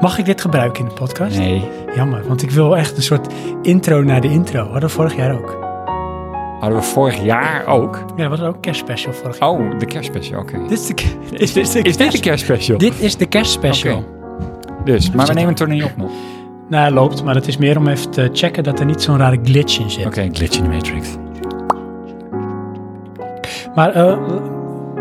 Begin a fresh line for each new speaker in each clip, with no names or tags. Mag ik dit gebruiken in de podcast?
Nee.
Jammer, want ik wil echt een soort intro naar de intro. Hadden we vorig jaar ook.
Hadden we vorig jaar ook.
Ja, we hadden ook kerstspecial vorig jaar.
Oh, de kerstspecial. Oké.
Dit is de, ke- is, dit de
Is dit
kerst-
de kerstspecial?
Dit is de kerstspecial.
Oké. Dus, maar we nemen het er niet op nog. Oké,
Nou, hij loopt, maar het is meer om even te checken dat er niet zo'n rare glitch in zit.
glitch in de matrix.
Maar eh,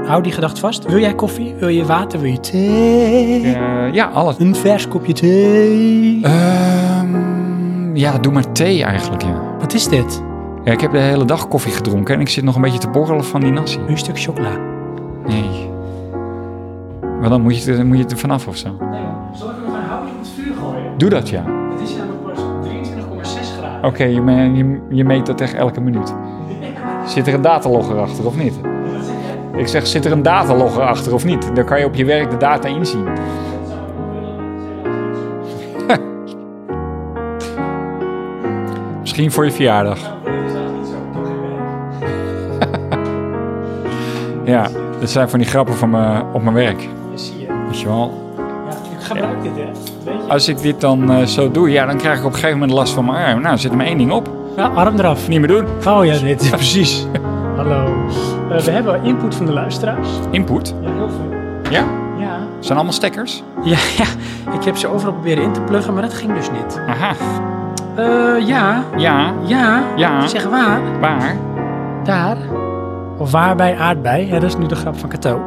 hou die gedachte vast. Wil jij koffie? Wil je water? Wil je thee?
Eh, ja, Eh. alles.
Een vers kopje thee.
Ehm, ja, doe maar thee eigenlijk, ja.
Wat is dit?
ja. Ik heb de hele dag koffie gedronken en ik zit nog een beetje te borrelen van die nasi.
Een stuk chocola.
Nee. Maar dan moet je, het- moet je het er vanaf of zo.
Zal ik nog een houtje op het vuur gooien?
Doe dat, ja.
Het is namelijk pas 23,6 graden.
Oké, je, me- je, je meet dat echt elke minuut. Zit er een datalogger achter of niet? Ik zeg, zit er een datalogger achter of niet? Dan kan je op je werk de data inzien. Misschien voor je verjaardag. Ja, dat zijn van die grappen van me, op mijn werk.
Zie je.
Weet je wel.
Ja, ik gebruik dit, hè? Dat Weet je.
Als ik dit dan eh, zo doe, ja, dan krijg ik op een gegeven moment last van mijn arm. Nou, zit er maar één ding op.
Nou, arm eraf.
Niet meer doen.
Oh ja, dit is...
precies.
Hallo. Eh, we hebben input van de luisteraars.
Input.
Ja, heel veel.
Ja,
Ja.
zijn allemaal stekkers.
Ja, ja. Ik heb ze overal proberen in te pluggen, maar dat ging dus niet.
Aha.
Eh, ja.
Ja,
Ja.
ja,
Zeg waar.
waar?
Daar. Of waar bij aardbei. Ja, dat is nu de grap van Cato.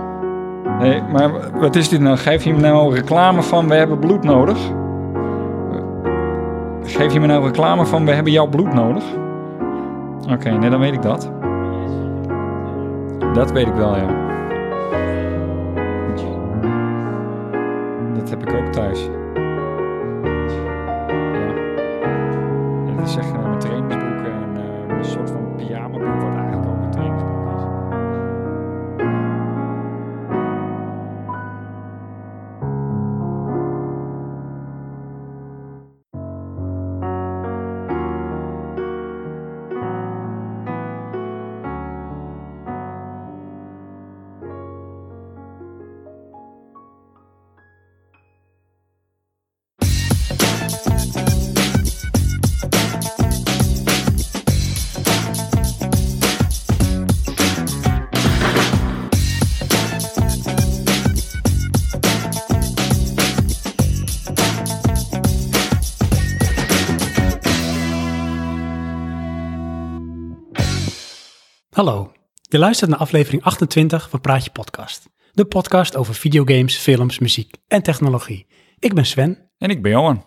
Nee, maar wat is dit nou? Geef je me nou reclame van we hebben bloed nodig? Geef je me nou reclame van we hebben jouw bloed nodig? Oké, nee, dan weet ik dat. Dat weet ik wel, ja. Dat heb ik ook thuis. Ja. Ja, Dat is echt eh, mijn trainingsboek en eh, een soort van pyjamaboek wat eigenlijk ook een trainingsboek is.
Hallo. Je luistert naar aflevering 28 van Praatje Podcast. De podcast over videogames, films, muziek en technologie. Ik ben Sven.
En ik ben Johan.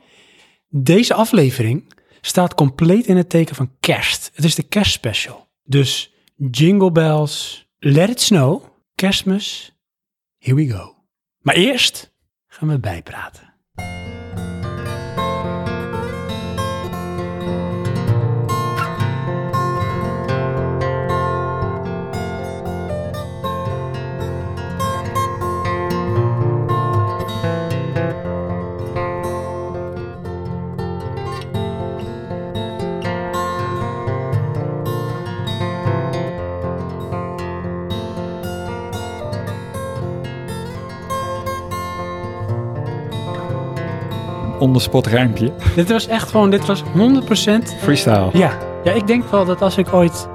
Deze aflevering staat compleet in het teken van kerst. Het is de kerstspecial. Dus jingle bells, let it snow, kerstmis, here we go. Maar eerst gaan we bijpraten.
Onderspot ruimpje.
Dit was echt gewoon, dit was 100%
Freestyle.
Ja. ja, ik denk wel dat als ik ooit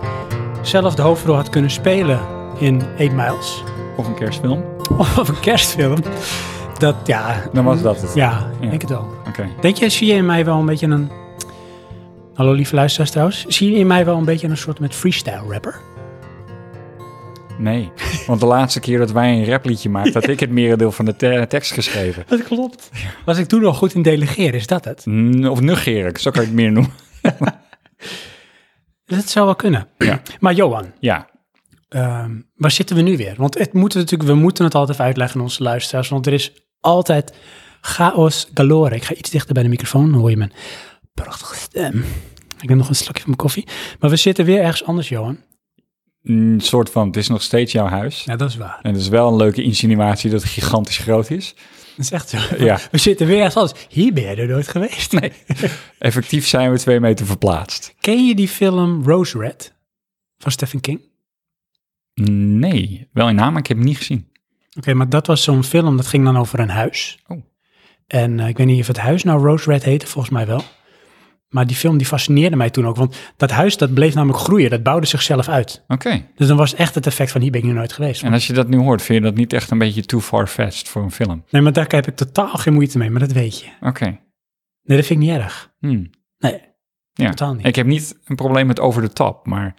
zelf de hoofdrol had kunnen spelen in 8 Miles
Of een kerstfilm.
of een kerstfilm, dat ja,
Dan was dat het.
ja, ik
Ja.
denk het wel.
Oké.
Denk je, zie je in mij wel een beetje een. Hallo lieve luisteraars trouwens. Zie je in mij wel een beetje een soort met freestyle rapper?
Nee. Want de laatste keer dat wij een rapliedje maakten, had ik het merendeel van de te- tekst geschreven.
Dat klopt. Was ik toen al goed in delegeren, is dat het?
Mm, Of nuggeren, zo kan ik het meer noemen.
Dat zou wel kunnen.
Ja.
Maar Johan,
Ja.
Ehm, waar zitten we nu weer? Want het moeten we, natuurlijk, we moeten het altijd even uitleggen aan onze luisteraars. Want er is altijd chaos galore. Ik ga iets dichter bij de microfoon, dan hoor je mijn prachtige stem. Ik neem nog een slokje van mijn koffie. Maar we zitten weer ergens anders, Johan.
Een soort van, het is nog steeds jouw huis.
Ja, dat is waar.
En het is wel een leuke insinuatie dat het gigantisch groot is.
Dat is echt zo.
Ja.
We zitten weer ergens anders. Hier ben je er nooit geweest.
Nee. Effectief zijn we twee meter verplaatst.
Ken je die film Rose Red van Stephen King? Oké,
Nee. Wel in naam, maar ik heb hem niet gezien.
maar dat was zo'n film, dat ging dan over een huis.
Oh.
En eh, ik weet niet of het huis nou Rose Red heette, volgens mij wel. Maar die film die fascineerde mij toen ook. Want dat huis dat bleef namelijk groeien. Dat bouwde zichzelf uit.
Oké.
Dus dan was echt het effect van hier ben ik nu nooit geweest.
En als je dat nu hoort, vind je dat niet echt een beetje too far-fetched voor een film?
Nee, maar daar heb ik totaal geen moeite mee. Maar dat weet je.
Oké.
Nee, dat vind ik niet erg.
Hmm.
Nee,
Ja.
totaal niet.
Ik heb niet een probleem met over de top, maar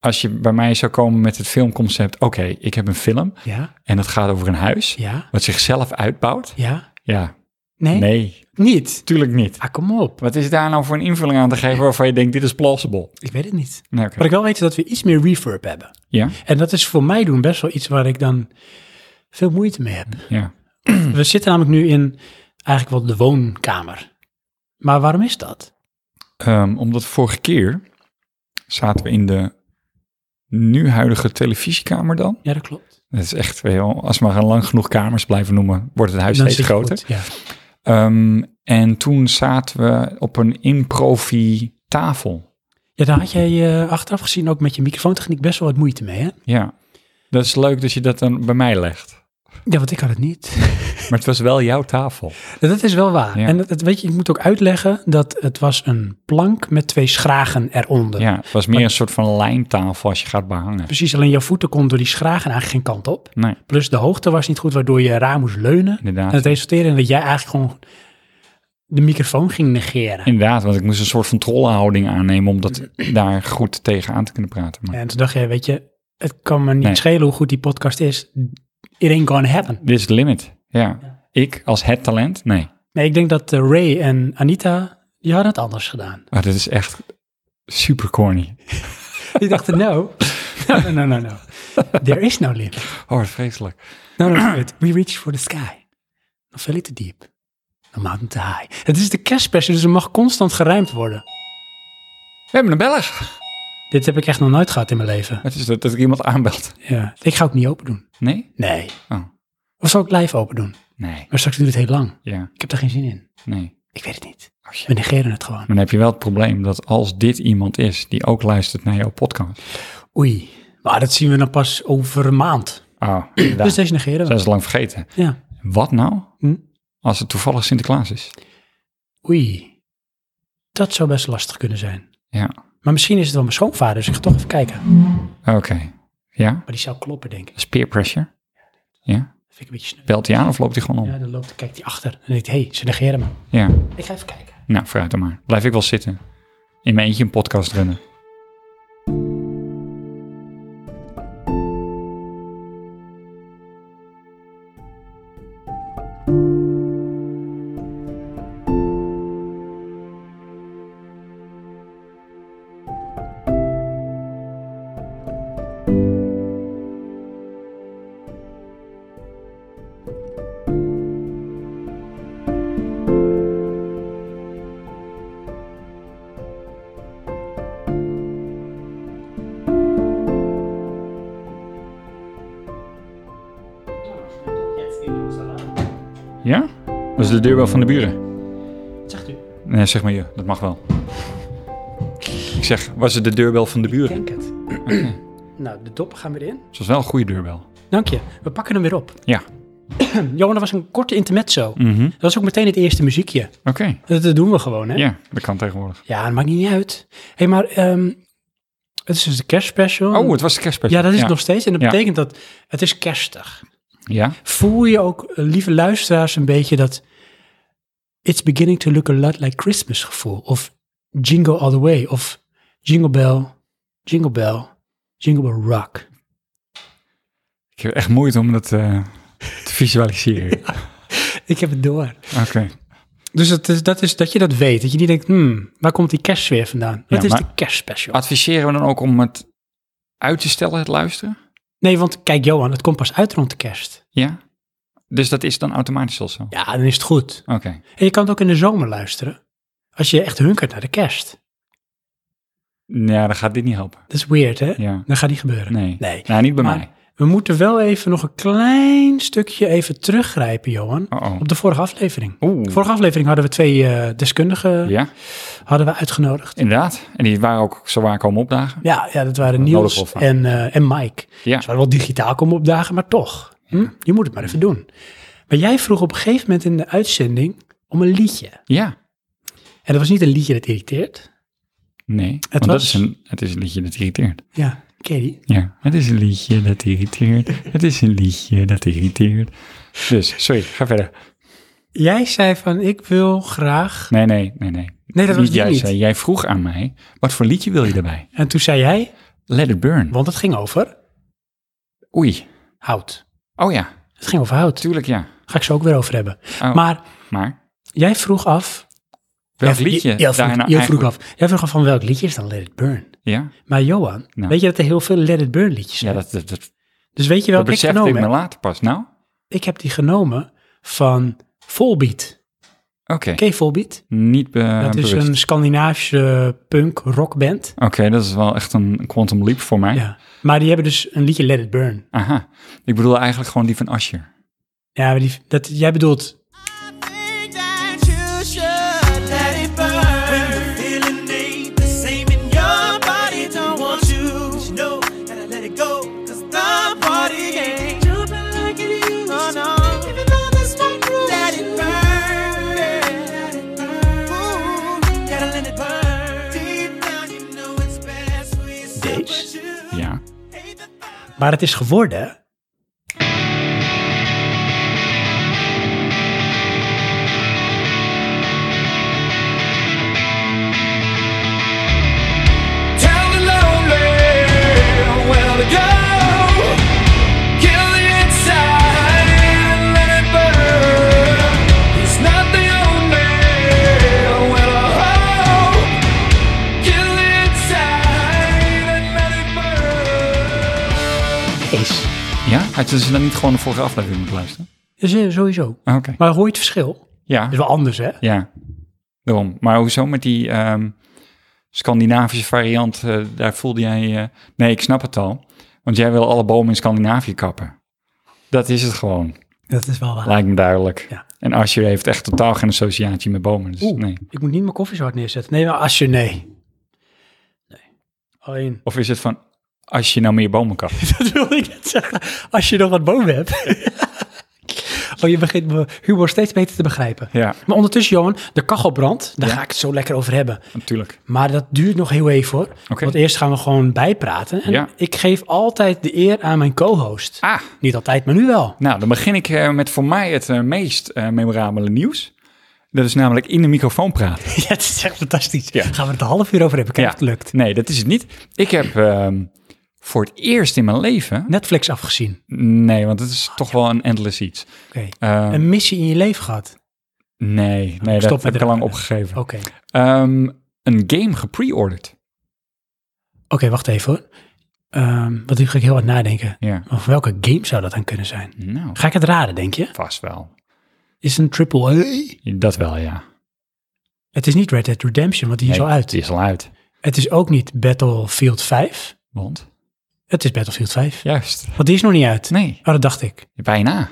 als je bij mij zou komen met het filmconcept, oké, ik heb een film
Ja,
en dat gaat over een huis
ja,
wat zichzelf uitbouwt.
ja.
Ja,
Nee,
nee,
niet.
tuurlijk niet.
Ah, kom op.
Wat is daar nou voor een invulling aan te geven waarvan je denkt, dit is plausible?
Ik weet het niet.
Nou, oké.
Wat ik wel weet is dat we iets meer reverb hebben.
Ja,
En dat is voor mij doen best wel iets waar ik dan veel moeite mee heb.
ja. Hmm.
We zitten namelijk nu in eigenlijk wel de woonkamer. Maar waarom is dat?
Ehm, omdat vorige keer zaten we in de nu huidige televisiekamer dan.
Ja, dat klopt.
Dat is echt, weet je wel, als we maar lang genoeg kamers blijven noemen, wordt het huis
Dan zit
steeds
je
groter.
goed, Ja.
Ehm, en toen zaten we op een improvi tafel.
ja, daar had jij eh, achteraf gezien ook met je microfoontechniek best wel wat moeite mee, hè?
Ja, dat is leuk dat je dat dan bij mij legt.
Ja, want ik had het niet.
Maar het was wel jouw tafel.
dat is wel waar.
Ja.
En dat, dat weet je, ik moet ook uitleggen dat het was een plank met twee schragen eronder.
Ja, het was meer een soort van lijntafel als je gaat behangen.
Precies, alleen jouw voeten konden door die schragen eigenlijk geen kant op.
Nee,
Plus de hoogte was niet goed, waardoor je raar moest leunen. En
inderdaad.
het resulteerde in dat jij eigenlijk gewoon de microfoon ging negeren.
Inderdaad, want ik moest een soort van trollenhouding aannemen om dat daar goed tegen aan te kunnen praten. Maar
En toen dacht je, weet je, het kan me niet
Nee.
schelen hoe goed die podcast is. It ain't gonna happen.
dit is de limit. Ja, ik als het talent? Nee.
Nee, ik denk dat eh, Ray en Anita, die hadden het anders gedaan.
Maar Oh, dit is echt super corny.
Die dachten, no, no, no, no, no, no. There is no limit.
Oh, wat vreselijk.
No, no, no, we reach for the sky. Not veel te diep. No mountain te high. Het is de kerstspecial, dus er mag constant geruimd worden.
We hebben een beller.
Dit heb ik echt nog nooit gehad in mijn leven.
Het is dat, dat er iemand aanbelt.
Ja. Ik ga ook niet open doen.
Nee?
Nee.
Oh.
Of zal ik live open doen?
Nee.
Maar straks duurt het heel lang.
Ja,
Ik heb daar geen zin in.
nee.
Ik weet het niet.
Oh, shit.
We negeren het gewoon.
Maar dan heb je wel het probleem dat als dit iemand is die ook luistert naar jouw podcast.
Oei. Maar dat zien we dan pas over een maand.
Ah, inderdaad.
Dus deze negeren we.
zijn ze lang vergeten.
Ja.
Wat nou
Hm?
als het toevallig Sinterklaas is?
Oei. Dat zou best lastig kunnen zijn.
Ja,
Maar misschien is het wel mijn schoonvader, dus ik ga toch even kijken.
oké. Ja,
Maar die zou kloppen, denk ik.
dat is peer pressure. Ja,
Dat vind ik een beetje sneu.
belt hij aan of loopt hij gewoon om?
Ja,
Ja.
dan loopt, kijkt hij achter. En denkt, hé, hey, ze negeren me. Ik ga even kijken.
Nou, vooruit dan maar. Blijf ik wel zitten. In mijn eentje een podcast runnen. Ja? Dat is de deurbel van de buren.
Wat zegt u?
Nee, zeg maar je. Dat mag wel. Ik zeg, was het de deurbel van de
Ik
buren?
denk het. nou, de doppen gaan weer in.
Het was wel een goede deurbel.
Dank je. We pakken hem weer op.
Ja.
Johan, dat was een korte intermezzo.
Mhm.
Dat was ook meteen het eerste muziekje.
Oké.
Dat, dat doen we gewoon, hè?
Ja, dat kan tegenwoordig.
Ja, dat maakt niet uit. Hé, hey, maar ehm, het is dus de kerstspecial.
Oh, het was de kerstspecial.
ja, dat is het nog steeds. En dat
Ja.
betekent dat het is kerstig.
Ja?
Voel je ook, eh, lieve luisteraars, een beetje dat it's beginning to look a lot like Christmas gevoel? Of Jingle All The Way? Of Jingle Bell, Jingle Bell, Jingle Bell Rock?
Ik heb echt moeite om dat eh, te visualiseren.
Ik heb het door.
Oké.
Dus dat is, dat is dat je dat weet. Dat je niet denkt, hmm, waar komt die kerstsfeer vandaan?
Ja,
Dat is
maar-
de kerstspecial.
Adviseren we dan ook om het uit te stellen, het luisteren?
Nee, want kijk Johan, het komt pas uit rond de kerst.
Ja? Dus dat is dan automatisch al zo?
Ja, dan is het goed.
Oké.
En je kan het ook in de zomer luisteren. Als je echt hunkert naar de kerst.
Nou Ja, dan gaat dit niet helpen.
Dat is weird, hè?
Ja.
Dan gaat die gebeuren.
Nee.
Nee.
Nou, niet bij
Maar-
mij.
We moeten wel even nog een klein stukje even teruggrijpen, Johan.
Oh, oh.
Op de vorige aflevering.
Oeh.
Vorige aflevering hadden we twee eh, deskundigen
Ja,
hadden we uitgenodigd.
inderdaad. En die waren ook zo waar komen opdagen.
Ja, ja, dat waren
Dat
Niels
nodig wel
en, eh, en Mike.
Ja.
Ze waren wel digitaal komen opdagen, maar toch. Hm? Je moet het maar even doen. Maar jij vroeg op een gegeven moment in de uitzending om een liedje.
Ja.
En dat was niet een liedje dat irriteert.
Nee, het want dat
was-
is een, het is een liedje dat irriteert.
Ja, ken je die?
Ja, het is een liedje dat irriteert. Het is een liedje dat irriteert. Dus, sorry, ga verder.
Jij zei van, ik wil graag...
Nee, nee, nee, nee.
Nee, dat was
jij
die niet.
zei, jij vroeg aan mij, wat voor liedje wil je erbij?
En toen zei jij,
Let It Burn.
want het ging over
Oei.
hout.
Oh ja,
Het ging over hout.
tuurlijk ja.
Ga ik zo ook weer over hebben.
Oh.
Maar
Maar,
jij vroeg af...
welk
jij-
liedje
jij- jij vroeg,
daarna
jij vroeg
eigenlijk-
af, jij vroeg af van welk liedje is dan Let It Burn?
Ja,
Maar Johan,
Nou.
weet je dat er heel veel Let It Burn liedjes zijn?
ja dat, dat, dat,
dus weet je
dat
welke ik
besefte ik
genomen
me
heb?
later pas. Nou, oké.
Ik heb die genomen van Volbeat. Ken je Volbeat?
Niet be-
dat is
bewust.
een Scandinavische punk rockband.
Oké, dat is wel echt een quantum leap voor mij.
Ja. Maar die hebben dus een liedje Let It Burn.
Aha. Ik bedoel eigenlijk gewoon die van Asher.
Ja, maar die, dat, jij bedoelt...
think that you should let it burn. When the feeling ain't the same and your body don't want you, but you know gotta let it go. Cause the party ain't jumping like it used oh, no. to. Even though there's no proof. Let it burn. Let it burn. Ooh, gotta let it burn. Deep down you know it's best for yourself,
Deze?
but you
Ja.
hate the thought.
Maar het is geworden...
Tell the lonely where to go. Kill the inside and let it burn. It's not the only way to hope. Kill the inside and let it burn.
Is.
Ja? Had je dus dan niet gewoon de vorige aflevering moeten luisteren?
Dus, eh, sowieso.
Oké.
Maar hoor je het verschil? Dat
Ja.
is wel anders, hè?
Ja. Daarom. Maar hoezo met die ehm, Scandinavische variant, eh, daar voelde jij... eh, nee, ik snap het al. Want jij wil alle bomen in Scandinavië kappen. Dat is het gewoon.
Dat is wel waar.
Lijkt me duidelijk.
Ja.
En Asher heeft echt totaal geen associatie met bomen. Dus
Oeh,
nee.
ik moet niet mijn koffie zo hard neerzetten. Nee, maar als je... Nee. Nee. Alleen...
Of is het van, als je nou meer bomen kapt?
Dat wilde ik net zeggen. Als je nog wat bomen hebt. oh, je begint me humor steeds beter te begrijpen.
ja,
Maar ondertussen, Johan, de kachel brandt. Daar ga ik het zo lekker over hebben.
natuurlijk.
Maar dat duurt nog heel even hoor.
Oké.
Want eerst gaan we gewoon bijpraten. En
Ja.
ik geef altijd de eer aan mijn co-host.
Ah,
Niet altijd, maar nu wel.
nou, dan begin ik eh, met voor mij het eh, meest eh, memorabele nieuws. Dat is namelijk in de microfoon praten.
ja, het is echt fantastisch.
Ja.
Gaan we het een half uur over hebben. Kijk of het lukt.
Nee, dat is het niet. Ik heb ehm, voor het eerst in mijn leven...
Netflix afgezien.
Nee, want het is toch wel een endless iets.
Oké.
Eh,
Een missie in je leven gehad.
nee, nee
Stop met
dat heb ik al
raden.
lang opgegeven.
Oké. Oké,
Ehm, een game gepre-ordered.
wacht even hoor. Ehm want nu ga ik heel hard nadenken.
Ja.
Of welke game zou dat dan kunnen zijn?
Nou,
Ga ik het raden, denk je?
vast wel.
Is een triple A?
Dat wel, ja.
Het is niet Red Dead Redemption, want die is
Nee,
al uit.
Die is al uit.
Het is ook niet Battlefield 5.
Want?
Het is Battlefield 5.
Juist.
Want die is nog niet uit.
Nee,
Oh, dat dacht ik.
bijna.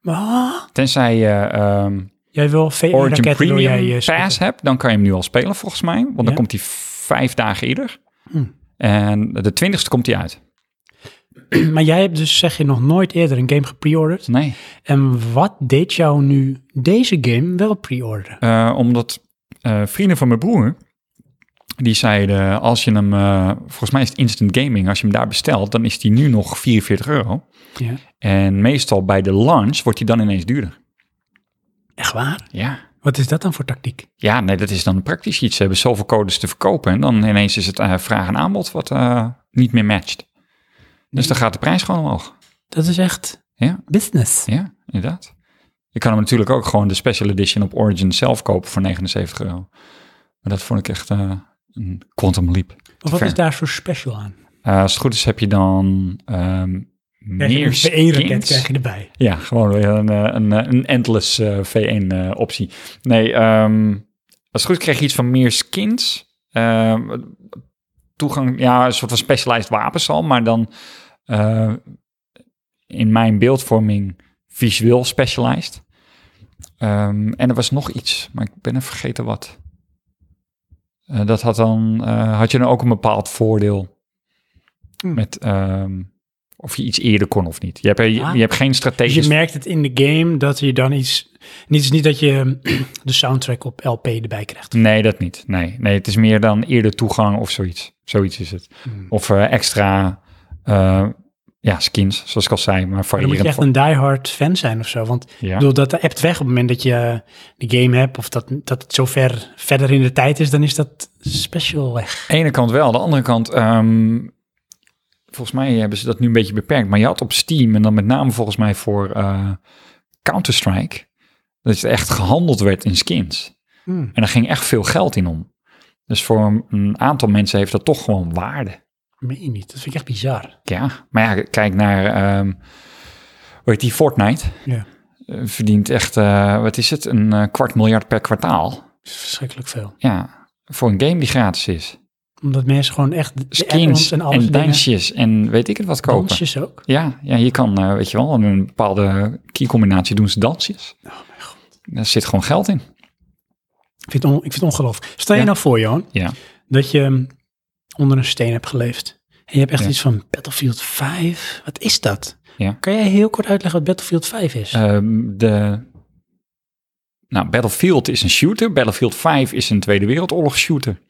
Maar, ah,
Tenzij je ehm,
jij wil
Origin
VR-raketten door jij eh,
Premium
je
Pass hebt, dan kan je hem nu al spelen volgens mij. Want
Ja.
dan komt hij vijf dagen eerder.
Hm.
En de twintigste komt hij uit.
Maar jij hebt dus, zeg je, nog nooit eerder een game gepreorderd.
Nee,
En wat deed jou nu deze game wel preorderen?
eh, omdat eh, vrienden van mijn broer, die zeiden als je hem, eh, volgens mij is het instant gaming, als je hem daar bestelt, dan is die nu nog 44 euro.
Ja.
En meestal bij de launch wordt die dan ineens duurder.
Echt waar?
Ja.
Wat is dat dan voor tactiek?
Ja, nee, dat is dan praktisch iets. Ze hebben zoveel codes te verkopen en dan ineens is het eh, vraag en aanbod wat eh, niet meer matcht. Dus dan gaat de prijs gewoon omhoog.
Dat is echt
Ja.
business.
Ja, inderdaad. Je kan hem natuurlijk ook gewoon de special edition op Origin zelf kopen voor 79 euro. Maar dat vond ik echt eh, een quantum leap.
Of wat
ver.
is daar zo special aan?
Eh, als het goed is heb je dan ehm
Krijg je
meer
een één raket
skins.
krijg je erbij.
Ja, gewoon weer een, eh, een, eh, een endless eh, V1 eh, optie. Nee, ehm, als het goed is krijg je iets van meer skins. Ehm, toegang, ja, een soort van specialized wapens al, maar dan eh, in mijn beeldvorming visueel specialized. Ehm, en er was nog iets, maar ik ben even vergeten wat. Eh, dat had dan, eh, had je dan ook een bepaald voordeel
Hmm.
met ehm, Of je iets eerder kon of niet. Je hebt, eh, je,
Ah.
je hebt geen
Dus
strategisch...
je merkt het in de game dat je dan iets... Niet, het is niet dat je de soundtrack op LP erbij krijgt.
Nee, dat niet. Nee. nee, het is meer dan eerder toegang of zoiets. Zoiets is het.
Hmm.
Of eh, extra eh, ja, skins, zoals ik al zei, maar
Maar dan moet je
variërend.
echt
van-
een diehard fan zijn of zo. Want
Ja.
ik bedoel, dat appt weg op het moment dat je de game hebt... of dat, dat het zo ver verder in de tijd is, dan is dat special weg.
ene kant wel, de andere kant... ehm, volgens mij hebben ze dat nu een beetje beperkt. Maar je had op Steam, en dan met name volgens mij voor eh, Counter-Strike... dat het echt gehandeld werd in skins.
Hmm.
En daar ging echt veel geld in om. Dus voor een- een aantal mensen heeft dat toch gewoon waarde.
Meen je niet. Dat vind ik echt bizar.
Ja, maar ja, kijk naar, ehm hoe heet die, Fortnite.
Ja.
Eh, verdient echt, eh, wat is het, een eh, kwart miljard per kwartaal.
Dat is verschrikkelijk veel.
Ja, voor een game die gratis is.
Omdat mensen gewoon echt de add-ons
Skins en,
alles dingen-
dansjes en weet ik het wat kopen.
Dansjes ook.
Ja, ja, je kan, eh, weet je wel, in een bepaalde keycombinatie doen ze dansjes. Oh mijn god. Daar zit gewoon geld in.
Ik vind het, on, ik vind het ongelooflijk. Stel je
Ja.
nou voor, Johan,
Ja.
dat je mm, onder een steen hebt geleefd. En je hebt echt
Ja.
iets van Battlefield 5. Wat is dat?
Ja.
Kan jij heel kort uitleggen wat Battlefield 5 is?
Ehm, de, nou, Battlefield is een shooter. Battlefield 5 is een Tweede Wereldoorlog shooter.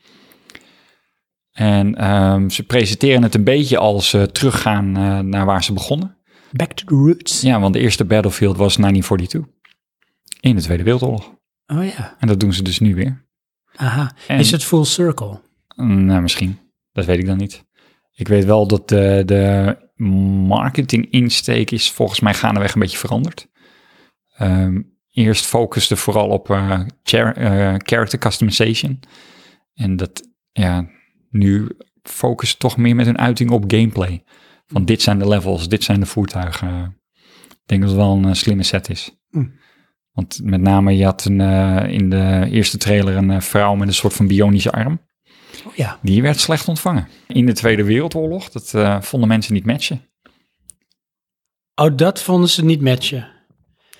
En ehm, ze presenteren het een beetje als eh, teruggaan eh, naar waar ze begonnen.
Back to the roots.
Ja, want de eerste Battlefield was 1942. In de Tweede Wereldoorlog.
Oh ja.
En dat doen ze dus nu weer.
Aha.
En-
Is het full circle?
Mm, Nou, misschien. Dat weet ik dan niet. Ik weet wel dat de, de marketing-insteek is volgens mij gaandeweg een beetje veranderd. Ehm, eerst focuste vooral op eh, char- eh, character customization. En dat, ja, nu focussen toch meer met hun uiting op gameplay. Van dit zijn de levels, dit zijn de voertuigen. Ik denk dat het wel een eh, slimme set is.
Hm.
Want met name, je had een, eh, in de eerste trailer een eh, vrouw met een soort van bionische arm.
Oh ja.
Die werd slecht ontvangen. In de Tweede Wereldoorlog, dat eh, vonden mensen niet matchen.
Oh, dat vonden ze niet matchen.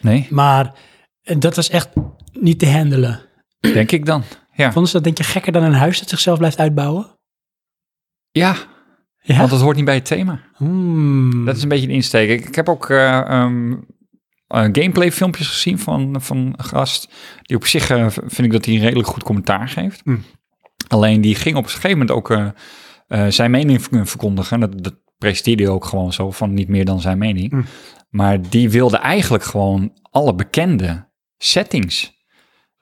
Nee,
Maar eh, dat was echt niet te handelen.
denk ik dan. Ja,
Vonden ze dat denk je gekker dan een huis dat zichzelf blijft uitbouwen?
ja
Ja.
want dat hoort niet bij het thema.
Hmm.
Dat is een beetje de insteek. Ik, ik heb ook eh, ehm, eh, gameplay filmpjes gezien van, van een gast. Die op zich eh, v- vind ik dat hij een redelijk goed commentaar geeft.
Mm.
Alleen die ging op een gegeven moment ook eh, eh, zijn mening verk- verkondigen. Dat, dat presenteerde hij ook gewoon zo van niet meer dan zijn mening.
Mm.
Maar die wilde eigenlijk gewoon alle bekende settings.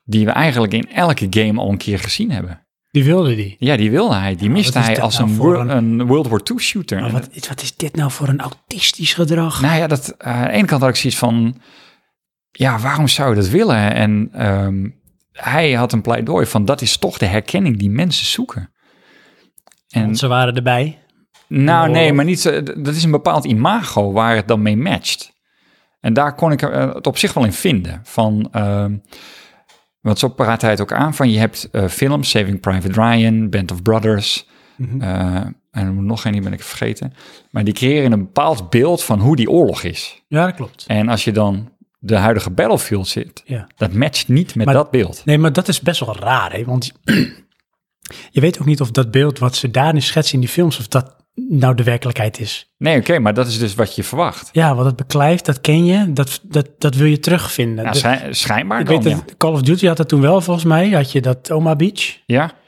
Die we eigenlijk in elke game al een keer gezien hebben.
Die wilde die.
Ja, die wilde hij. Die miste
wat is
hij
dat
als
nou
een,
voor
wor-
een-
een World War II shooter.
Maar
En
wat, is- wat is dit nou voor een autistisch gedrag?
Nou ja, dat, eh, aan de ene kant had ik zoiets van... Ja, waarom zou je dat willen? En ehm, hij had een pleidooi van... dat is toch de herkenning die mensen zoeken. En,
Want ze waren erbij.
nou
Oh.
nee, maar niet, zo- d- dat is een bepaald imago waar het dan mee matcht. En daar kon ik eh, het op zich wel in vinden. Van, ehm, want zo praat hij het ook aan van... je hebt eh, films, Saving Private Ryan, Band of Brothers... eh, en er moet nog één, die ben ik vergeten. Maar die creëren een bepaald beeld van hoe die oorlog is.
Ja, dat klopt.
En als je dan de huidige Battlefield zit,
Ja.
dat matcht niet met
Maar-
dat beeld.
Nee, maar dat is best wel raar, hè? Want je weet ook niet of dat beeld wat ze daarin schetsen in die films, of dat nou de werkelijkheid is.
Nee, oké, maar dat is dus wat je verwacht.
Ja, want dat beklijft, dat ken je, dat, dat, dat wil je terugvinden.
Nou,
De-
schijn- schijnbaar
ik
dan,
weet
ja.
dat Call of Duty had dat toen wel, volgens mij. Had je dat Oma Beach.
ja.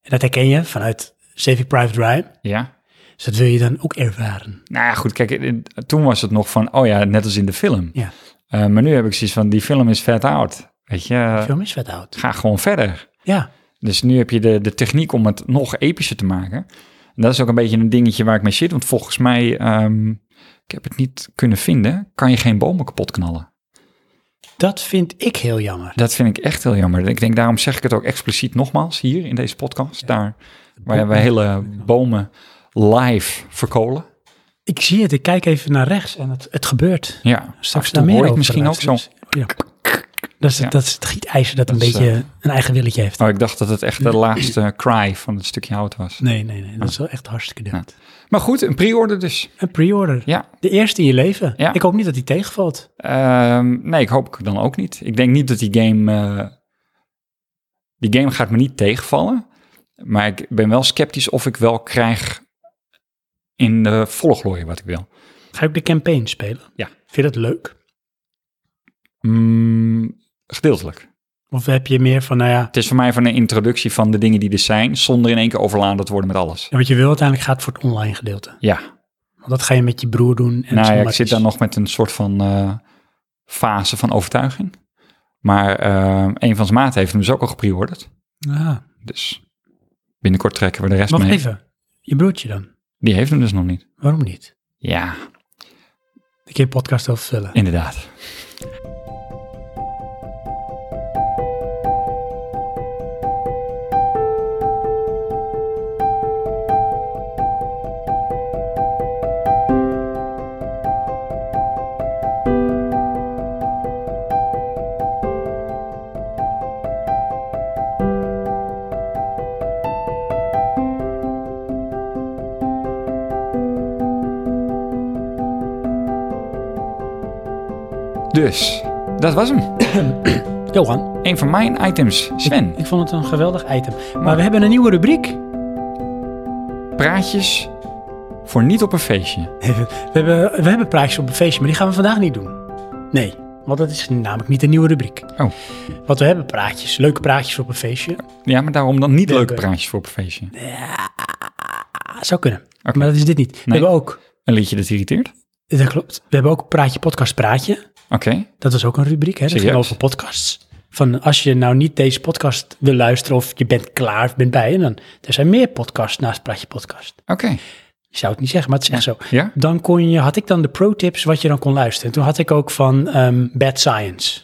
En dat herken je vanuit Saving Private Ryan.
Ja.
Dus dat wil je dan ook ervaren.
Nou ja, goed, kijk, eh, toen was het nog van, oh ja, net als in de film.
Ja.
Eh, maar nu heb ik zoiets van, die film is vet oud. Weet je,
film is vet oud.
ga gewoon verder.
Ja.
Dus nu heb je de, de techniek om het nog epischer te maken. En dat is ook een beetje een dingetje waar ik mee zit. Want volgens mij, ehm, ik heb het niet kunnen vinden, kan je geen bomen kapot knallen.
Dat vind ik heel jammer.
Dat vind ik echt heel jammer. Ik denk, daarom zeg ik het ook expliciet nogmaals hier in deze podcast. Daar, waar we hele bomen live verkolen.
Ik zie het, ik kijk even naar rechts en het, het gebeurt.
Ja, af
Straks
en toe
daar meer
hoor
over
ik misschien ook zo.
luisteraars. Ja. Dat is,
Ja.
het, dat is eh, het gietijzer dat,
Dat
een
is,
beetje een eigen willetje heeft.
Maar Oh, ik dacht dat het echt de laatste cry van het stukje hout was.
Nee, nee, nee. Dat is wel echt hartstikke dood.
Maar goed, een pre-order dus.
Een pre-order.
Ja.
De eerste in je leven.
Ja.
Ik hoop niet dat die tegenvalt.
Ehm, nee, ik hoop ik dan ook niet. Ik denk niet dat die game... eh, die game gaat me niet tegenvallen. Maar ik ben wel sceptisch of ik wel krijg in de volle glorie wat ik wil.
Ga Ga je ook de campaign spelen?
Ja.
Vind je dat leuk?
Mm, gedeeltelijk.
Of heb je meer van, nou ja,
Het is voor mij van een introductie van de dingen die er zijn, zonder in één keer overladen te worden met alles.
wat je wil uiteindelijk gaat voor het online gedeelte.
Ja,
Want dat ga je met je broer doen. En
nou ja, ik
somebody-
zit daar nog met een soort van eh, fase van overtuiging. Maar eh, een van zijn maten heeft hem dus ook al gepreorderd.
Ah,
Dus binnenkort trekken we de rest
wacht
mee.
even. Je broertje dan?
Die heeft hem dus nog niet.
Waarom niet?
Ja,
Ik heb een podcast over vullen.
inderdaad. Dus, dat was hem.
Johan,
Een van mijn items. Sven,
ik vond het een geweldig item. Maar we hebben een nieuwe rubriek.
praatjes voor niet op een feestje.
We hebben, we hebben praatjes op een feestje, maar die gaan we vandaag niet doen. Nee, want dat is namelijk niet een nieuwe rubriek.
Oh.
Want we hebben praatjes, leuke praatjes op een feestje.
Ja, maar daarom dan niet
Nee,
leuke
nee.
praatjes voor op een feestje.
Ah, zou kunnen, maar dat is dit niet. We
Nee.
hebben ook,
Een liedje dat irriteert.
dat klopt, we hebben ook Praatje Podcast Praatje.
Oké,
Dat was ook een rubriek, hè? dat ging
Serieus?
over podcasts. Van als je nou niet deze podcast wil luisteren of je bent klaar of bent bij, en dan er zijn meer podcasts naast Praatje Podcast.
oké.
Je zou het niet zeggen, maar het is echt zo.
Ja?
Dan kon je, had ik dan de pro-tips wat je dan kon luisteren. En toen had ik ook van ehm, Bad Science.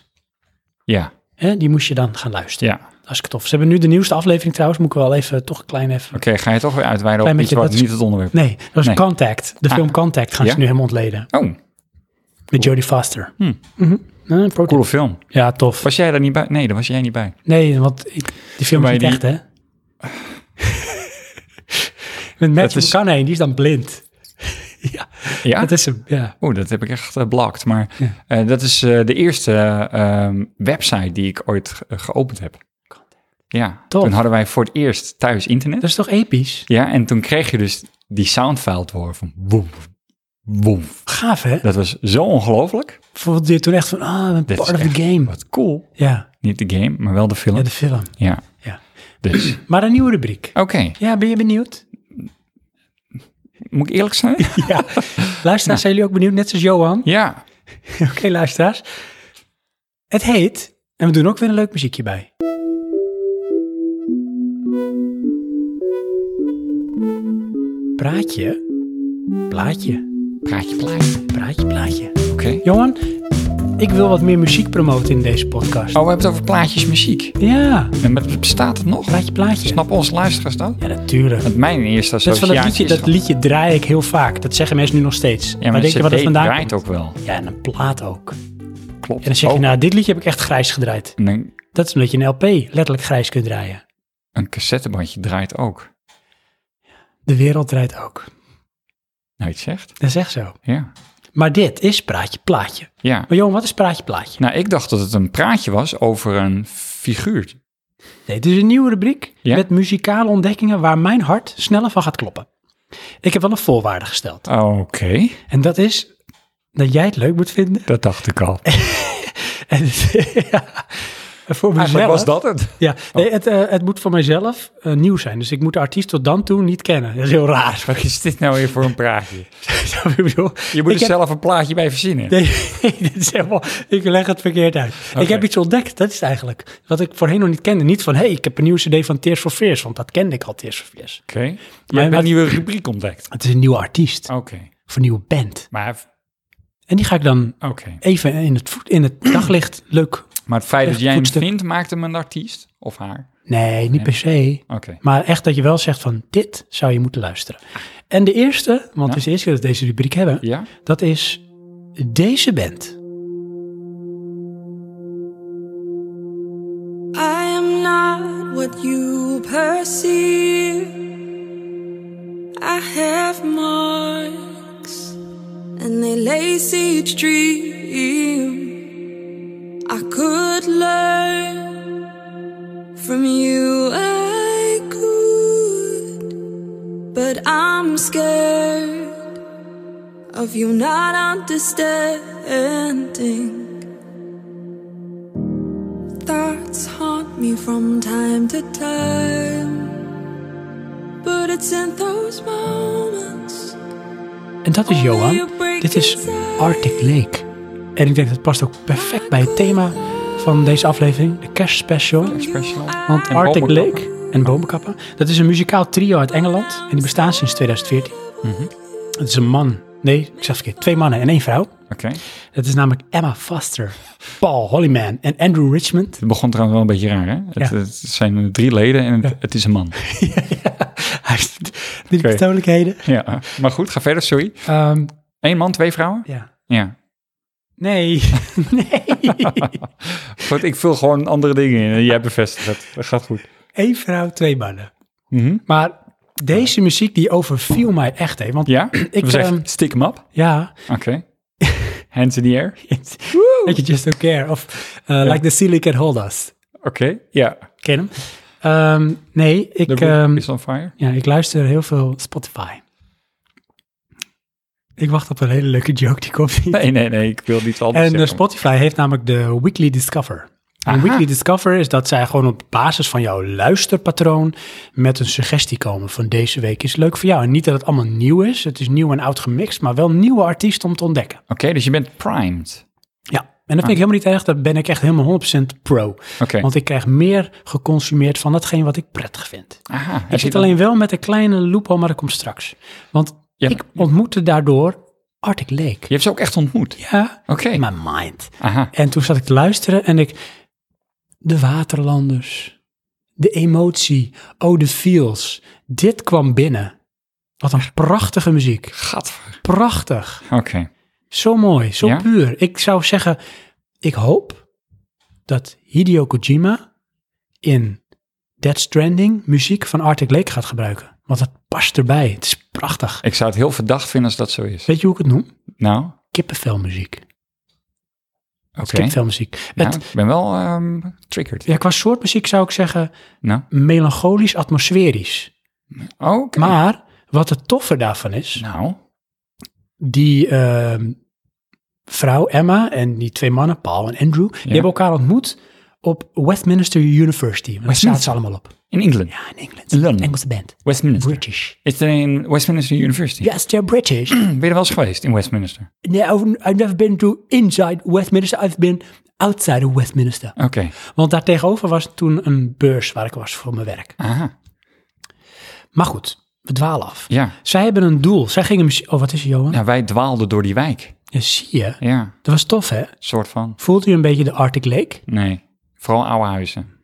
Ja,
Hè? Die moest je dan gaan luisteren.
ja. Oké,
Als ik het tof. Ze hebben nu de nieuwste aflevering trouwens. Moet ik wel even toch een klein even.
ga je toch weer uitweiden
Klein
op iets
beetje,
wat
dat is-
niet het onderwerp
Nee, dat was
Nee. Ah.
Contact. De film Contact gaan ze
Ja?
nu helemaal ontleden.
Oh,
Met Jodie Foster.
Hm.
Mhm. Eh, pro-
coole film.
Ja, tof.
Was jij daar niet bij? Nee, daar was jij niet bij.
Nee, want ik, die film is
Maar
niet
die-
echt, hè? Met Matthew
is- Ah.
McConaughey, die is dan blind. ja,
Ja?
dat is hem. Ja.
Oeh, dat heb ik echt eh, blocked. Maar eh, dat is eh, de eerste ehm, website die ik ooit ge- eh, geopend heb. Ja,
Tof. Dus-
toen hadden wij voor het eerst thuis internet.
Dat is toch episch?
Ja, en toen kreeg je dus die soundfile te horen van woem, woem.
Gaaf, hè?
Dat was zo ongelooflijk.
Bijvoorbeeld je toen echt van, ah, ik ben
Dit
part
is
of
echt
the game.
Wat cool.
Ja,
Niet de game, maar wel de film.
ja,
Ja,
de film. Ja.
dus. Oké,
Maar een nieuwe rubriek. Ja, ben je benieuwd?
moet ik eerlijk zijn?
Ja. Luisteraars,
Nou.
zijn jullie ook benieuwd? Net zoals Johan.
ja.
Oké, luisteraars. Het heet, en we doen ook weer een leuk muziekje bij. Praatje, plaatje,
Praatje, plaatje.
praatje, plaatje.
Oké.
Johan, ik wil wat meer muziek promoten in deze podcast.
Oh, we hebben het over plaatjes muziek.
Ja,
En met, bestaat het nog? Dus
plaatje, plaatje.
Snap onze luisteraars dat?
Ja, natuurlijk.
Want mijn eerste
Dat, is van dat,
associatie
liedje,
is
dat
gewoon-
liedje draai ik heel vaak. Dat zeggen mensen nu nog steeds.
Ja, maar
denk je
de
wat
CD
het vandaan
draait
komt?
ook wel.
Ja, en een plaat ook.
Klopt.
En dan zeg je,
Ook.
nou, dit liedje heb ik echt grijs gedraaid.
En een,
Dat is omdat je een LP letterlijk grijs kunt draaien.
een cassettebandje draait ook.
De wereld draait ook.
Nou, iets zegt.
Dat is echt zo.
Ja.
Maar dit is Praatje Plaatje.
Ja.
Maar Johan, wat is Praatje Plaatje?
Nou, ik dacht dat het een praatje was over een figuurtje.
Nee, het is een nieuwe rubriek
Ja?
met muzikale ontdekkingen waar mijn hart sneller van gaat kloppen. Ik heb wel een voorwaarde gesteld.
Oh, Oké.
En dat is dat jij het leuk moet vinden.
Dat dacht ik al.
En ja, voor
Eigenlijk
mezelf.
was dat het.
Ja, nee, het, eh, het moet voor mijzelf eh, nieuw zijn. Dus ik moet de artiest tot dan toe niet kennen. Dat is heel raar.
Wat is dit nou weer voor een praatje?
Snap je wat ik bedoel?
Je moet
Ik
er
heb-
zelf een plaatje bij verzinnen.
Nee, nee, dit is helemaal, ik leg het verkeerd uit. Ik
Oké.
heb iets ontdekt, dat is het eigenlijk. Wat ik voorheen nog niet kende. Niet van, hé, hey, ik heb een nieuwe cd van Tears for Fears, want dat kende ik al, Tears for Fears.
Oké.
Maar-
Maar je hebt
maar-
een nieuwe rubriek ontdekt.
Het is een nieuwe artiest,
Oké.
of een nieuwe band.
Maar,
En die ga ik dan
oké.
even in het, voet, in het daglicht leuk...
maar het feit dat
Echt
jij hem
voetstuk.
vindt, maakt hem een artiest? Of haar?
Nee, niet per se.
Oké.
Maar echt dat je wel zegt van, dit zou je moeten luisteren. En de eerste, want het is de eerste keer dat we deze rubriek hebben,
Ja?
dat is deze band.
I am not what you perceive. I have marks, and they lace each dream. I could learn from you, I could, but I'm scared of you not understanding. Thoughts haunt me from time to time, but it's in those moments.
En dat is Johan. Dit is Arctic Lake. En ik denk dat past ook perfect bij het thema van deze aflevering, de kerstspecial.
Special.
Want
En
Arctic
bomenkappen.
Lake en bomenkappen, dat is een muzikaal trio uit Engeland en die bestaan sinds 2014.
Mhm.
Het is een man, nee, ik zeg verkeerd, twee mannen en één vrouw.
Oké.
Dat is namelijk Emma Foster, Paul Hollyman en Andrew Richmond.
Het begon trouwens wel een beetje raar, hè? Het,
Ja.
het zijn drie leden en het, het is een man.
Hij heeft drie persoonlijkheden.
Ja, maar goed, ga verder, sorry.
Ehm,
Eén man, twee vrouwen?
ja.
Ja.
Nee, nee.
Goed, ik vul gewoon andere dingen in en jij bevestigt het. Dat gaat goed.
Eén vrouw, twee mannen.
Mhm.
Maar deze muziek die overviel mij echt, hè. Want
Ja?
Ik,
We zeggen,
ehm,
stick hem up.
ja,
Oké. Hands in the air.
weet je, Just Don't Care of uh, Like the Silly Can Hold Us.
Oké, ja.
Ken hem? Ehm, nee,
De
ik,
roof
ehm,
is on fire.
ja, ik luister heel veel Spotify. Ik wacht op een hele leuke joke die komt niet.
Nee, nee, nee, ik wil niet anders
En eh,
zeggen.
Spotify heeft namelijk de Weekly Discover. En Weekly Discover is dat zij gewoon op basis van jouw luisterpatroon met een suggestie komen van deze week is leuk voor jou. En niet dat het allemaal nieuw is, het is nieuw en oud gemixt, maar wel nieuwe artiesten om te ontdekken.
Oké, dus je bent primed.
Ja, en dat vind ik helemaal niet erg, daar ben ik echt helemaal 100% pro.
Ah. Oké.
Want ik krijg meer geconsumeerd van datgene wat ik prettig vind.
Aha, Ah, heb
Ik
je
zit
dan-
alleen wel met een kleine loophole, maar dat komt straks. Want
Ja.
ik ontmoette daardoor Arctic Lake.
Je hebt ze ook echt ontmoet?
Ja,
Oké.
in mijn mind.
Aha.
En toen zat ik te luisteren en ik... De waterlanders, de emotie, oh de feels. Dit kwam binnen. Wat een prachtige muziek.
Gadver.
Prachtig.
Oké.
Zo mooi, zo
Ja?
puur. Ik zou zeggen, ik hoop dat Hideo Kojima in Dead Stranding muziek van Arctic Lake gaat gebruiken. Want dat past erbij. Het is prachtig.
Ik zou het heel verdacht vinden als dat zo is.
Weet je hoe ik het noem?
Nou,
Kippenvelmuziek.
oké.
Kippenvelmuziek.
Nou,
Het,
ik ben wel ehm, triggered.
ja, qua soort muziek zou ik zeggen
Nou,
melancholisch, atmosferisch.
oké.
Maar wat het toffe daarvan is,
Nou,
die ehm, vrouw Emma en die twee mannen, Paul en Andrew, die hebben elkaar ontmoet op Westminster University. En Daar zaten ze allemaal op.
in Engeland.
Ja, in Engeland.
In Londen.
Engelse band.
Westminster.
British.
Is er in Westminster University?
Yes, they're British.
Ben je er wel eens geweest in Westminster?
no, I've never been to inside Westminster. I've been outside of Westminster.
Oké.
Want daar tegenover was toen een beurs waar ik was voor mijn werk.
Aha.
Maar goed, we dwalen af.
Ja.
Zij hebben een doel. Zij gingen... muzie- Oh, wat is er, Johan? Ja.
ja, wij dwaalden door die wijk.
zie je.
Ja,
Dat was tof, hè?
soort van.
Voelt u een beetje de Arctic Lake?
Nee, vooral oude huizen.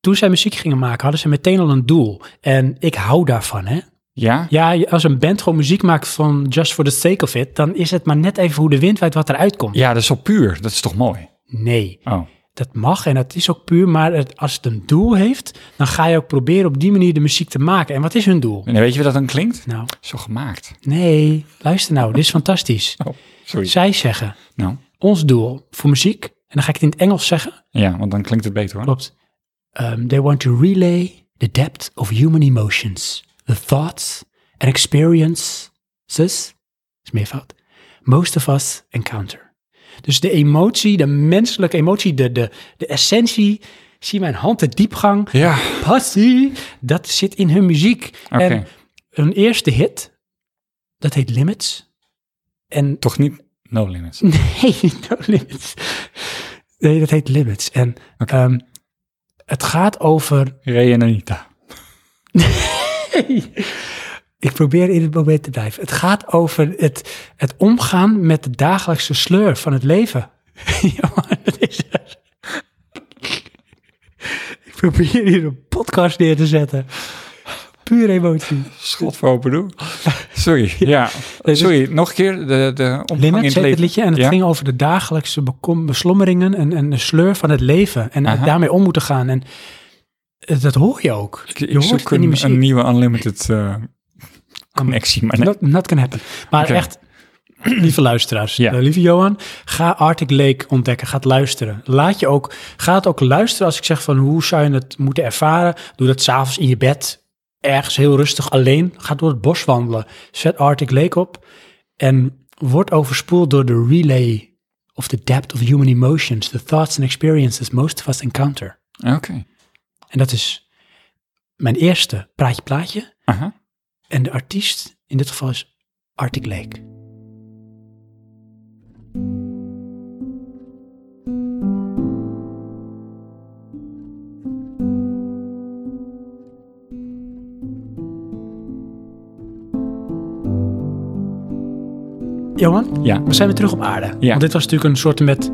Toen zij muziek gingen maken, hadden ze meteen al een doel. En ik hou daarvan, hè?
Ja?
Ja, je- als een band gewoon muziek maakt van just for the sake of it, dan is het maar net even hoe de wind waait wat eruit komt.
Ja, dat is zo puur. Dat is toch mooi?
Nee,
Oh,
dat mag en dat is ook puur, maar het, als het een doel heeft, dan ga je ook proberen op die manier de muziek te maken. En wat is hun doel?
en weet je wat dat dan klinkt?
Nou,
Zo gemaakt.
nee, luister nou, dit is fantastisch.
Oh, sorry.
Zij zeggen,
Nou,
ons doel voor muziek, en dan ga ik het in het Engels zeggen,
ja, want dan klinkt het beter hoor.
Klopt. Um, they want to relay the depth of human emotions, the thoughts and experiences, is meervoud, most of us encounter. Dus de emotie, de menselijke emotie, de, de, de essentie, zie mijn hand, de diepgang,
Ja.
passie, dat zit in hun muziek.
Oké.
En hun eerste hit, dat heet Limits. En
Toch niet No Limits.
Nee, niet No Limits. Nee, dat heet Limits. En ehm, het gaat over...
Ray en Anita.
Ik probeer in het moment te blijven. Het gaat over het, het omgaan met de dagelijkse sleur van het leven. Johan, dat is er. Ik probeer hier een podcast neer te zetten. Puur emotie.
Schot voor open doe. Sorry, ja.
dus-
Sorry, nog een keer de, de omgang in
Limits heet
het leven.
het liedje en het
ja?
ging over de dagelijkse bekom- beslommeringen en, en de sleur van het leven. En het
Aha.
daarmee om moeten gaan. En eh, dat hoor je ook.
Ik,
je
ik
hoort
zoek
het in die
een,
muziek.
een nieuwe Unlimited eh, connectie, maar nee.
Not, not gonna happen. Maar
Oké.
echt, lieve luisteraars,
Ja.
eh, lieve Johan, ga Arctic Lake ontdekken, ga het luisteren. Laat je ook, ga het ook luisteren als ik zeg van hoe zou je het moeten ervaren. Doe dat s'avonds in je bed, ergens heel rustig alleen. Ga door het bos wandelen, zet Arctic Lake op En wordt overspoeld door de relay of the depth of human emotions, the thoughts and experiences most of us encounter.
Oké.
En dat is mijn eerste praatje plaatje.
Aha.
En de artiest in dit geval is Arctic Lake. Johan,
Ja.
we zijn weer terug op aarde.
Ja.
Want dit was natuurlijk een soort met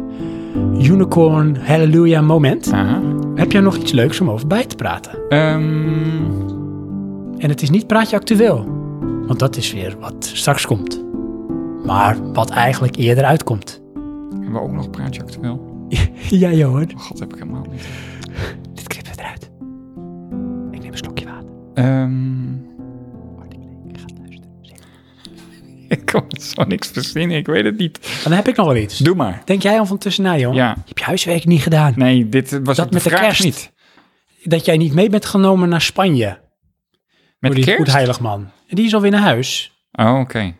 unicorn hallelujah moment.
Aha.
Heb jij nog iets leuks om over bij te praten?
Ehm,
En het is niet praatje actueel. Want dat is weer wat straks komt. Maar wat eigenlijk eerder uitkomt.
hebben we ook nog praatje actueel?
ja, Johan.
God, heb ik helemaal niet.
Dit knippen we eruit. Ik neem een slokje water.
Ehm,
Ik ga luisteren.
ik kan zo niks verzinnen, ik weet het niet.
Dan heb ik nog wel iets.
Doe maar.
Denk jij al van tussenuit, Johan?
Ja.
Je hebt je huiswerk niet gedaan.
Nee, dit was
Dat
ook
met de
vraag
kerst.
niet.
Dat jij niet mee bent genomen naar Spanje.
Met
door die goed
kerst?
heiligman. En die is alweer naar huis.
Oh, oké.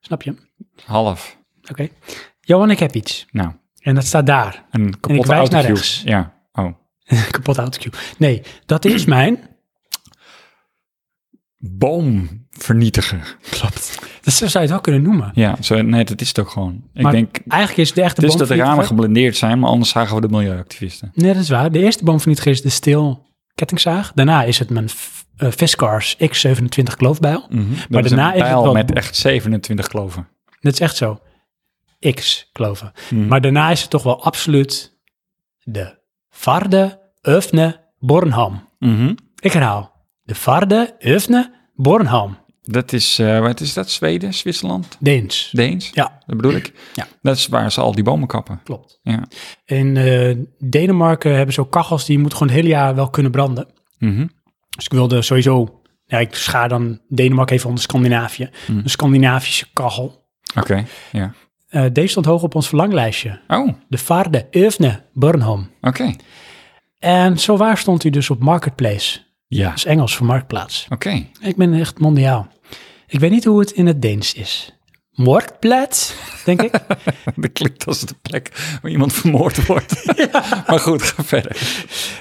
Snap je? Oké.
Half.
Johan, ik heb iets.
Nou,
En dat staat daar.
een
En ik
kapotte
wijs naar
autocue.
rechts.
Ja. Oh.
Kapot autocue. Nee, dat is mijn...
Boomvernietiger. Klopt.
Dat zou je het wel kunnen noemen.
Ja, zo, nee, dat is het ook gewoon. Ik
Maar
denk,
Eigenlijk is de echte
het is dat de ramen
boomvernietiger-
geblendeerd zijn, maar anders zagen we de milieuactivisten.
Nee, dat is waar. De eerste boomvernietiger is de stil kettingzaag. Daarna is het mijn F- eh, Fiskars X27 kloofbijl.
Mhm, Dat
Maar
is
daarna
een
is het
pijl
wel-
met echt 27 kloven.
Dat is echt zo. X kloven.
Mhm.
Maar daarna is het toch wel absoluut de Varde Öfne Bornham.
Mhm.
Ik herhaal. De Varde Öfne Bornham.
Dat is, eh, wat is dat? Zweden, Zwitserland,
Deens.
Deens?
Ja,
Dat bedoel ik.
Ja.
Dat is waar ze al die bomen kappen.
klopt.
Ja.
In eh, Denemarken hebben ze ook kachels die moet gewoon het hele jaar wel kunnen branden.
Mhm.
Dus ik wilde sowieso, ja, ik schaar dan Denemarken even onder Scandinavië.
Mhm.
Een Scandinavische kachel.
Oké, ja.
Eh, deze stond hoog op ons verlanglijstje.
Oh, oké.
De Vaarde Öfne Burnham. En zo waar stond u dus op Marketplace.
Ja.
Dat is Engels voor Marktplaats.
Oké.
Ik ben echt mondiaal. Ik weet niet hoe het in het Deens is. Marktplaats, denk ik.
Dat klinkt als de plek waar iemand vermoord wordt. Maar goed, ga verder.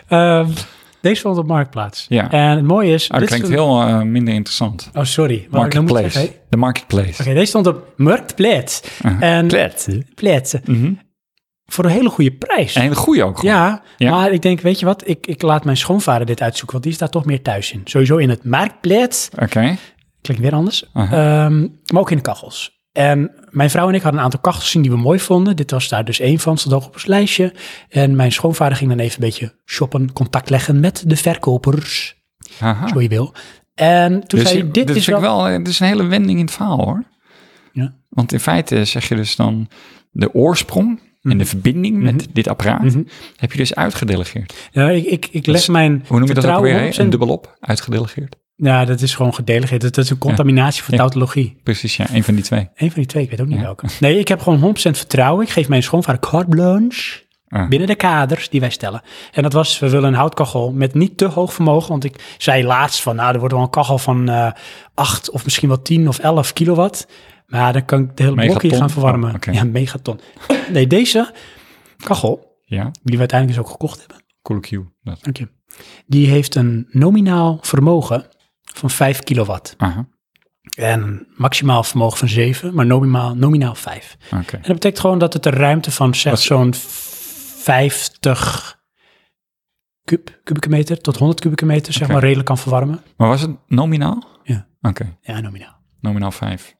Nou,
Ehm, deze stond op Marktplaats.
Ja.
En het mooie is...
Oh, dat
dit
klinkt
is een-
heel eh, minder interessant.
Oh, sorry. Wat ik nou moet zeggen, hè?
Marketplace. De marketplace.
Oké, deze stond op Marktplaats. En Plaats. Voor een hele goede prijs.
Mhm. En een goede ook. gewoon.
Ja,
Ja.
maar ik denk, weet je wat, ik, ik laat mijn schoonvader dit uitzoeken, want die staat toch meer thuis in. Sowieso in het marktplaats,
Oké.
klinkt weer anders,
Aha.
Ehm, maar ook in de kachels. En mijn vrouw en ik hadden een aantal kachels zien die we mooi vonden. Dit was daar dus één van, stond hoog op ons lijstje. En mijn schoonvader ging dan even een beetje shoppen, contact leggen met de verkopers,
Haha.
zo je wil. En toen
Ah. Dus
zei
je-
hij, dit
dat
is
vind
wel...
ik wel... eh, Dit is een hele wending in het verhaal, hoor.
Ja.
Want in feite zeg je dus dan... De oorsprong
Mhm.
en de verbinding met dit apparaat... heb je dus uitgedelegeerd.
Ja, ik, ik, ik
Dat is-
Mhm. leg mijn
Dus Hoe noem je dat ook
vertrouwen
weer? hè?
100%
Een dubbelop? Uitgedelegeerd.
Ja, dat is gewoon gedelegeerd. Dat, dat is een contaminatie van
Ja.
tautologie.
Precies, ja. Een van die twee.
Eén van die twee, ik weet ook niet
Ja.
welke. Nee, ik heb gewoon 100% vertrouwen. Ik geef mijn schoonvader carte blanche
Ah.
binnen de kaders die wij stellen. En dat was, we willen een houtkachel met niet te hoog vermogen. Want ik zei laatst van, nou, er wordt wel een kachel van eh 8 of misschien wel 10 of 11 kilowatt. Maar dan kan ik de hele blok hier
Megaton?
gaan verwarmen.
Oh, oké.
Ja, megaton. Nee, deze kachel,
Ja.
die we uiteindelijk dus ook gekocht hebben.
Cool Q. Dat.
Dank je. Die heeft een nominaal vermogen van 5 kilowatt.
Aha.
En maximaal vermogen van 7, maar nominaal, nominaal 5.
Oké.
En dat betekent gewoon dat het een ruimte van zeg
Wat-
zo'n 50 kub, kubieke meter tot 100 kubieke meter, zeg
Oké.
maar, redelijk kan verwarmen.
Maar was het nominaal?
Ja.
Oké.
Ja, nominaal.
Nominaal 5.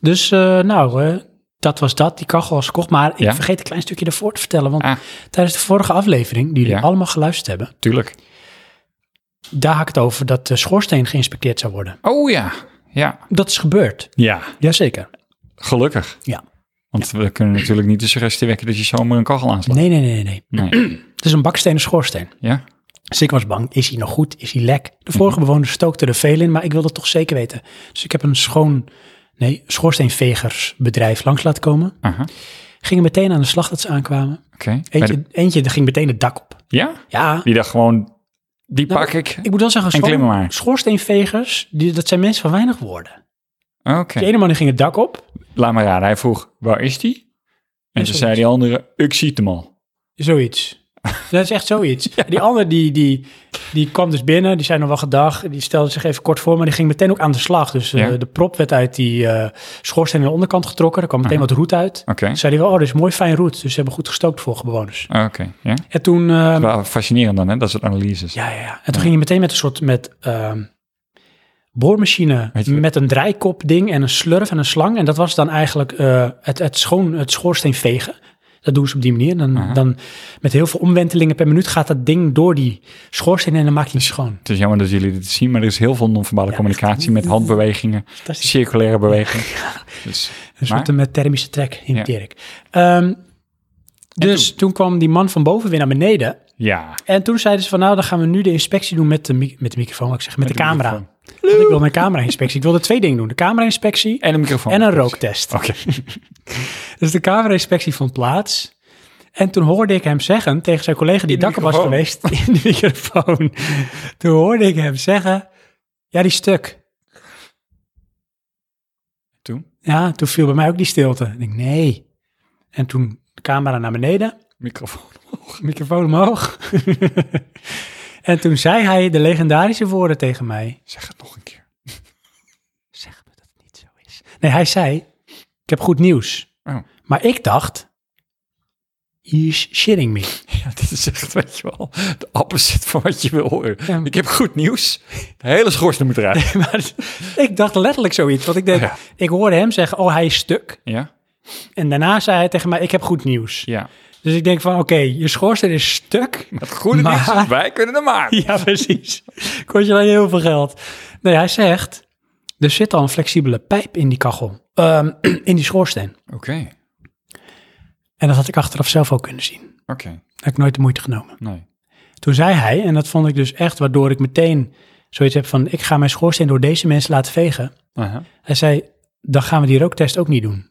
Dus eh, nou, eh, dat was dat. Die kachel was gekocht. Maar ik
Ja.
vergeet een klein stukje daarvoor te vertellen. Want
Ah.
tijdens de vorige aflevering, die jullie
Ja.
allemaal geluisterd hebben,
Tuurlijk.
daar had ik het over dat de schoorsteen geïnspecteerd zou worden.
Oh ja. Ja.
Dat is gebeurd.
Ja.
Jazeker.
Gelukkig.
Ja.
Want we kunnen natuurlijk niet de suggestie wekken dat je zomaar een kachel aanslaat.
Nee, nee, nee, nee, nee.
Nee.
Het is een bakstenen schoorsteen.
Ja.
Dus ik was bang, is hij nog goed? Is hij lek? De vorige
Mhm.
bewoner stookte er veel in, maar ik wilde het toch zeker weten. Dus ik heb een schoon, nee, schoorsteenvegersbedrijf langs laten komen.
Aha.
Gingen meteen aan de slag dat ze aankwamen.
Oké. Bij
Eentje,
de-
eentje er ging meteen het dak op.
Ja?
Ja,
Die dacht gewoon, die
Nou,
pak ik.
ik moet wel zeggen,
En klimmen
schoor,
maar.
schoorsteenvegers, die, dat zijn mensen van weinig woorden.
Oké,
Die ene man die ging het dak op.
laat maar raden. Hij vroeg, waar is die? En toen
zoiets.
zei die andere, ik zie hem al.
Zoiets. Dat is echt zoiets. Die ander die, die, die kwam dus binnen, die zei nog wel gedag. Die stelde zich even kort voor, maar die ging meteen ook aan de slag. Dus eh,
Ja.
de prop werd uit die eh, schoorsteen aan de onderkant getrokken. Er kwam meteen wat roet uit.
Oké,
Toen zei hij wel, oh, dit is mooi fijn roet. Dus ze hebben goed gestookt voor bewoners.
oké. Ja?
En toen, eh,
Wel fascinerend dan, hè? Dat soort analyses.
ja, ja, ja. En toen ging hij meteen met een soort met, ehm, boormachine
Weet je-
met een draaikop ding en een slurf en een slang. En dat was dan eigenlijk eh, het, het, schoon, het schoorsteen vegen. Dat doen ze op die manier. Dan, dan met heel veel omwentelingen per minuut gaat dat ding door die schoorsteen en dan maakt hij het schoon.
Het is jammer dat jullie dit zien, maar er is heel veel non-verbale communicatie met handbewegingen,
Fantastisch.
circulaire bewegingen. Dus,
Een
maar-
soort eh, met thermische trek, imiteer ik. Ehm, dus toen? kwam die man van boven weer naar beneden.
ja.
En toen zeiden ze van nou, dan gaan we nu de inspectie doen met de, mi- met de microfoon, wat ik zeg, met,
Met
de
de
camera.
microfoon.
Want ik wilde een camera-inspectie. Ik wilde twee dingen doen. De camera-inspectie
En een microfoon.
en een rooktest.
Oké.
Dus de camera-inspectie vond plaats. En toen hoorde ik hem zeggen tegen zijn collega die
In de
dakker was
microfoon.
geweest in de microfoon. Toen hoorde ik hem zeggen, ja, die stuk.
Toen?
Ja, toen viel bij mij ook die stilte. Ik denk, nee. En toen de camera naar beneden,
Microfoon.
microfoon omhoog. en toen zei hij de legendarische woorden tegen mij.
Zeg het nog een keer.
Zeg me dat het niet zo is. Nee, hij zei, ik heb goed nieuws.
Oh.
Maar ik dacht, he's shitting me.
Ja, dit is echt, weet je wel, de opposite van wat je wil horen.
Ja.
Ik heb goed nieuws. De hele schoorsteen moet eruit.
maar ik dacht letterlijk zoiets. Want ik denk,
Oh ja.
ik hoorde hem zeggen, oh, hij is stuk.
Ja?
En daarna zei hij tegen mij, ik heb goed nieuws.
Ja.
Dus ik denk van, oké, je schoorsteen is stuk.
Het goede
Maar-
nieuws, wij kunnen hem maken.
ja, precies. Kost je alleen heel veel geld. Nee, hij zegt, er zit al een flexibele pijp in die kachel. Ehm, in die schoorsteen.
Oké,
En dat had ik achteraf zelf ook kunnen zien.
oké.
Heb ik nooit de moeite genomen.
Nee.
Toen zei hij, en dat vond ik dus echt, waardoor ik meteen zoiets heb van, ik ga mijn schoorsteen door deze mensen laten vegen.
Aha.
Hij zei, dan gaan we die rooktest ook niet doen.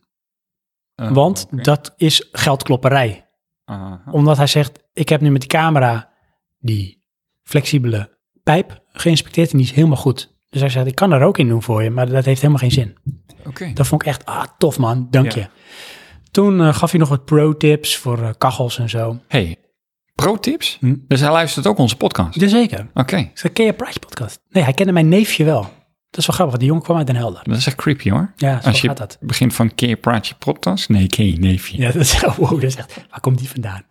Eh,
Want
oké.
dat is geldklopperij.
Aha.
Omdat hij zegt, ik heb nu met die camera die flexibele pijp geïnspecteerd en die is helemaal goed. Dus hij zegt, ik kan er ook in doen voor je, maar dat heeft helemaal geen zin.
Oké.
Dat vond ik echt, ah, tof man, dank
Ja.
je. Toen eh, gaf hij nog wat pro-tips voor eh, kachels en zo.
Hey, pro-tips?
Hm?
Dus hij luistert ook onze podcast.
Jazeker.
Oké,
Ik zei, ken je Price Podcast? Nee, hij kende mijn neefje wel. Dat is wel grappig, want die jongen kwam uit Den Helder.
dat is echt creepy hoor.
Ja, zo
Als je
gaat dat.
begint van keer praat je podcast. Nee, keer neefje.
Ja, dat is, oh, wow, dat is echt, waar komt die vandaan?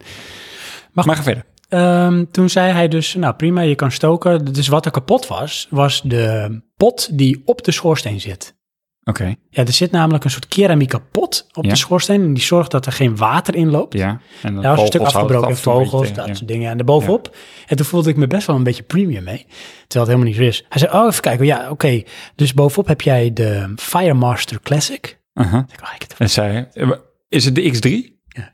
Maar ga verder.
Ehm, toen zei hij dus, nou prima, je kan stoken. Dus wat er kapot was, was de pot die op de schoorsteen zit.
Oké,
Ja, er zit namelijk een soort keramieke pot op
Ja.
de schoorsteen. En die zorgt dat er geen water in loopt.
ja. En dan
Daar was een stuk
vogels houden het
afgebroken,
af en toe
vogels,
een
dat
beetje,
soort dingen. En daarbovenop. En toen voelde ik me best wel een beetje premium mee. Terwijl het helemaal niet zo is. Hij zei, oh, even kijken. Ja, oké. Dus bovenop heb jij de Firemaster Classic.
ja. Aha.
Ik dacht, oh, ik heb het-
En zij, eh, is het de X3?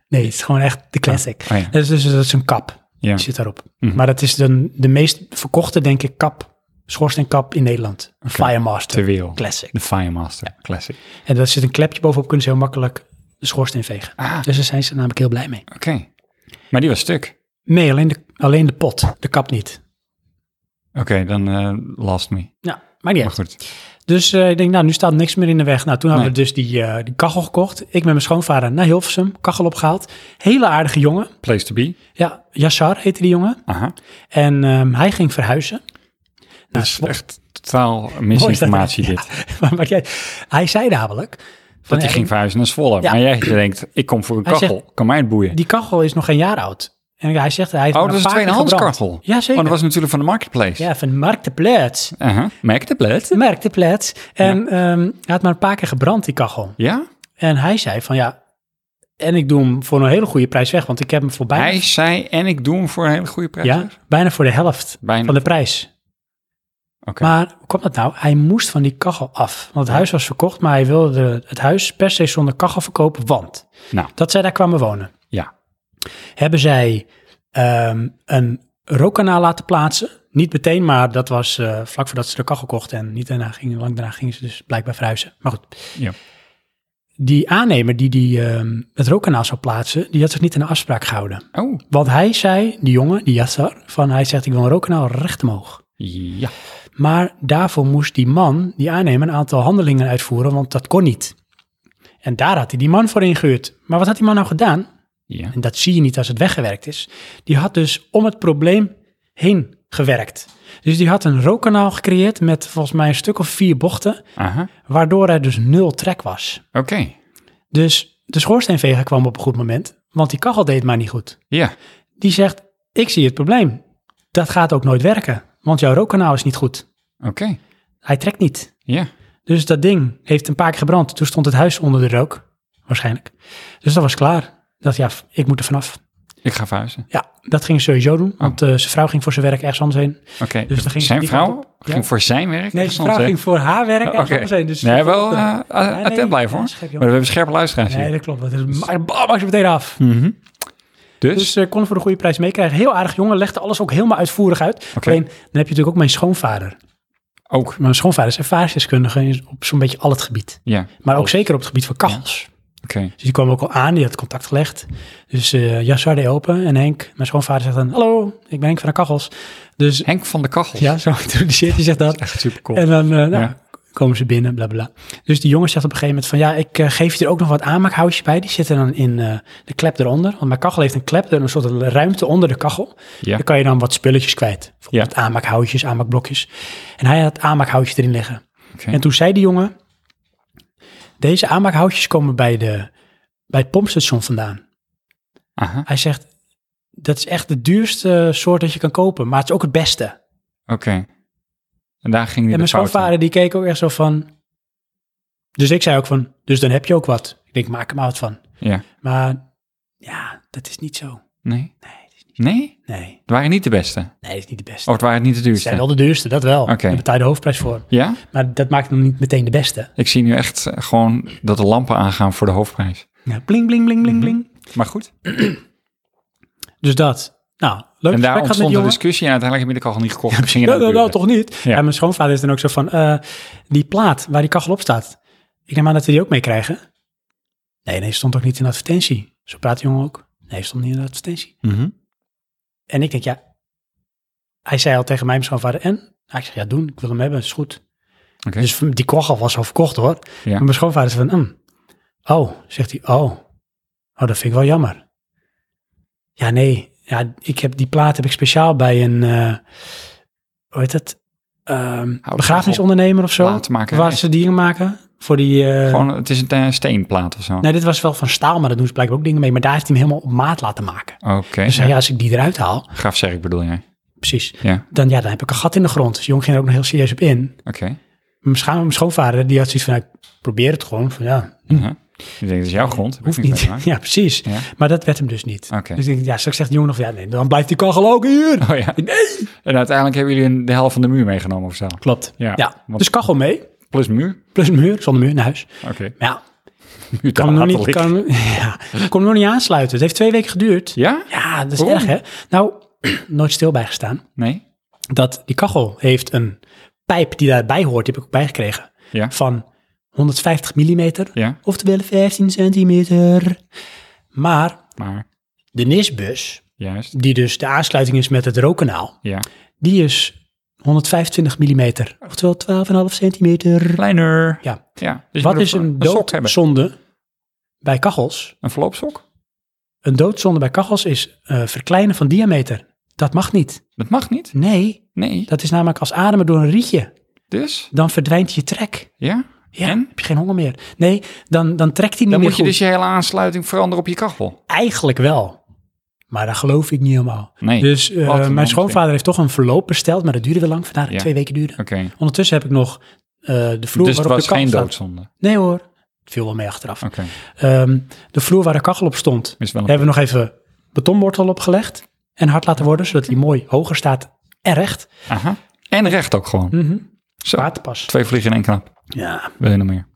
Nee, het is gewoon echt de Classic.
Oh, ja.
Dat, is dus, dat is een kap.
Ja. Mhm.
Die zit daarop. Maar dat is dan de meest verkochte, denk ik, kap. Schoorsteenkap in Nederland. Een Firemaster.
Ter wereld.
Classic.
De Firemaster Classic.
En daar zit een klepje bovenop. Kunnen ze heel makkelijk de schoorsteen vegen.
Ah.
Dus daar zijn ze namelijk heel blij mee.
Oké. Maar die was stuk.
Nee, alleen de, alleen de pot. De kap niet.
Oké, dan eh, last me.
Ja, maakt niet
Maar
uit.
goed.
Dus eh, ik denk, nou, nu staat niks meer in de weg. Nou, toen hebben we
Nee.
dus die, eh, die kachel gekocht. Ik met mijn schoonvader naar Hilversum, kachel opgehaald. Hele aardige jongen.
Place to be.
Ja, Yassar heette die jongen.
Aha.
En ehm, hij ging verhuizen.
Dat is
mooi-
echt totaal
Mooi is dat,
misinformatie
hè?
dit.
Ja, maar, maar jij- hij zei namelijk... van,
Dat hij
eh,
ging verhuizen naar Zwolle.
Ja.
Maar jij denkt, ik kom voor een
Hij
kachel. kan mij het boeien.
Die kachel is nog geen jaar oud. En hij zegt, hij heeft
oh,
maar
dat is
een
een
paar keer
tweedehands
gebrand.
kachel.
Ja, zeker.
Want dat was natuurlijk van de marketplace. Uh-huh.
Ja, van Marktplaats.
Aha. Marketplace.
Marktplaats. En ehm, hij had maar een paar keer gebrand, die kachel.
Ja?
En hij zei van, ja... En ik doe hem voor een hele goede prijs weg, want ik heb hem voor bijna
Hij zei, en ik doe hem voor een hele goede prijs.
Ja, bijna voor de helft
Bijna
van de prijs.
Oké.
Maar hoe kwam dat nou? Hij moest van die kachel af. Want het huis was verkocht, maar hij wilde de- het huis per se zonder kachel verkopen, want
Nou,
dat zij daar kwamen wonen.
ja.
Hebben zij ehm, een rookkanaal laten plaatsen. Niet meteen, maar dat was eh, vlak voordat ze de kachel kochten. En niet daarna gingen, lang daarna gingen ze dus blijkbaar verhuizen. Maar goed.
Ja.
Die aannemer die, die ehm, het rookkanaal zou plaatsen, die had zich niet aan de afspraak gehouden.
Oh,
Want hij zei, die jongen, die Yassar, van hij zegt ik wil een rookkanaal recht omhoog.
Ja.
Maar daarvoor moest die man, die aannemer, een aantal handelingen uitvoeren, want dat kon niet. En daar had hij die man voor ingehuurd. Maar wat had die man nou gedaan?
Ja.
En dat zie je niet als het weggewerkt is. Die had dus om het probleem heen gewerkt. Dus die had een rookkanaal gecreëerd met volgens mij een stuk of vier bochten,
Aha.
waardoor er dus nul trek was.
Oké.
Dus de schoorsteenveger kwam op een goed moment, want die kachel deed het maar niet goed.
Ja.
Die zegt, ik zie het probleem. Dat gaat ook nooit werken, want jouw rookkanaal is niet goed.
Oké.
Hij trekt niet.
Ja.
Dus dat ding heeft een paar keer gebrand. Toen stond het huis onder de rook, waarschijnlijk. Dus dat was klaar. Dat ja, ik moet er vanaf.
Ik ga verhuizen.
Ja, dat ging ze sowieso doen, want eh, zijn vrouw ging voor zijn werk ergens anders heen.
Oké.
Dus dan ging
zijn
die
vrouw
kant op. Ja.
ging voor zijn werk?
Nee, zijn
Interessant,
vrouw
hè? Oh,
ging voor haar werk ergens
Oké.
anders heen. Dus
Nee, wel eh, a-
nee,
attent blijven
ja,
hoor.
scherp, jongen.
maar we hebben scherpe luisteraars
Nee,
hier.
dat klopt. Dat is, maar bam, maak ze meteen af.
Hmm. Dus,
Dus ze kon voor de goede prijs meekrijgen. Heel aardig jongen, legde alles ook helemaal uitvoerig uit.
Oké.
Alleen, dan heb je natuurlijk ook mijn schoonvader.
ook.
Mijn schoonvader is ervaringsdeskundige in- op zo'n beetje al het gebied.
Ja.
Maar ook zeker op het gebied van kachels.
Oké.
Dus die kwam ook al aan, die had contact gelegd. Dus eh jas deed open en Henk, mijn schoonvader, zegt dan... Hallo, ik ben Henk van de Kachels. Dus
Henk van de Kachels.
ja, zo introduceert hij zich dat.
Echt super cool.
En dan eh, nou,
Ja.
komen ze binnen, bla bla. bla. Dus die jongen zegt op een gegeven moment van... Ja, ik eh, geef je er ook nog wat aanmaakhoutjes bij. Die zitten dan in eh, de klep eronder. Want mijn kachel heeft een klep, er een soort ruimte onder de kachel.
Ja.
Daar kan je dan wat spulletjes kwijt. Bijvoorbeeld aanmaakhoutjes, aanmaakblokjes. En hij had aanmaakhoutjes erin liggen.
Oké.
En toen zei die jongen... Deze aanmaakhoutjes komen bij, de, bij het pompstation vandaan.
Aha.
Hij zegt, dat is echt de duurste eh, soort dat je kan kopen, maar het is ook het beste.
Oké. En daar ging hij
en
de
mijn
fout in.
schoonvader die keek ook echt zo van... Dus ik zei ook van, dus dan heb je ook wat. Ik denk, maak er maar wat van.
Ja.
Maar ja, dat is niet zo.
Nee? Nee?
Nee,
Het waren niet de beste.
nee, dat is niet de beste.
Of het waren niet
het
de
zijn
duurste.
wel de duurste, dat wel.
Oh, Oké.
Daar betaal je de hoofdprijs voor.
Ja?
Maar dat maakt hem niet meteen de beste.
Ik zie nu echt eh, gewoon dat de lampen aangaan voor de hoofdprijs.
Ja, bling, bling, bling,
Mhm.
bling, bling.
Maar goed.
Dus dat. Nou, leuk
En
gesprek
daar
gehad met die
ontstond een
jongen.
discussie en uiteindelijk heb ik de kachel niet gekocht. Misschien in
Nou,
de
nou, nou,
buurt.
toch niet.
Ja.
En mijn schoonvader is dan ook zo van, eh, die plaat waar die kachel op staat. Ik neem aan dat we die ook meekrijgen. Nee, nee, stond ook niet in de advertentie. Zo praat de jongen ook. Nee, stond niet in de advertentie.
Mhm.
En ik denk, ja, hij zei al tegen mij, mijn schoonvader, en? Nou, ik zeg, ja, doen, ik wil hem hebben, is goed.
Oké.
Dus die kachel was al verkocht hoor.
Ja.
Maar mijn schoonvader zei van, "Mm." oh, zegt hij, oh. Oh, dat vind ik wel jammer. Ja, nee. Ja, ik heb, die plaat heb ik speciaal bij een, eh, hoe heet dat? Ehm
op,
begrafenisondernemer of zo.
platenmaker.
Waar ze dingen maken voor die... eh,
Gewoon, het is een eh, steenplaat of zo.
Nee, dit was wel van staal, maar daar doen ze blijkbaar ook dingen mee. Maar daar heeft hij hem helemaal op maat laten maken.
Oké.
Dus ja, als ik die eruit haal,
Graaf Serk bedoel jij.
precies,
Ja.
dan, ja, dan heb ik een gat in de grond. Dus de jongen ging er ook nog heel serieus op in.
Oké.
Mijn, scha- mijn schoonvader, die had zoiets van, nou, ik probeer het gewoon. Van, ja,
Mhm. Ik denk, dat is jouw grond. Hoeft
Hoeft
niet. mee te
niet.
maken.
Ja, precies.
Ja.
Maar dat werd hem dus niet.
Oké.
Dus ik denk, ja, straks zegt de jongen nog, ja, nee, dan blijft die kachel ook hier.
Oh ja. En uiteindelijk hebben jullie een- de helft van de muur meegenomen of zo.
Klopt.
Ja.
Ja.
Want-
Dus kachel mee,
Plus muur.
plus een muur, zonder muur naar huis.
Oké.
Maar ja,
Muur
kan hem nog niet,
hatelijk.
kan, ja, kon hem nog niet aansluiten. Het heeft twee weken geduurd.
Ja?
Ja, dat is
Waarom?
erg, hè? Nou, nooit stil bijgestaan.
Nee?
Dat die kachel heeft een pijp die daarbij hoort, die heb ik ook bijgekregen,
Ja.
van 150 millimeter,
Ja.
oftewel 15 centimeter. Maar
Maar
de NIS-bus,
juist.
die dus de aansluiting is met het rookkanaal,
Ja.
Die is 125 mm, oftewel 12,5 centimeter.
Kleiner.
Ja.
Ja. Dus je
Wat
moet
is een
sok hebben?
doodzonde bij kachels?
Een verloopsok?
Een doodzonde bij kachels is eh, verkleinen van diameter. Dat mag niet.
Dat mag niet.
Nee,
Nee.
dat is namelijk als ademen door een rietje.
Dus?
Dan verdwijnt je trek.
Ja.
Ja,
En?
heb je geen honger meer. Nee, dan, dan trekt hij niet
Dan
meer
moet je
goed.
dus je hele aansluiting veranderen op je kachel.
Eigenlijk wel. Maar dat geloof ik niet helemaal.
Nee.
Dus eh,
Wat een onzin.
mijn schoonvader heeft toch een verloop besteld, maar dat duurde wel lang. Vandaar dat het
Ja.
twee weken duurde.
Oké.
Ondertussen heb ik nog eh, de vloer waarop
Dus het
de
was
kachel
geen
staat.
doodzonde. Oké.
Nee hoor, het viel wel mee achteraf. Ehm, de vloer waar de kachel op stond,
Is wel een-
hebben we nog even betonwortel opgelegd en hard laten worden, zodat die mooi hoger staat en recht.
Aha. En recht ook gewoon.
Mhm.
Zo.
Waterpas.
Twee vliegen in één knap.
Ja.
Wil je nog meer?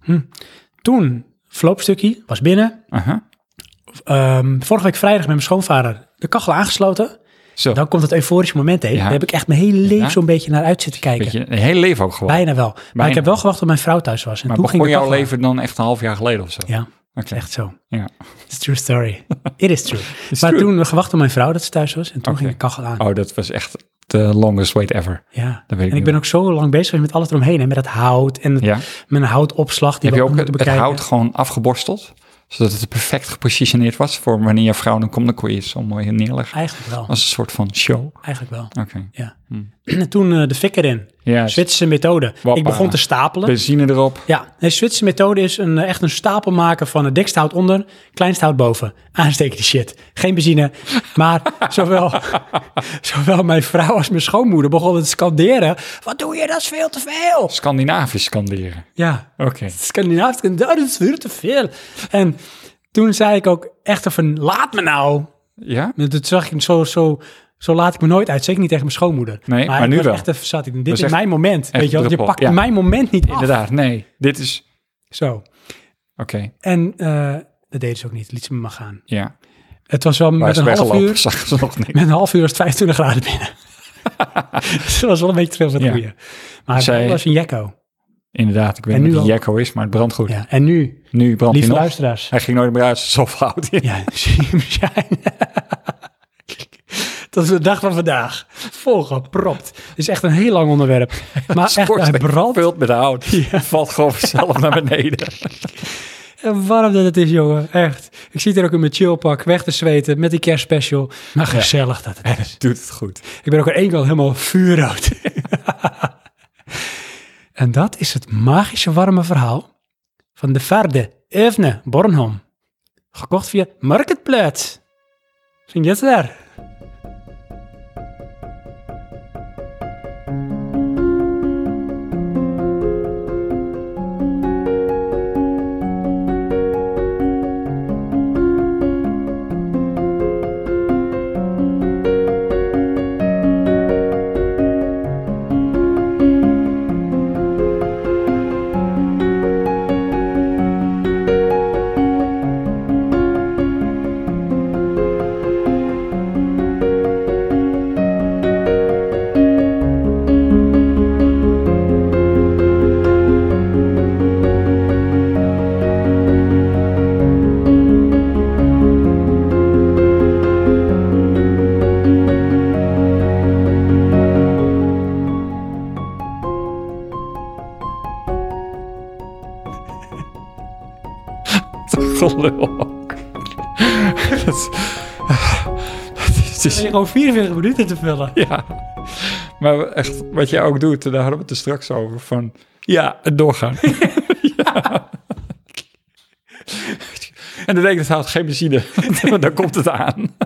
Toen, verloopstukje, was binnen.
Aha.
Ehm, vorige week vrijdag met mijn schoonvader de kachel aangesloten.
Zo.
Oh. Dan komt het euforische moment heen.
Ja.
Daar heb ik echt mijn hele leven
Ja.
zo'n beetje naar uit zitten kijken.
Beetje, een hele leven ook gewoon.
Bijna wel. Maar
Bijna.
ik heb wel gewacht tot mijn vrouw thuis was. En
maar
toen ging
begon
de
jouw
kachel aan.
leven dan echt een half jaar geleden of zo?
Ja,
Oké.
echt zo.
Ja.
It's a true story. It is true. maar
true.
toen gewacht op mijn vrouw dat ze thuis was en toen
Oké.
ging de kachel aan.
Oh, dat was echt the longest wait ever.
Ja.
Dat weet ik
en ik
niet.
ben ook zo lang bezig geweest met alles eromheen. Hè? Met dat hout en
Ja.
mijn houtopslag. Die
Heb je
we
ook
moeten
het, het
bekijken.
hout gewoon afgeborsteld? Zodat het perfect gepositioneerd was voor wanneer je vrouw dan komt, dan kon je het zo mooi neerleggen.
Eigenlijk wel.
Als een soort van show. Oké.
Eigenlijk wel. Ja. En toen eh, de fik erin.
Ja,
Zwitserse methode.
Wappa.
Ik begon te stapelen.
Benzine erop.
Ja, de Zwitserse methode is een, eh, echt een stapel maken van het dikste hout onder, kleinste hout boven. Aansteken die shit. Geen benzine. Maar zowel, zowel mijn vrouw als mijn schoonmoeder begonnen te scanderen. Wat doe je? Dat is veel te veel.
Scandinavisch scanderen.
Ja,
Oké.
Scandinavisch, dat is veel te veel. En toen zei ik ook echt van, laat me nou.
Ja?
En Toen zag ik hem zo, zo, zo laat ik me nooit uit. Zeker niet tegen mijn schoonmoeder.
Nee, maar
ik
nu
was
wel.
Echt, even zat ik, dit is
echt-
mijn moment. Weet je, wel. je
druppel,
pakt
ja.
mijn moment niet af.
Inderdaad. Nee. Dit is...
Zo.
Oké.
En eh, dat deden ze ook niet. Liet ze me maar gaan.
Ja.
Het was wel
Waar
met
ze
een, half
weggelopen?
uur,
Zag ze nog niet.
met een half uur was het 25 graden binnen. dus dat was wel een beetje terug van het
Ja.
goede. Maar
Zij-
het was een jekko.
Inderdaad. Ik weet
En
niet
nu
wie
al-
Jacko is, maar het brandt goed.
Ja. En nu,
Nu brandt
lieve
hij nog.
luisteraars.
Hij ging nooit meer uit. Zo fout.
Ja, zie je hem zijn. Dat is de dag van vandaag. Volgepropt. Het is echt een heel lang onderwerp.
Ah,
Maar echt, hij brandt.
Vult met hout. Valt gewoon vanzelf naar beneden.
En warm dat het is, jongen. Echt. Ik zit er ook in mijn chillpak, weg te zweten, met die kerstspecial. Maar gezellig dat het is.
Doet het goed.
Ik ben ook aan één kant helemaal vuurrood. en dat is het magische varme verhaal van de Varde Evne Bornholm. Gekocht via Marketplaats. Vind je het daar?
Gelul. Dat is- Het is...
Ik gewoon 44 minuten te vullen.
Ja. Maar echt, wat jij ook doet, daar hadden we het er straks over, van ja, het doorgaan. Ja. En dan denk ik, het houdt geen benzine, want dan komt het aan.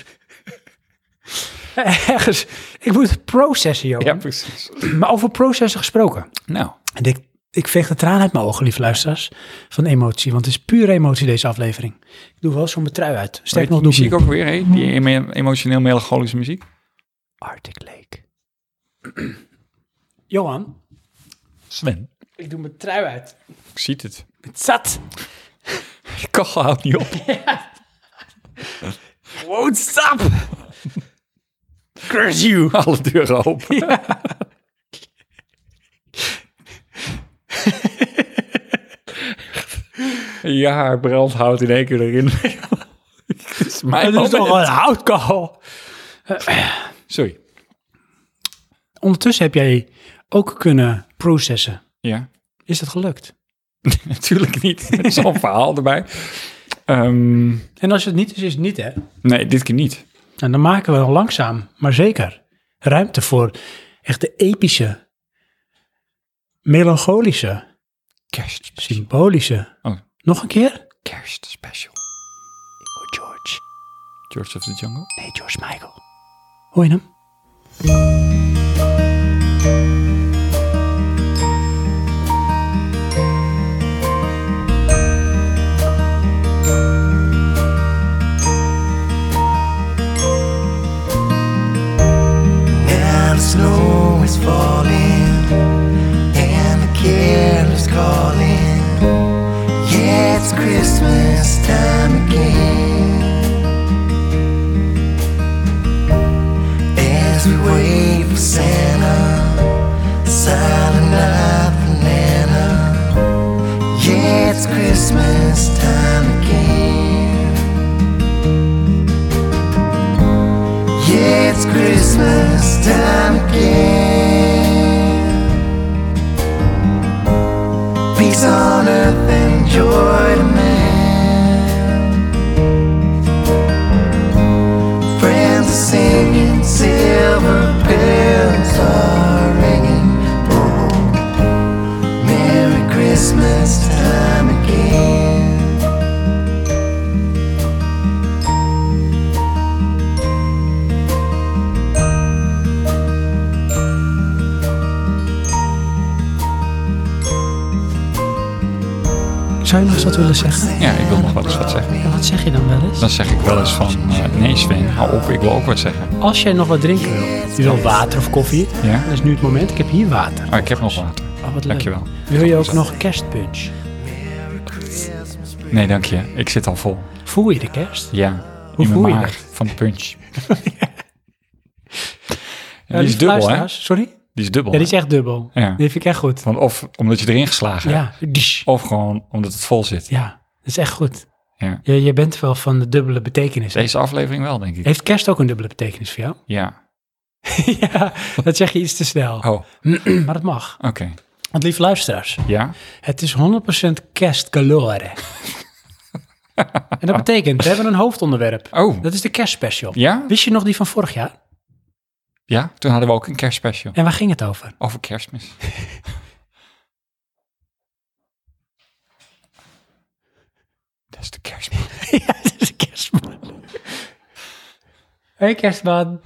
Ergens, ik moet het processen, joh.
Ja, precies.
Maar over processen gesproken.
Nou,
En ik, ik veeg de traan uit mijn ogen, lief luisteraars, van emotie. Want het is pure emotie, deze aflevering. Ik doe wel zo mijn trui uit.
weet
Sterk
die
nog, doe ik
muziek
niet.
ook weer, hè? die emo- emotioneel melancholische muziek.
Arctic Lake. Johan,
Sven,
ik doe mijn trui uit.
ik zie het.
Het zat.
Je kachel houdt niet op.
Won't stop. Curse you.
Alle deuren open. Ja, haar brandhout in één keer erin. Het is mijn
Het is toch
moment.
een houtkool.
Sorry.
Ondertussen heb jij ook kunnen processen.
Ja,
Is dat gelukt?
natuurlijk niet. Met Zo'n verhaal erbij. Ehm,
En als het niet is, is het niet, hè?
nee, dit keer niet.
En dan maken we langzaam, maar zeker, ruimte voor echt de epische, melancholische,
Kerst.
symbolische.
Oh.
Nog een keer?
Kerst special.
Ik hoor George.
George of the Jungle.
Nee, George Michael. Hoor je hem?
Now the snow is falling and the carol's calling. Yeah, it's Christmas time again. As we wait Christmas time again. Peace on earth and joy to men. Friends are singing, silver bells are ringing. Oh, Merry Christmas time again.
Zou je nog eens wat willen zeggen?
Ja, ik wil nog wel eens wat zeggen.
Ja, wat zeg je dan wel
Dan
eens?
zeg ik wel eens van, eh, nee Sven, hou op, ik wil ook wat zeggen.
Als jij nog wat drinken wil, je wil water of koffie,
Ja?
dat is nu het moment. Ik heb hier water.
Ah, ik heb nog water.
Oh, wat leuk.
Dankjewel.
Wil je ook nog kerstpunch?
Nee, dank je. Ik zit al vol.
Voel je de kerst?
Ja.
Hoe
in
voel
mijn
je
maag
dat?
van de punch.
Ja,
Die is
Eh, lieve
dubbel, hè?
luisteraars, Sorry?
Die is dubbel.
Ja, die is echt dubbel.
Ja.
Die vind ik echt goed.
Want of omdat je erin geslagen hebt,
Ja, dish.
of gewoon omdat het vol zit.
ja dat is echt goed.
Ja.
Je, je bent wel van de dubbele betekenis.
Deze aflevering wel, denk ik.
Heeft kerst ook een dubbele betekenis voor jou?
Ja.
ja, dat zeg je iets te snel.
Oh, oké.
Maar dat mag. Want lieve luisteraars,
Ja?
het is 100% kerstgalore. en dat betekent, we hebben een hoofdonderwerp.
Oh,
Dat is de kerstspecial.
ja?
Wist je nog die van vorig jaar?
Ja, toen hadden we ook een kerstspecial.
En waar ging het over?
Over kerstmis. Dat is de kerstman.
ja, het is de kerstman. Hé hey, kerstman.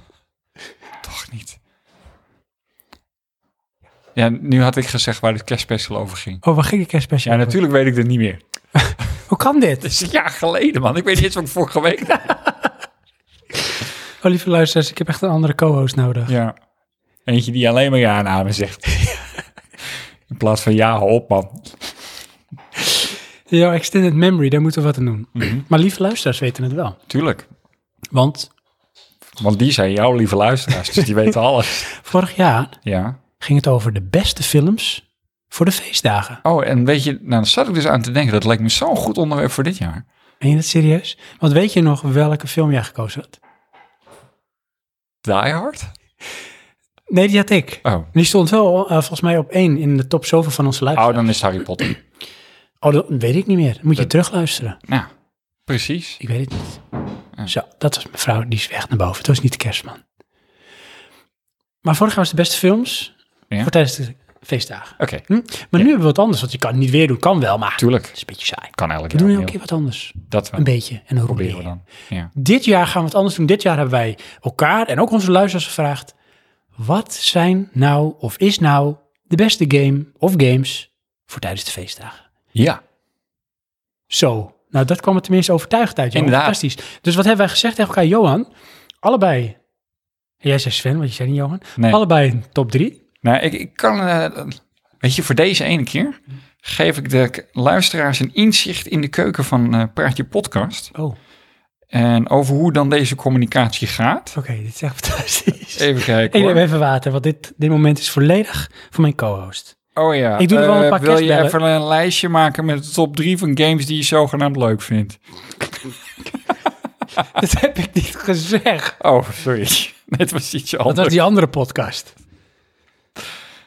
Toch niet. Ja, nu had ik gezegd waar de kerstspecial over ging.
Oh, waar ging de kerstspecial
Ja,
over?
natuurlijk weet ik dit niet meer.
Hoe kan dit?
Het is een jaar geleden, man. Ik weet niet eens wat ik vorige week
Oh, lieve luisteraars, ik heb echt een andere co-host nodig.
Ja. Eentje die alleen maar ja en amen zegt. In plaats van ja, hou op man.
Jouw extended memory, daar moeten we wat aan doen. Maar lieve luisteraars weten het wel.
Tuurlijk.
Want
Want die zijn jouw lieve luisteraars, dus die weten alles.
vorig jaar
Ja.
ging het over de beste films voor de feestdagen.
Oh, en weet je, nou, dan zat ik dus aan te denken, dat lijkt me zo'n goed onderwerp voor dit jaar.
Meen je dat serieus? Want weet je nog welke film jij gekozen had?
Die Hard?
Nee, die had ik.
Oh.
Die stond wel eh, volgens mij op één in de top zoveel van onze
Oh,
luisteraars.
dan is Harry Potter.
Oh, dat weet ik niet meer. Moet je terugluisteren.
Nou, precies.
Ik weet het niet. Zo, dat was mevrouw, die is weg naar boven. Het was niet de kerstman. Maar vorig jaar was de beste films
Ja.
voor tijdens de feestdagen.
Oké,
Hm? Maar nu hebben we wat anders, want je kan het niet weer doen. Kan wel, maar het
tuurlijk.
is een beetje saai.
Kan elk
We
jaar
doen
opnieuw.
elke keer wat anders.
Dat
Een
wel.
beetje. En dan
proberen we dan. Ja.
Dit jaar gaan we het anders doen. Dit jaar hebben wij elkaar en ook onze luisteraars gevraagd... wat zijn nou of is nou de beste game of games voor tijdens de feestdagen?
ja,
Zo. Nou, dat kwam er tenminste overtuigd uit. Johan.
Inderdaad.
Fantastisch. Dus wat hebben wij gezegd tegen elkaar? Johan, allebei... Jij zei Sven, want je zei niet Johan.
nee.
Allebei een top drie.
Nou, ik, ik kan... eh, weet je, voor deze ene keer geef ik de k- luisteraars een inzicht in de keuken van eh, Praatje Podcast.
Oh, oké.
En over hoe dan deze communicatie gaat.
dit is echt fantastisch.
Even kijken
Ik neem
hoor.
even water, want dit, dit moment is volledig voor mijn co-host.
Oh ja.
Ik doe er wel een
eh,
paar
Wil je
kerstbellen.
even een lijstje maken met de top drie van games die je zogenaamd leuk vindt?
dat heb ik niet gezegd.
Oh, sorry. Nee, het was ietsje
Dat
anders.
was die andere podcast.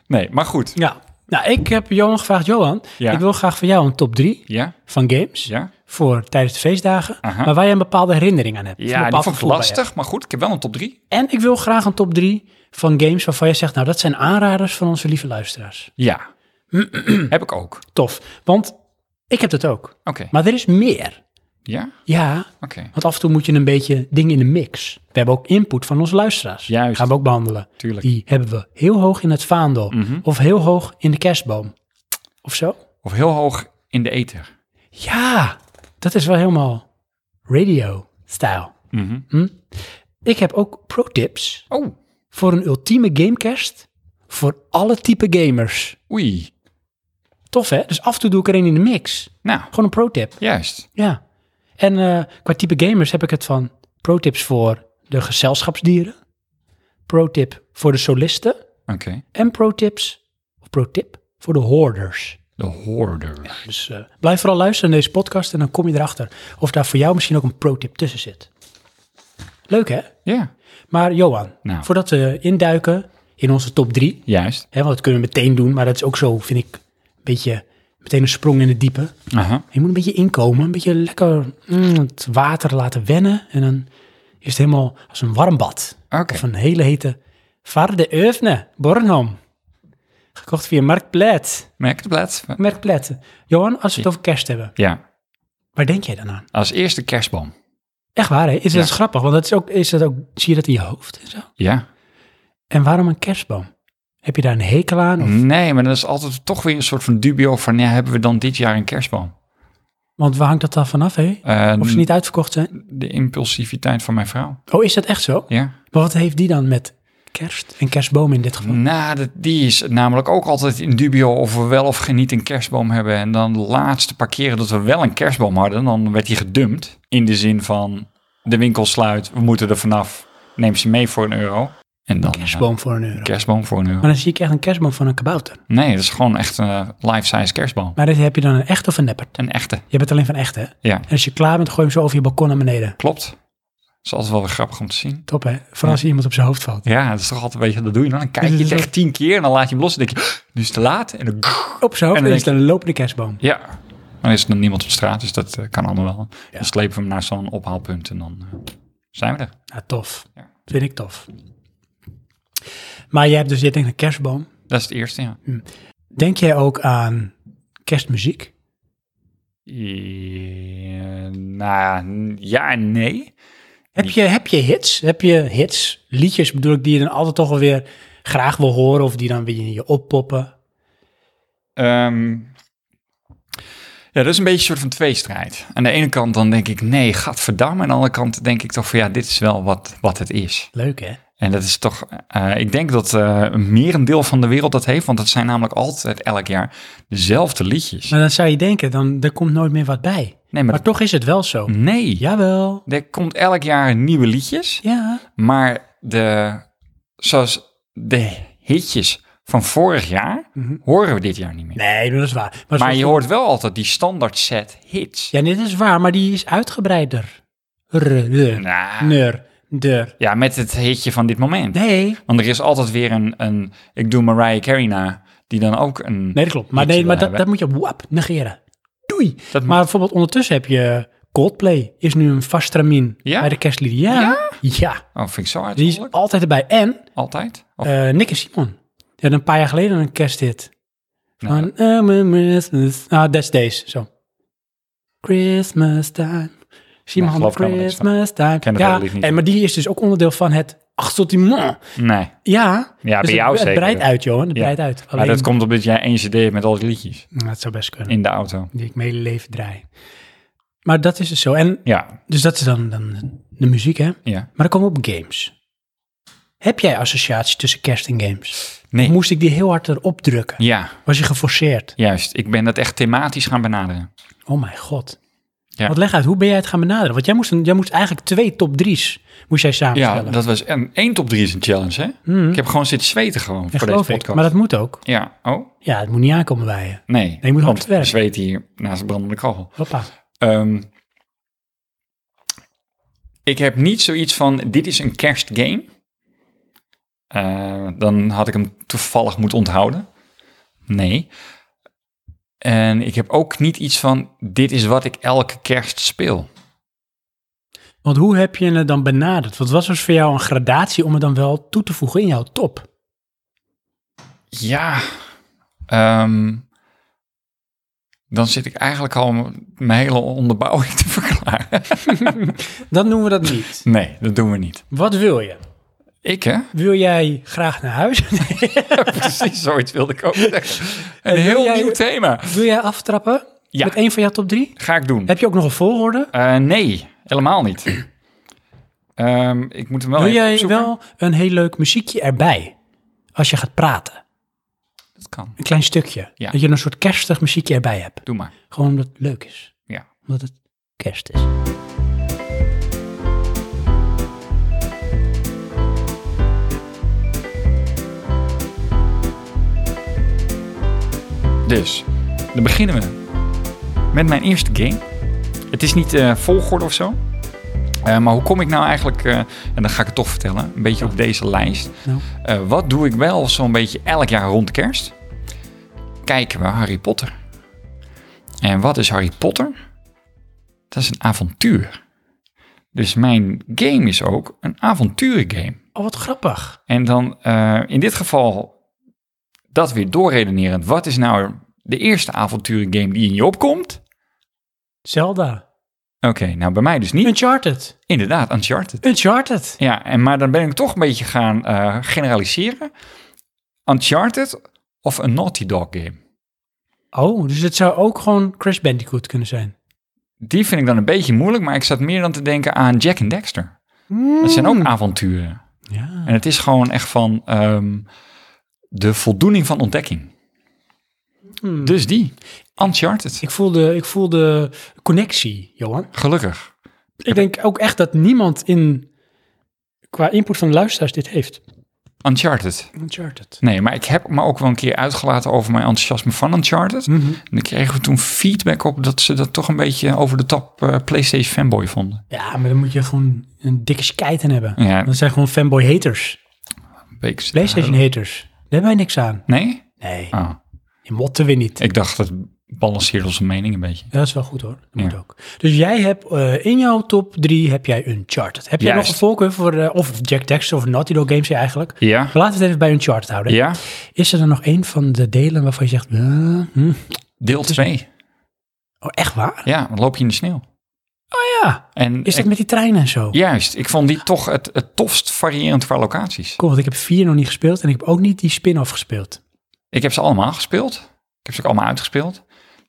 Nee, maar goed.
Ja. Nou, ik heb Johan gevraagd. Johan,
Ja.
ik wil graag van jou een top 3
Ja?
van games
Ja?
voor tijdens de feestdagen,
Aha.
maar waar je een bepaalde herinnering aan hebt. Een
Ja, die
bepaald
vond ik
gevoel bij hebt.
lastig, maar goed, ik heb wel een top drie.
En ik wil graag een top 3 van games waarvan je zegt, nou, dat zijn aanraders van onze lieve luisteraars.
Ja. heb ik ook. Oké.
Tof, want ik heb dat ook. Maar er is meer.
Ja?
Ja,
Oké.
want af en toe moet je een beetje dingen in de mix. We hebben ook input van onze luisteraars.
Juist.
Gaan we ook behandelen.
Tuurlijk. Mhm.
Die hebben we heel hoog in het vaandel. Of heel hoog in de kerstboom. Of zo?
Of heel hoog in de ether.
Ja, dat is wel helemaal radio-stijl.
Mhm.
Hm? Ik heb ook pro-tips
Oh,
voor een ultieme gamecast voor alle type gamers.
oei.
Tof, hè? Dus af en toe doe ik er een in de mix.
Nou,
Gewoon een pro-tip,
juist.
ja. En eh, qua type gamers heb ik het van pro-tips voor de gezelschapsdieren, pro-tip voor de solisten
Oké.
en pro-tips, of pro-tip, voor de hoorders.
De hoorder.
Dus eh, blijf vooral luisteren naar deze podcast en dan kom je erachter of daar voor jou misschien ook een pro-tip tussen zit. Leuk hè?
Ja,
Maar Johan,
Nou.
voordat we induiken in onze top drie,
juist.
hè, want dat kunnen we meteen doen, maar dat is ook zo, vind ik, een beetje meteen een sprong in het diepe.
Aha.
Je moet een beetje inkomen, een beetje lekker mm, het water laten wennen en dan is het helemaal als een warm bad.
Oké.
Of een hele hete Varde Öfne, Bornholm. Gekocht via Marktplaats.
Merk de plaats.
Marktplaats. Johan, als we het over kerst hebben,
Ja,
waar denk jij dan aan?
als eerste kerstboom.
Echt waar, hè? Is dat
Ja.
grappig? Want dat is ook, is dat ook, zie je dat in je hoofd en zo?
Ja.
En waarom een kerstboom? Heb je daar een hekel aan? Of-
Nee, maar dat is altijd toch weer een soort van dubio van, ja, hebben we dan dit jaar een kerstboom?
Want waar hangt dat dan vanaf, hè?
Eh,
Of ze niet uitverkocht zijn?
De impulsiviteit van mijn vrouw.
Oh, is dat echt zo?
Ja.
Maar wat heeft die dan met kerst en kerstboom in dit geval?
Nou, dat- die is namelijk ook altijd in dubio of we wel of geen niet een kerstboom hebben. En dan de laatste paar keren dat we wel een kerstboom hadden, dan werd die gedumpt. In de zin van, de winkel sluit, we moeten er vanaf. Neem ze mee voor een euro. En dan,
Kerstboom voor een euro.
eh, kerstboom voor een euro.
Maar dan zie ik echt een kerstboom van een kabouter.
Nee, dat is gewoon echt een life-size kerstboom.
Maar dit heb je dan een echt of een neppert?
Een echte,
Je bent alleen van echt, hè? En
ja.
als je klaar bent, gooi je hem zo over je balkon naar beneden.
Klopt. Dat is altijd wel weer grappig om te zien.
Top, hè? Vooral als je iemand op zijn hoofd valt.
Ja, dat is toch altijd een beetje, dat doe je dan. Dan kijk je
Dus
het
dat-
echt tien keer en dan laat je hem los. En denk je, nu is het te laat. En dan...
Op zijn hoofd
En dan
en is het een lopende kerstboom.
Ja, maar dan is er dan niemand op straat, dus dat eh, kan allemaal wel. Dan slepen we hem naar zo'n ophaalpunt en dan eh, zijn we er.
Nou, tof.
Ja.
Vind ik tof. Maar jij hebt dus, jij denkt aan kerstboom.
Dat is het eerste, ja.
Denk jij ook aan kerstmuziek?
Eh, nou ja, n- ja en nee.
Heb je, heb je hits? Heb je hits, liedjes bedoel ik, die je dan altijd toch wel weer graag wil horen of die dan weer in je oppoppen?
Ehm, ja, dat is een beetje een soort van tweestrijd. Aan de ene kant dan denk ik, nee, gadverdamme. En aan de andere kant denk ik toch van, ja, dit is wel wat, wat het is.
Leuk, hè?
En dat is toch, eh, ik denk dat eh, meer een deel van de wereld dat heeft. Want het zijn namelijk altijd elk jaar dezelfde liedjes.
Maar Nou, dan zou je denken, dan, er komt nooit meer wat bij.
Nee,
Maar,
maar Mm.
toch is het wel zo.
nee.
Jawel.
Er komt elk jaar nieuwe liedjes,
Ja.
maar de, zoals de hitjes van vorig jaar horen we dit jaar niet meer.
Mhm. Nee, dat is waar. Maar,
maar
zoals-
je hoort wel altijd die standaard set hits.
Ja, dit is waar, maar die is uitgebreider. R, de,
Nou,
ner, der.
Ja, met het hitje van dit moment.
Nee.
Want er is altijd weer een, een ik doe Mariah Carey na, die dan ook een...
Nee, dat klopt. Maar,
hitje
nee, maar
wil
dat, dat
hebben.
moet je wap negeren. Doei.
Dat-
maar bijvoorbeeld ondertussen heb je Coldplay. Is nu een vast stramien
Ja?
bij de kerstlieden. Ja. ja.
Oh, vind ik zo
Die is
uitzonderlijk.
altijd erbij. En
Altijd? Of,
eh Nick en Simon. Die hadden een paar jaar geleden een kersthit.
nou,
Van, eh, me- me- me- ah, that's days. Zo. Christmas time. Simon
Nee,
Handel,
geloof ik helemaal niks van.
Christmas time.
ken het
ja,
hele lied niet.
en, maar die is dus ook onderdeel van het assortiment.
nee.
Ja,
Ja,
het-
bij jou
het,
zeker.
breidt uit, Johan. Het
Ja.
breidt uit.
Maar
Alleen,
dat komt omdat jij één cd hebt met al die liedjes
Nou, het zou best kunnen.
in de auto.
Die ik mijn hele leven draai. Maar dat is dus zo. En,
Ja,
dus dat is dan, dan de muziek, hè?
ja.
Maar dan komen we op games. Heb jij associatie tussen kerst en games?
Nee.
Moest ik die heel hard erop drukken?
Ja,
Was je geforceerd?
Juist, ik ben dat echt thematisch gaan benaderen.
Oh mijn god.
Ja.
Wat leg uit, hoe ben jij het gaan benaderen? Want jij moest, een- jij moest eigenlijk twee top drie's moest jij
Ja,
samenstellen.
dat was en één top 3 is een challenge, hè? Ik heb gewoon zitten zweten gewoon
Mhm. Ja,
voor deze
geloof
podcast.
ik. Maar dat moet ook.
Ja, oh,
Ja, het moet niet aankomen bij je.
nee.
je moet hard
want
werken.
we zweten hier naast de brandende kachel.
Hoppa.
Ehm, ik heb niet zoiets van, dit is een kerstgame. Eh, dan had ik hem toevallig moeten onthouden. Nee. En ik heb ook niet iets van, dit is wat ik elke kerst speel.
Want hoe heb je het dan benaderd? Wat was dus voor jou een gradatie om het dan wel toe te voegen in jouw top?
Ja, ehm, dan zit ik eigenlijk al m- mijn hele onderbouwing te verklaren.
Dan doen we dat niet.
Nee, dat doen we niet.
Wat wil je?
Ik, hè?
Wil jij graag naar huis?
Precies, zoiets wilde ik ook zeggen. Een
wil
heel
jij-
nieuw thema.
wil jij aftrappen
Ja.
met een van jouw top drie?
Ga ik doen.
Heb je ook nog een volgorde?
Eh, nee, helemaal niet. Ehm, ik moet hem wel
Wil
even
jij
opzoeken.
wel een heel leuk muziekje erbij als je gaat praten?
Dat kan.
Een klein stukje.
Ja.
Dat je een soort kerstig muziekje erbij hebt.
Doe maar.
Gewoon omdat het leuk is.
Ja.
Omdat het kerst is.
Dus, dan beginnen we met mijn eerste game. Het is niet eh, volgorde of zo. Eh, maar hoe kom ik nou eigenlijk, eh, en dan ga ik het toch vertellen, een beetje op deze lijst.
Oh. Nou.
Eh, wat doe ik wel zo'n beetje elk jaar rond kerst? Kijken we Harry Potter. En wat is Harry Potter? Dat is een avontuur. Dus mijn game is ook een avonturengame.
Oh, wat grappig.
En dan eh, in dit geval dat weer doorredenerend. Wat is nou de eerste avonturengame die in je opkomt?
Zelda.
Oké, nou bij mij dus niet.
Uncharted.
Inderdaad, Uncharted.
Uncharted.
Ja, en, maar dan ben ik toch een beetje gaan eh, generaliseren. Uncharted of een Naughty Dog game.
Oh, dus het zou ook gewoon Crash Bandicoot kunnen zijn.
Die vind ik dan een beetje moeilijk, maar ik zat meer dan te denken aan Jack en Dexter. Dat zijn ook avonturen.
Hmm. Ja.
En het is gewoon echt van ehm, de voldoening van ontdekking. Dus die, Uncharted,
Hmm. Ik voelde, ik voelde connectie, Johan.
gelukkig.
Ik denk ook echt dat niemand in, qua input van de luisteraars dit heeft.
Uncharted.
Uncharted.
Nee, maar ik heb me ook wel een keer uitgelaten over mijn enthousiasme van Uncharted.
Mhm.
En daar kregen we toen feedback op dat ze dat toch een beetje over de top eh, PlayStation fanboy vonden.
Ja, maar dan moet je gewoon een dikke skijten hebben.
Ja.
Dat zijn gewoon fanboy-haters.
Beeks-
PlayStation-haters. Daar hebben wij niks aan.
Nee?
Nee,
Ah,
je motten weer niet.
ik dacht dat balanceert onze mening een beetje.
Ja, dat is wel goed hoor. Dat moet
Ja.
ook. Dus jij hebt eh, in jouw top 3 heb jij Uncharted. Heb jij nog
Juist.
een voorkeur voor, eh, of Jack Dexter of Naughty Dog Games eigenlijk? Maar
Ja.
Laten we het even bij Uncharted houden.
Ja,
Is er dan nog één van de delen waarvan je zegt, eh, hm.
deel 2.
oh echt waar?
Ja, dan loop je in de sneeuw.
Oh Ja,
En
is dat
ik-
met die treinen en zo?
Juist, ik vond die toch het, het tofst variërend qua locaties.
Cool, want ik heb vier nog niet gespeeld en ik heb ook niet die spin-off gespeeld.
Ik heb ze allemaal gespeeld. Ik heb ze ook allemaal uitgespeeld.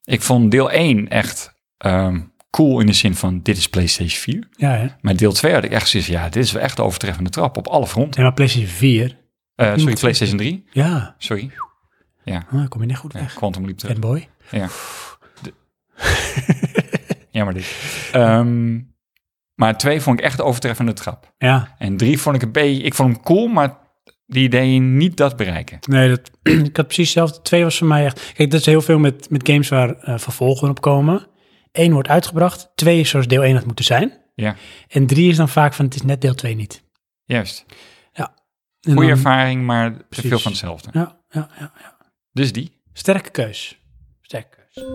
Ik vond deel 1 echt ehm, cool in de zin van dit is PlayStation 4.
Ja, hè?
Maar deel 2 had ik echt zoiets ja, dit is wel echt de overtreffende trap op alle fronten.
Nee, maar PlayStation 4.
Eh, sorry, PlayStation 3.
Ja,
Sorry,
Ah, dan kom je net goed
Ja,
weg.
Quantum Leap terug.
Fanboy.
Ja. De- Jammer dit. Ehm, maar twee vond ik echt de overtreffende trap.
Ja,
En drie vond ik een beetje... Ik vond hem cool, maar die deed niet dat bereiken.
nee, dat, ik had precies hetzelfde. Twee was voor mij echt... Kijk, dat is heel veel met, met games waar eh, vervolgen op komen. Eén wordt uitgebracht. Twee is zoals deel 1 had moeten zijn.
Ja,
En drie is dan vaak van, het is net deel 2 niet.
juist.
En
Goede
dan-
ervaring, maar te
Precies.
veel van hetzelfde.
Ja, ja, ja, ja.
Dus die.
Sterke keus. Sterke keus.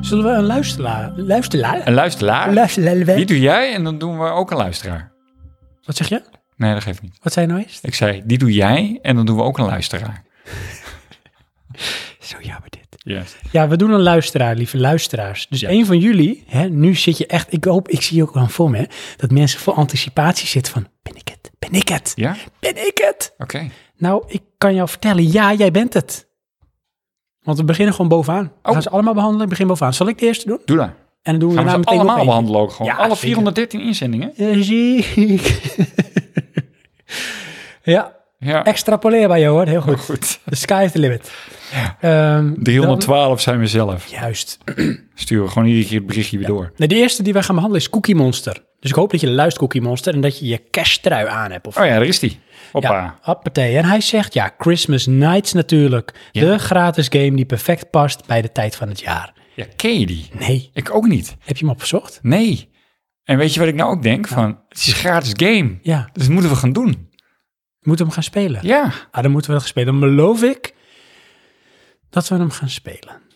Zullen we een luisteraar... Luisteraar?
Een luisteraar. Die
Luisteraar?
doe jij en dan doen we ook een luisteraar.
Wat zeg je?
Nee, dat geeft niet.
Wat zei je nou eerst?
Ik zei, die doe jij en dan doen we ook een luisteraar.
Zo jammer dit.
Yes.
Ja, we doen een luisteraar, lieve luisteraars. Dus
Ja.
één van jullie, hè, nu zit je echt, ik hoop, ik zie ook wel voor me, hè, dat mensen voor anticipatie zitten van, ben ik het? Ben ik het?
Ja?
Ben ik het?
Oké.
Nou, ik kan jou vertellen, ja, jij bent het. Want we beginnen gewoon bovenaan. We
Oh.
gaan ze allemaal behandelen, ik begin bovenaan. Zal ik de eerste doen?
Doe dat.
En dan doen we
Gaan
daarna
we ze
nou, meteen nog
allemaal
eentje.
behandelen ook gewoon.
Ja,
Alle
zeker.
413 inzendingen.
Eh, Zie ik. ja,
Ja,
extrapoleerbaar, Johan. Heel goed.
goed.
The sky is the limit. Ehm,
312 zijn we zelf.
dan- juist.
Sturen we gewoon iedere keer het berichtje weer door.
Nou, de eerste die wij gaan behandelen is Cookie Monster. Dus ik hoop dat je luistert Cookie Monster en dat je je kersttrui aan hebt. Of...
Oh ja, daar is die. Hoppa.
ja, hoppatee. En hij zegt, ja, Christmas Nights natuurlijk.
Ja.
De gratis game die perfect past bij de tijd van het jaar.
Ja, ken je die?
Nee,
Ik ook niet.
heb je hem opgezocht?
Nee. En weet je wat ik nou ook denk? Van, het is een gratis game.
Ja,
Dus dat moeten we gaan doen.
moeten we hem gaan spelen?
Ja.
Ah, dan moeten we hem gaan spelen. Dan beloof ik dat we hem gaan spelen.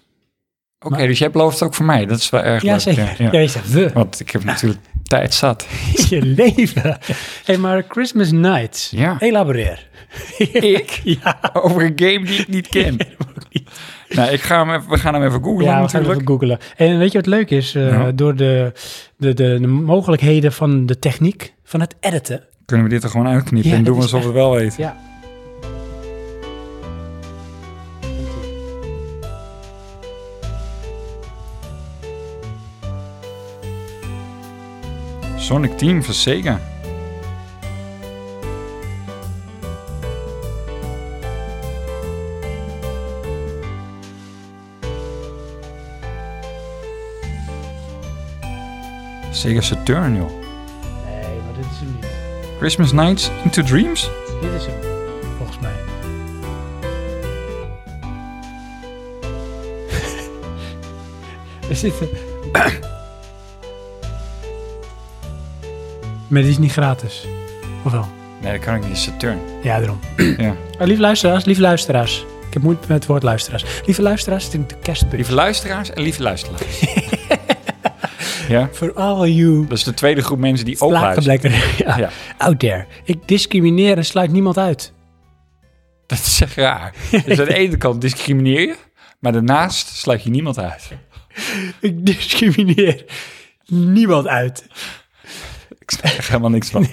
Oké, dus jij belooft het ook voor mij. Dat is wel erg leuk.
Jazeker. Ja, je zegt we.
Want ik heb natuurlijk tijd zat.
Je leven. hey, maar Christmas Nights.
Ja.
Elaboreer.
Ik?
ja.
Over een game die ik niet ken. Nou, ik ga hem even, we gaan hem even
Ja,
googlen
we gaan
natuurlijk.
even googelen. En weet je wat leuk is? Eh,
Ja. Door...
Door de, de, de, de mogelijkheden van de techniek, van het editen.
Kunnen we dit er gewoon uitknippen
Ja,
en doen we
dat is
alsof we het wel weten.
Ja.
Sonic Team van Sega. Sega Saturn, joh.
Nee, maar dit is hem niet.
Christmas Nights into Dreams?
Dit is hem, volgens mij. is dit... een- maar dit is niet gratis. Of wel?
Nee, dat kan ik niet. Saturn.
Ja, daarom.
Ja.
Maar lieve luisteraars, lieve luisteraars. Ik heb moeite met het woord luisteraars. Lieve luisteraars, dit is de kerstpunt.
Lieve luisteraars en lieve luisteraars. ja,
For all you
dat is de tweede groep mensen die ook luisteren.
lakenblekker ja,
Ja.
out there. Ik discrimineer en sluit niemand uit.
Dat is echt raar. Dus aan de ene kant discrimineer je, maar daarnaast sluit je niemand uit.
Ik discrimineer niemand uit.
Ik snap er helemaal niks van.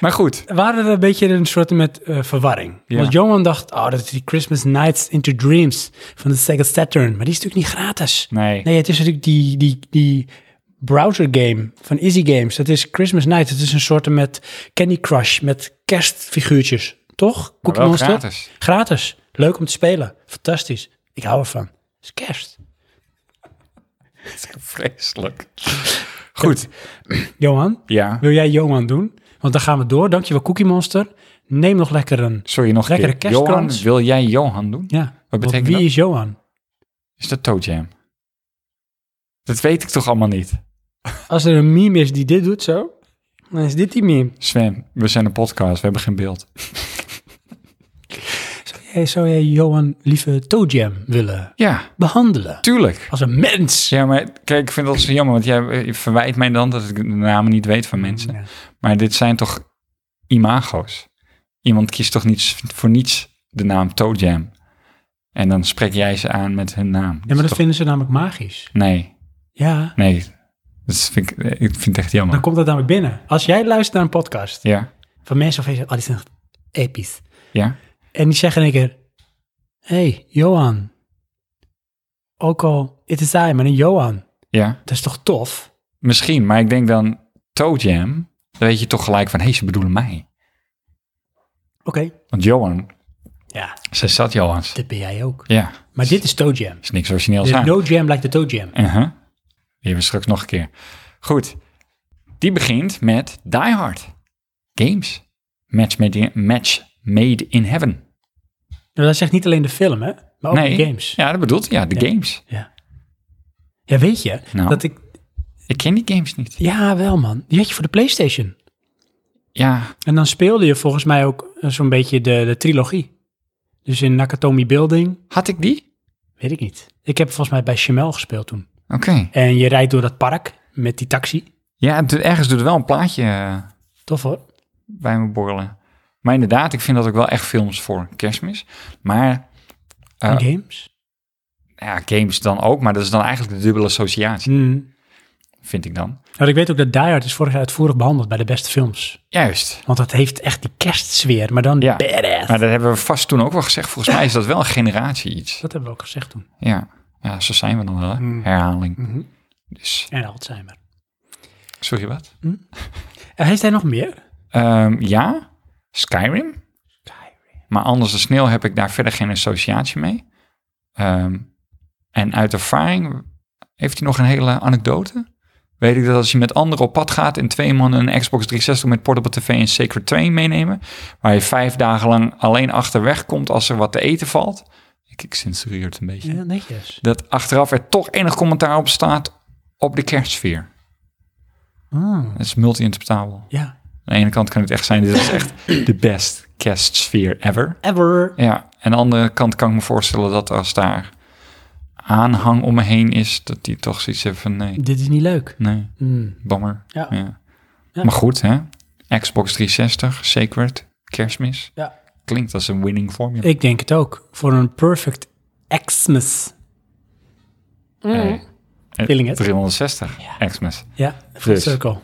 Maar goed,
waren we een beetje een soort met eh, verwarring.
Ja.
Want Johan dacht, oh, dat is die Christmas Nights into Dreams van de Sega Saturn. Maar die is natuurlijk niet gratis.
Nee.
Nee, het is natuurlijk die, die, die browser game van Easy Games. Dat is Christmas Nights. Het is een soort met Candy Crush, met kerstfiguurtjes. Toch? Cookie
wel
Monster?
gratis.
Gratis. Leuk om te spelen. Fantastisch. Ik hou ervan. Het is kerst.
vreselijk. Goed,
Johan,
ja.
wil jij Johan doen? Want dan gaan we door. Dankjewel Cookie Monster. Neem nog lekker een...
Sorry, nog een
Lekkere
keer. Johan,
kerstkrans.
wil jij Johan doen?
Ja,
Wat
want
betekent
wie
dat?
is Johan?
Is dat Toe Jam? Dat weet ik toch allemaal niet.
Als er een meme is die dit doet zo, dan is dit die meme.
Sven, we zijn een podcast, we hebben geen beeld.
Hey, zou jij Johan lieve Toadjam willen
Ja,
behandelen?
tuurlijk.
Als een mens.
Ja, maar kijk, ik vind dat zo jammer, want jij eh, je verwijt mij dan dat ik de namen niet weet van mensen.
Mm, Ja.
Maar dit zijn toch imago's? Iemand kiest toch niet voor niets de naam Toe Jam? En dan spreek jij ze aan met hun naam.
Ja, maar dat
is toch-
vinden ze namelijk magisch.
Nee,
Ja,
nee. Dat vind ik, ik vind het echt jammer.
dan komt dat namelijk binnen. Als jij luistert naar een podcast
Ja,
van mensen of je zegt, oh, dit is echt episch.
ja.
En die zeggen in één keer, hey, Johan. Ook al, het is hij, maar een Johan.
Ja,
Dat is toch tof?
misschien. Maar ik denk dan Toe Jam. Dan weet je toch gelijk van, hé, ze bedoelen mij.
Oké.
Want Johan,
Ja,
ze zat Johans.
dit ben jij ook.
Ja,
Maar dit is Toadjam.
is niks origineels
De
aan.
No Jam lijkt de Toadjam.
Uh-huh. Die hebben we straks nog een keer. Goed. Die begint met Die Hard. Games. Match made in, match made in heaven.
Nou, dat zegt niet alleen de film, hè? Maar ook de Oh, games.
Ja, dat bedoelt Ja, de games.
Ja. Ja, weet je,
Nou.
dat ik...
Ik ken die games niet.
Ja, wel man. Die had je voor de Playstation.
Ja,
En dan speelde je volgens mij ook eh, zo'n beetje de, de trilogie. Dus in Nakatomi Building,
had ik die?
weet ik niet. Ik heb volgens mij bij Chamel gespeeld toen.
Oké.
En je rijdt door dat park met die taxi.
Ja, het- ergens doet er wel een plaatje eh,
Tof hoor.
bij me borrelen. Maar inderdaad, ik vind dat ook wel echt films voor kerstmis. Maar
En
Ja.
games.
ja, games dan ook. Maar dat is dan eigenlijk de dubbele associatie,
Hmm.
vind ik dan.
Nou, ik weet ook dat Die Hard is vorig jaar uitvoerig behandeld bij de beste films.
Juist.
Want dat heeft echt die kerstsfeer, maar dan
Ja.
badass.
Maar dat hebben we vast toen ook wel gezegd. Volgens mij is dat wel een generatie iets.
Dat hebben we ook gezegd toen.
Ja, ja zo zijn we dan wel. hè? Herhaling. Dus,
En Alzheimer.
sorry wat?
En heeft hij nog meer?
Ehm, ja, Skyrim. Maar anders dan sneeuw heb ik daar verder geen associatie mee. Ehm, en uit ervaring heeft hij nog een hele anekdote. Weet ik dat als je met anderen op pad gaat en twee mannen een Xbox 360 met portable tv en Sacred 2 meenemen, waar je vijf dagen lang alleen achterweg komt als er wat te eten valt. Ik, ik censureer het een beetje.
Ja, netjes.
Dat achteraf er toch enig commentaar op staat op de kerstsfeer.
Ah.
Dat is multi-interpretabel.
Ja.
Aan de ene kant kan het echt zijn, dit is echt de best kerstsfeer ever.
Ever.
Ja, en aan de andere kant kan ik me voorstellen dat als daar aanhang om me heen is, dat die toch zoiets heeft van nee,
Dit is niet leuk.
nee,
Hmm.
bammer.
Ja. Ja.
Maar goed, hè? Xbox 360, Sacred, kerstmis.
Ja.
Klinkt als een winning formula.
Ik denk het ook. Voor een perfect Xmas
Hey. En
Feeling it.
360 Xmas.
Ja, full
Dus.
circle.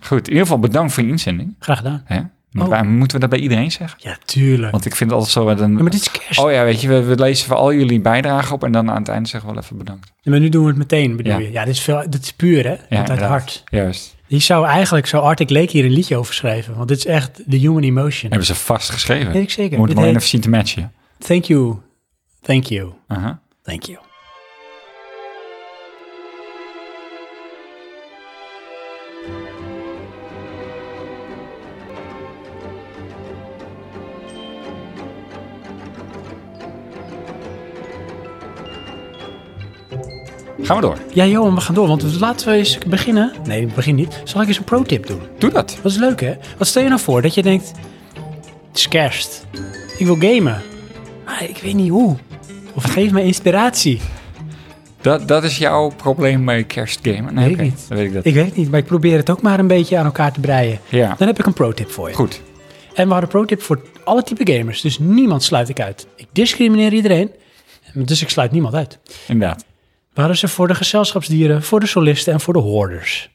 Goed, in ieder geval bedankt voor je inzending.
Graag gedaan.
Hè? Maar
Oh.
waar- moeten we dat bij iedereen zeggen?
Ja, tuurlijk.
Want ik vind het altijd zo... Wat een...
Ja, maar dit is kerst.
Oh ja, weet je, we, we lezen voor al jullie bijdragen op en dan aan het einde zeggen we wel even bedankt.
Maar nu doen we het meteen, bedoel
Ja.
je. Ja, dit is, veel, dit is puur, hè?
Ja,
Want uit het
inderdaad.
hart.
Juist.
Die zou eigenlijk, zou Arctic Lake hier een liedje over schrijven. Want dit is echt de human emotion.
Hebben ze vast geschreven.
Weet ik zeker.
Moet
Dit
het alleen
heet-
even zien te matchen.
Thank you. Thank you.
Aha.
Thank you.
Gaan we door.
Ja, Johan, we gaan door, want laten we eens beginnen. Nee, we beginnen niet. Zal ik eens een pro-tip doen?
Doe dat.
Dat is leuk, hè? Wat stel je nou voor dat je denkt... Het is kerst. Ik wil gamen. Maar ik weet niet hoe. Of geef me inspiratie.
Dat, dat is jouw probleem bij kerstgamen. Nee,
Weet ik
oké,
niet.
Dan weet ik dat.
Ik weet het niet, maar ik probeer het ook maar een beetje aan elkaar te breien.
Ja.
Dan heb ik een pro-tip voor je.
Goed.
En we hadden pro-tip voor alle type gamers. Dus niemand sluit ik uit. Ik discrimineer iedereen. Dus ik sluit niemand uit.
Inderdaad.
We hadden ze voor de gezelschapsdieren, voor de solisten en voor de hoorders.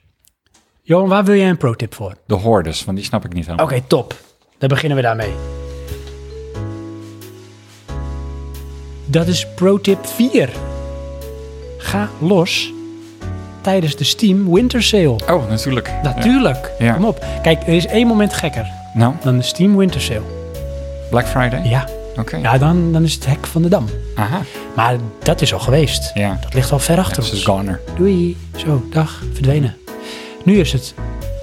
Johan, waar wil jij een pro-tip voor? Oké,
De hordes, want die snap ik niet helemaal.
top. Dan beginnen we daarmee. Dat is pro-tip 4. Ga los tijdens de Steam Winter Sale.
Oh, natuurlijk.
Natuurlijk,
Ja.
kom op. Kijk, er is één moment gekker
Ja. Nou,
dan de Steam Winter Sale.
Black Friday?
Ja,
Oké.
ja dan, dan is het hek van de dam.
Aha.
Maar dat is al geweest.
Ja.
Dat ligt al ver achter
Dus
ons.
is goner.
Doei. Zo, dag, verdwenen. Nu is het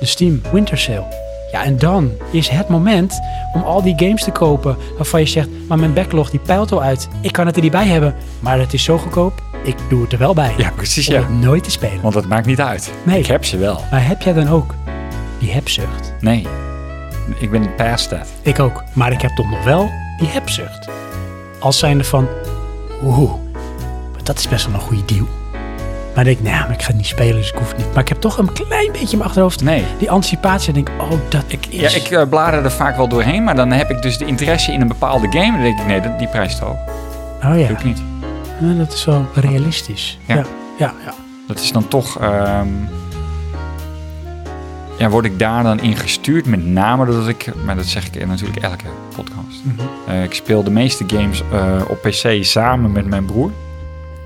de Steam Winter Sale. Ja, en dan is het moment om al die games te kopen waarvan je zegt, maar mijn backlog die pijlt al uit. Ik kan het er niet bij hebben, maar het is zo goedkoop, ik doe het er wel bij.
Ja, precies
Om
ja.
het nooit te spelen.
Want dat maakt niet uit.
Oh. Nee.
Ik heb ze wel.
Maar heb jij dan ook die hebzucht?
Nee. Ik ben past dat.
Ik ook, maar ik heb toch nog wel die hebzucht. Als zijnde van, oeh, maar dat is best wel een goede deal. Maar ik denk, nou, maar ik ga het niet spelen, dus ik hoef het niet. Maar ik heb toch een klein beetje in mijn achterhoofd
Nee.
die anticipatie. Ik denk, oh, dat ik
Ja,
is...
ik eh, blader er vaak wel doorheen, maar dan heb ik dus de interesse in een bepaalde game. Dan denk ik, nee, dat- die prijs is te hoog.
oh ja,
Doe ik niet.
Nou, dat is wel realistisch.
Ja.
ja, ja. ja.
Dat is dan toch... ehm, ja, word ik daar dan in gestuurd? Met name doordat ik... Maar dat zeg ik natuurlijk elke podcast. Eh, ik speel de meeste games eh, op PC samen met mijn broer.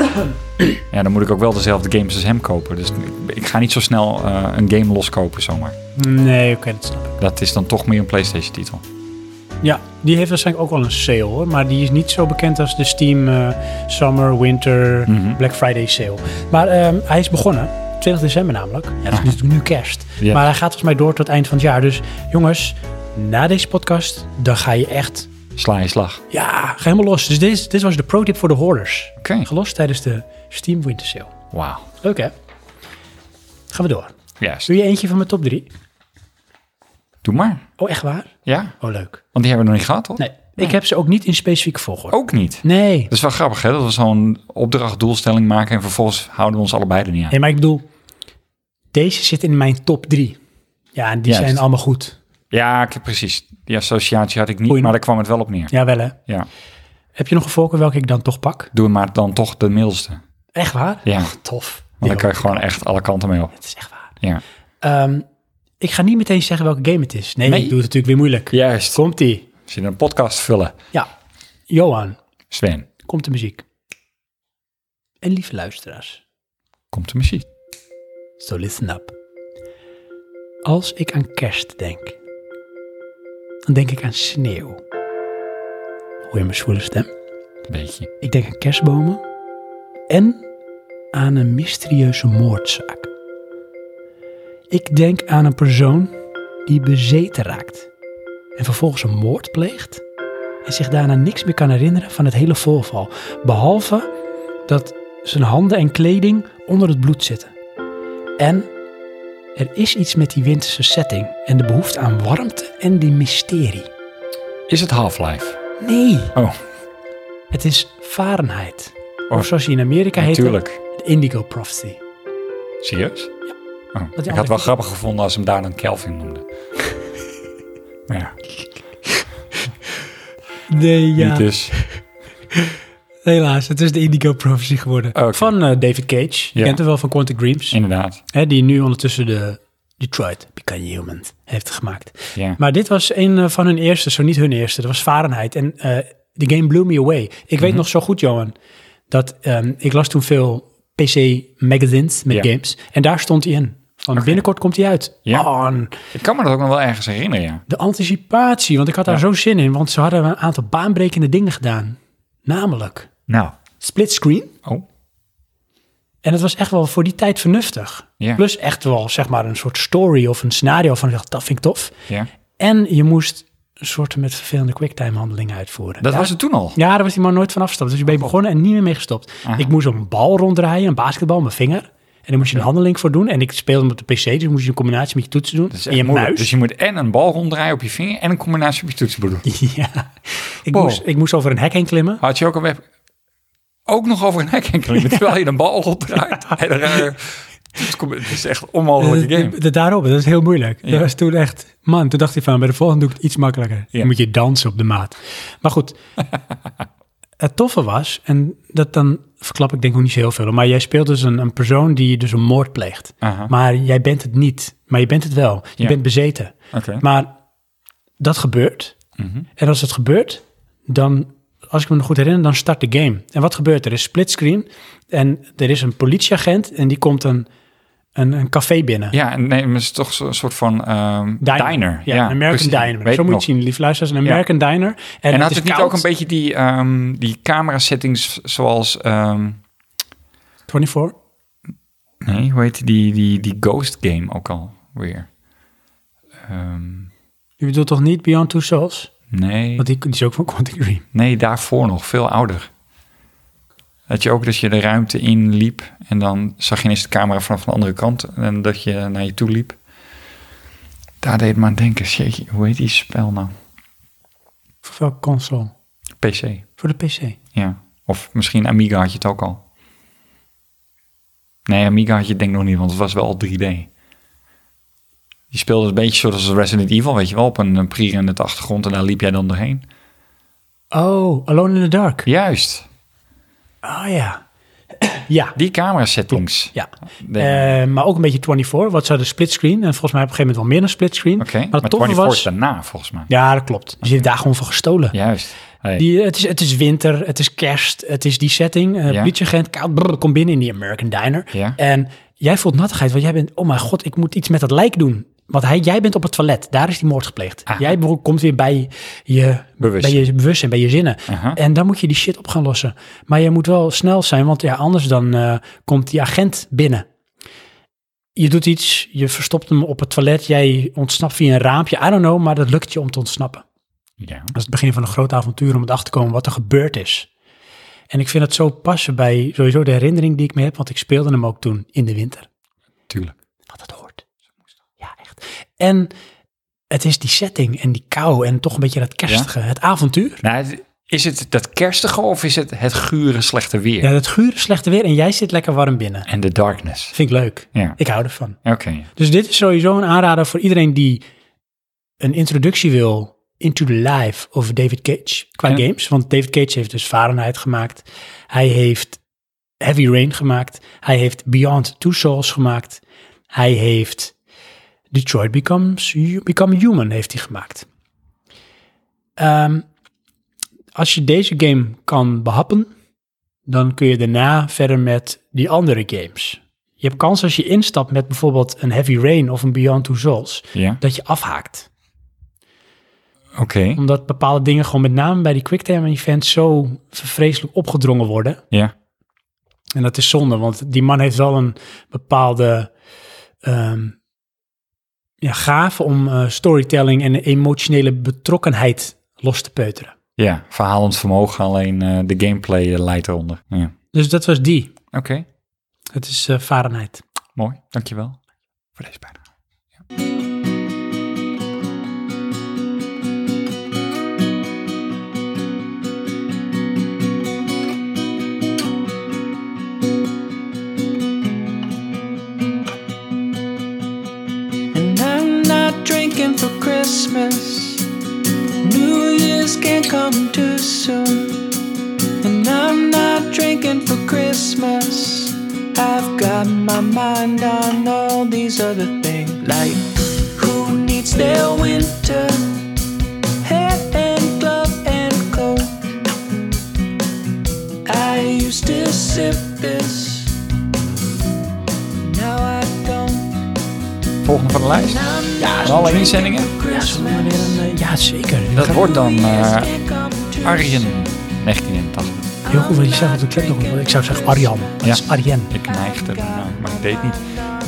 ja, dan moet ik ook wel dezelfde games als hem kopen. Dus ik, ik ga niet zo snel eh, een game loskopen zomaar.
Nee, oké, dat snap ik.
Dat is dan toch meer een PlayStation titel.
Ja, die heeft waarschijnlijk ook wel een sale hoor. Maar die is niet zo bekend als de Steam eh, Summer, Winter,
Mhm.
Black Friday sale. Maar ehm, hij is begonnen. 20 december namelijk. Ja, dat is natuurlijk nu kerst.
Ah. Ja.
Maar hij gaat volgens mij door tot eind van het jaar. Dus jongens, na deze podcast, dan ga je echt...
Sla je slag.
Ja, ga helemaal los. Dus dit, dit was de pro-tip voor de hoorders.
Oké.
Gelost tijdens de Steam Winter Sale.
Wauw.
Leuk hè? Gaan we door.
Juist.
Doe je eentje van mijn top 3?
Doe maar.
Oh, echt waar?
Ja.
Oh, leuk.
Want die hebben we nog niet gehad, toch?
Nee, ik heb ze ook niet in specifieke volgorde.
Ook niet.
Nee.
Dat is wel grappig, hè? Dat we zo'n opdracht, doelstelling maken en vervolgens houden we ons allebei er niet aan.
Nee, maar ik bedoel, deze zit in mijn top 3. Ja, en die
Juist.
zijn allemaal goed.
Ja, ik heb precies. Die associatie had ik niet,
Oei.
maar daar kwam het wel op neer. Ja.
Jawel hè. Heb je nog een voorkeur welke ik dan toch pak?
Doe maar dan toch de middelste.
Echt waar?
Ja.
Ach, tof.
Want
Ja,
dan kan je gewoon echt alle kanten mee op.
Het is echt waar.
Ja.
Ehm, ik ga niet meteen zeggen welke game het is. Nee,
Nee.
ik doe het natuurlijk weer moeilijk.
Juist.
Komt-ie.
Als je een podcast vullen,
Ja. Johan,
Sven,
komt de muziek. En lieve luisteraars.
komt de muziek.
So listen up. Als ik aan kerst denk, dan denk ik aan sneeuw. Hoor je mijn zwoele stem?
Een beetje.
Ik denk aan kerstbomen en aan een mysterieuze moordzaak. Ik denk aan een persoon die bezeten raakt en vervolgens een moord pleegt en zich daarna niks meer kan herinneren van het hele voorval, behalve dat zijn handen en kleding onder het bloed zitten. En er is iets met die winterse setting en de behoefte aan warmte en die mysterie.
Is het Half-Life?
Nee,
Oh,
het is Fahrenheit.
Oh,
of zoals je in Amerika heet,
natuurlijk.
de Indigo Prophecy.
Serieus? Oh, ik had het wel
andere-
grappig gevonden als ze hem daar dan Kelvin noemde. maar ja,
Nee, ja.
dus. niet dus.
Helaas, het is de Indigo Prophecy geworden.
Ah, Oké.
Van eh, David Cage. Je
Ja.
kent hem wel van Quantic Dreams.
Inderdaad.
Hè, die nu ondertussen de Detroit Become Human heeft gemaakt.
Ja.
Maar dit was een eh, van hun eerste, zo niet hun eerste. Dat was Fahrenheit. En eh, de game blew me away. Ik weet
Mhm.
nog zo goed, Johan, dat ehm, ik las toen veel PC magazines met
Ja.
games. En daar stond hij in. Van binnenkort komt hij uit.
Ja.
Oh, en
Ik kan me dat ook nog wel ergens herinneren, ja.
de anticipatie, want ik had daar
Ja.
zo zin in. Want ze hadden een aantal baanbrekende dingen gedaan. Namelijk
Nou.
split screen.
Oh.
En dat was echt wel voor die tijd vernuftig.
Ja.
Plus echt wel, zeg maar, een soort story of een scenario van, zeg, dat vind ik tof.
Ja.
En je moest een soort met vervelende quicktime handelingen uitvoeren.
Dat
ja,
was Oh. het toen al.
Ja, daar was die man nooit van afgestapt. Dus je bent begonnen en niet meer mee gestopt. Ik moest een bal ronddraaien, een basketbal, mijn vinger. En daar moest je een handeling voor doen. En ik speelde hem op de pc, dus moest je een combinatie met je toetsen doen.
Dat is
en
echt
je
moeilijk.
muis.
Dus je moet en een bal ronddraaien op je vinger en een combinatie op Dus je toetsenbord. doen.
Ja. Ik,
Wow.
moest, ik moest over een hek heen klimmen.
Had je ook een web... Ook nog over een hek en klimmen, terwijl je een bal ronddraait. En dan, eh, toetsenkom- Het is echt een onmogelijke game.
Dat- dat- daarop, dat is heel moeilijk.
Ja.
Dat was toen echt... Man, toen dacht ik van, bij de volgende doe ik het iets makkelijker.
Ja.
Dan moet je dansen op de maat. Maar goed, het toffe was... En dat dan verklap ik denk ik ook niet zo heel veel. Maar jij speelt dus een, een persoon die dus een moord pleegt.
Aha.
Maar jij bent het niet. Maar je bent het wel. Je
Ja.
bent bezeten.
Oké.
Maar dat gebeurt. En als het gebeurt, dan, als ik me nog goed herinner, dan start de game. En wat gebeurt er? Er is splitscreen en er is een politieagent en die komt een, een, een café binnen.
Ja, en nee, maar het is toch zo- een soort van ehm, diner.
Ja, een American
precies.
Diner.
Weet
Zo moet je
ik nog.
het zien, lief luisteraars. Een
Ja.
American Diner. En,
En
het
had
is
het niet
koud.
ook een beetje die, ehm, die camera settings zoals... ehm,
24?
nee, hoe heet die, die, die Ghost game ook al weer? Ehm,
Je bedoelt toch niet Beyond Two Souls?
nee,
Want die, die is ook van Quantic Dream.
nee, daarvoor nog, veel ouder. Dat je ook dat je de ruimte in liep en dan zag je ineens de camera vanaf de andere kant en dat je naar je toe liep. Daar deed het me aan denken, jeetje, hoe heet die spel nou?
Voor welke console?
PC,
Voor de PC.
ja. Of misschien Amiga had je het ook al. Nee, Amiga had je het denk ik nog niet, want het was wel 3D. Je speelde een beetje zoals Resident Evil, weet je wel, op een eh, pre-rendered achtergrond en daar liep jij dan doorheen.
Oh, Alone in the Dark.
Juist,
Oh ja. ja.
die camera settings.
Ja.
De-
Eh, maar ook een beetje 24, wat zou de splitscreen. En volgens mij op een gegeven moment wel meer dan splitscreen.
Oké,
maar
maar
het toffe
24
was...
was... daarna volgens mij.
Ja, dat klopt. Dus je hebt daar gewoon van gestolen.
Juist. Hey.
Die, het, is, het is winter, het is kerst, het is die setting. Eh
Ja.
Politieagent, koud, brrr, kom binnen in die American Diner.
Ja.
En jij voelt nattigheid, want jij bent... Oh mijn god, ik moet iets met dat lijk doen. Want hij, jij bent op het toilet, daar is die moord gepleegd.
Ah.
Jij bro- komt weer bij je
Bewustzijn.
bij je bewustzijn, bij je zinnen.
Aha.
En dan moet je die shit op gaan lossen. Maar je moet wel snel zijn, want ja, anders dan eh, komt die agent binnen. Je doet iets, je verstopt hem op het toilet, jij ontsnapt via een raampje. I don't know, maar dat lukt je om te ontsnappen.
Ja.
Dat is het begin van een groot avontuur om erachter te komen wat er gebeurd is. En ik vind het zo passen bij sowieso de herinnering die ik me heb, want ik speelde hem ook toen in de winter.
Tuurlijk.
Wat het hoort. Ja, echt. En het is die setting en die kou en toch een beetje dat kerstige, het avontuur.
Nou, het- is het dat kerstige of is het het gure slechte weer?
Ja, dat gure slechte weer en jij zit lekker warm binnen.
En de darkness.
Vind ik leuk.
Ja.
Ik hou ervan.
Oké.
Dus dit is sowieso een aanrader voor iedereen die een introductie wil into the life of David Cage qua
Ja.
games. Want David Cage heeft dus Fahrenheit gemaakt. Hij heeft Heavy Rain gemaakt. Hij heeft Beyond Two Souls gemaakt. Hij heeft Detroit Becomes, Hu- Become Human heeft hij gemaakt. Ehm, als je deze game kan behappen, dan kun je daarna verder met die andere games. Je hebt kans als je instapt met bijvoorbeeld een Heavy Rain of een Beyond Two Souls,
Ja.
dat je afhaakt.
Oké.
Omdat bepaalde dingen gewoon met name bij die quicktime events zo vreselijk opgedrongen worden.
Ja.
En dat is zonde, want die man heeft wel een bepaalde ehm ja, gave om eh, storytelling en emotionele betrokkenheid los te peuteren.
Ja. Verhalend vermogen, alleen eh, de gameplay eh, leidt eronder. Ja.
Dus dat was die.
Oké.
Het is eh Fahrenheit.
Mooi. Dankjewel. Voor deze bijna.
And I'm not drinking for Christmas. New Year's can't come too soon. And I'm not drinking for Christmas. I've got my mind on all these other things. Like, who needs their winter? Hat and glove and coat. I used to sip this. Now I don't.
Volgende van de lijst.
I'm
En
not
alle inzendingen.
Ja, zullen we weer een, eh, ja zeker.
Dat wordt dan eh,
drinking.
Arjen 1980.
Heel goed wat je zegt op de klep nog. want Ik zou zeggen Arjan. Dat
Ja.
is Arjen.
Ik neigde ernaar, maar ik deed het niet.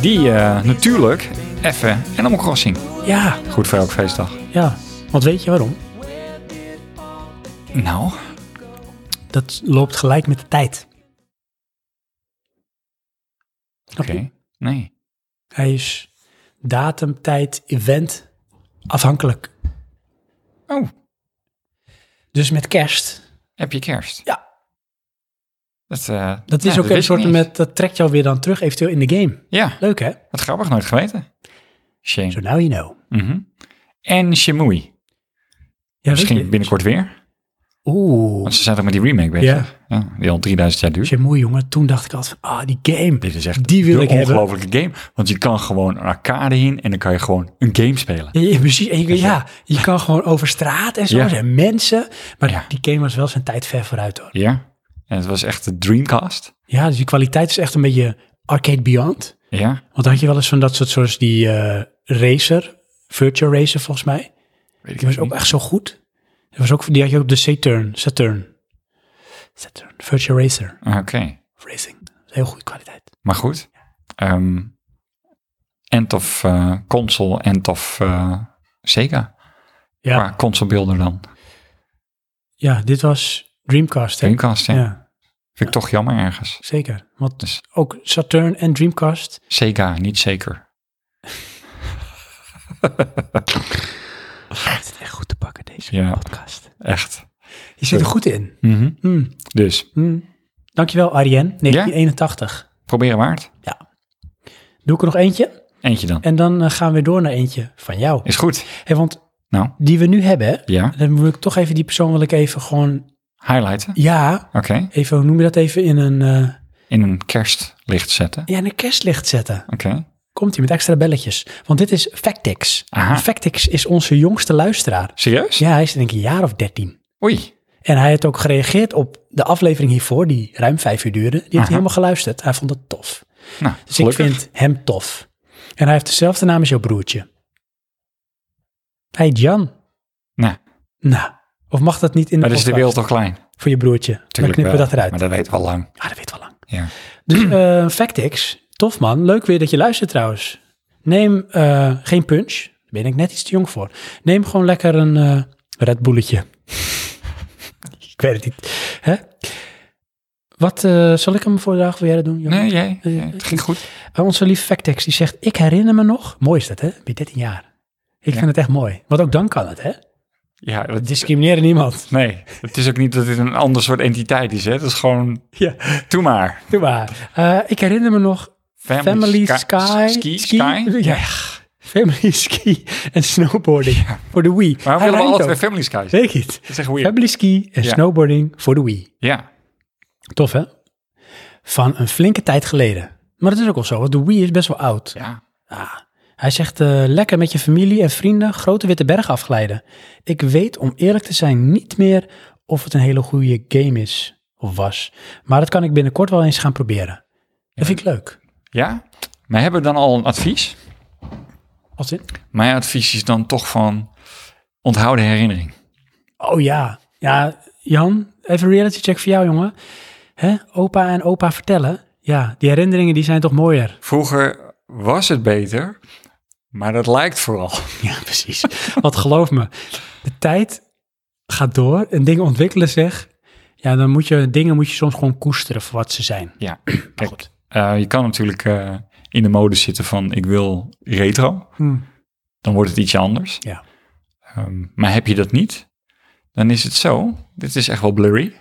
Die eh, natuurlijk even Animal Crossing.
Ja,
Goed voor elk feestdag.
ja. Want weet je waarom?
Nou,
Dat loopt gelijk met de tijd.
oké. Nee.
Hij is datum, tijd, event afhankelijk.
Oh,
Dus met kerst,
heb je kerst?
Ja.
Dat, eh,
dat
ja,
is ook
wist
een
ik
soort
niet.
met, dat trekt jou weer dan terug eventueel in de game.
Ja,
Leuk hè?
wat grappig, nooit geweten. Shame.
So now you know.
Mhm. En Shemui.
Ja, weet
Misschien
je-
binnenkort weer.
Oeh,
Want ze zijn toch met die remake bezig? Ja. die al 3000 jaar duurt.
je moe jongen. Toen dacht ik altijd van, ah die game.
Dit is echt
Die wil
de
ik hebben.
ongelofelijke game. Want je kan gewoon een arcade in en dan kan je gewoon een game spelen.
Ja, precies. En je, ja, je kan gewoon over straat en zo.
Ja.
Er zijn mensen. Maar
Ja.
die game was wel zijn tijd ver vooruit hoor.
Ja. En het was echt de Dreamcast.
Ja, dus die kwaliteit is echt een beetje arcade beyond.
Ja.
Want dan had je wel eens van dat soort zoals die eh, racer, virtual racer volgens mij.
Weet ik
Die was
niet.
ook echt zo goed. Die, was ook, die had je op de Saturn, Saturn. Saturn, virtual racer,
Ah, Oké.
of racing. Heel goede kwaliteit.
Maar goed. Ehm end of eh, console, end of eh, Sega.
Ja,
Qua consolebeelden dan.
ja dit was Dreamcast. hè?
Dreamcast, ja.
Ja,
Vind ik toch jammer ergens.
zeker. Want
Dus-
ook Saturn en Dreamcast.
Sega, niet zeker.
Het is echt goed te pakken deze
Ja.
podcast.
Echt.
Je zit er goed in.
Mhm.
Hmm.
Dus,
Hmm. Dankjewel Arjen, 1981.
proberen waard.
Doe ik er nog eentje
Eentje dan.
en dan eh, gaan we door naar eentje van jou.
Is goed.
Hey, want
Nou,
die we nu hebben, hè,
ja.
dan moet ik toch even die persoon wil ik even gewoon,
Highlighten.
ja,
Oké.
even, hoe noem je dat even, in een, eh,
In een kerstlicht zetten.
ja, in een kerstlicht zetten.
Oké.
Komt hij met extra belletjes. Want dit is Factix.
Aha.
Factix is onze jongste luisteraar.
Serieus?
Ja, hij is denk ik een jaar of dertien.
Oei.
En hij had ook gereageerd op de aflevering hiervoor, die ruim vijf uur duurde. Die heeft hij
Aha.
helemaal geluisterd. Hij vond het tof.
Nou,
Dus
gelukkig.
ik vind hem tof. En hij heeft dezelfde naam als jouw broertje. Hij heet Jan.
Nou,
Nou, of mag dat niet in de
maar dat is de
podcast
wereld toch klein? Tuurlijk
voor je broertje? Dan knippen
wel,
we dat eruit.
Maar dat weten we al lang.
Ja, dat weet wel lang.
Ja.
Dus eh Factix, tof man. Leuk weer dat je luistert trouwens. Neem eh, geen punch. Daar ben ik net iets te jong voor. Neem gewoon lekker een eh Red Bulletje. ik weet het niet. Hè? Wat, eh, zal ik hem voor de dag? Wil jij dat doen? Jan?
Nee, jij. jij, Het ging goed.
Eh, onze lieve Factex die zegt, ik herinner me nog. Mooi is dat, hè? Ben je 13 jaar. Ik vind het echt mooi. Want ook dan kan het, hè?
Ja, dat
Discrimineren niemand.
Nee, het is ook niet dat dit een ander soort entiteit is. Hè? Het is gewoon,
Ja,
doe maar.
doe maar. Eh, ik herinner me nog Family
ska-
Sky.
Ski, Sky.
Ja. Family Ski en snowboarding voor de Wii.
Waarom
Hij
willen we
rijmt
altijd
ook.
weer Family Sky zeggen?
Zeker niet.
Dat is echt weird.
Family Ski en
Ja.
snowboarding voor de Wii.
Ja,
Tof, hè? Van een flinke tijd geleden. Maar dat is ook al zo, want de Wii is best wel oud.
ja.
Hij zegt, eh, lekker met je familie en vrienden grote witte bergen afglijden. Ik weet om eerlijk te zijn niet meer of het een hele goede game is of was. Maar dat kan ik binnenkort wel eens gaan proberen. Dat vind ik leuk.
Ja? Maar hebben we dan al een advies?
Als in?
Mijn advies is dan toch van onthoud de herinnering.
Oh ja. Ja, Jan, even reality check voor jou, jongen. Hè? Opa en opa vertellen. Ja, die herinneringen die zijn toch mooier.
Vroeger was het beter, maar dat lijkt vooral.
Ja, precies. Want geloof me, de tijd gaat door en dingen ontwikkelen zeg. Ja, dan moet je dingen moet je soms gewoon koesteren voor wat ze zijn.
Ja, kijk,
goed.
eh, je kan natuurlijk eh, in de mode zitten van ik wil retro.
Hmm.
Dan wordt het ietsje anders.
Ja.
Ehm, maar heb je dat niet, dan is het zo. Dit is echt wel blurry.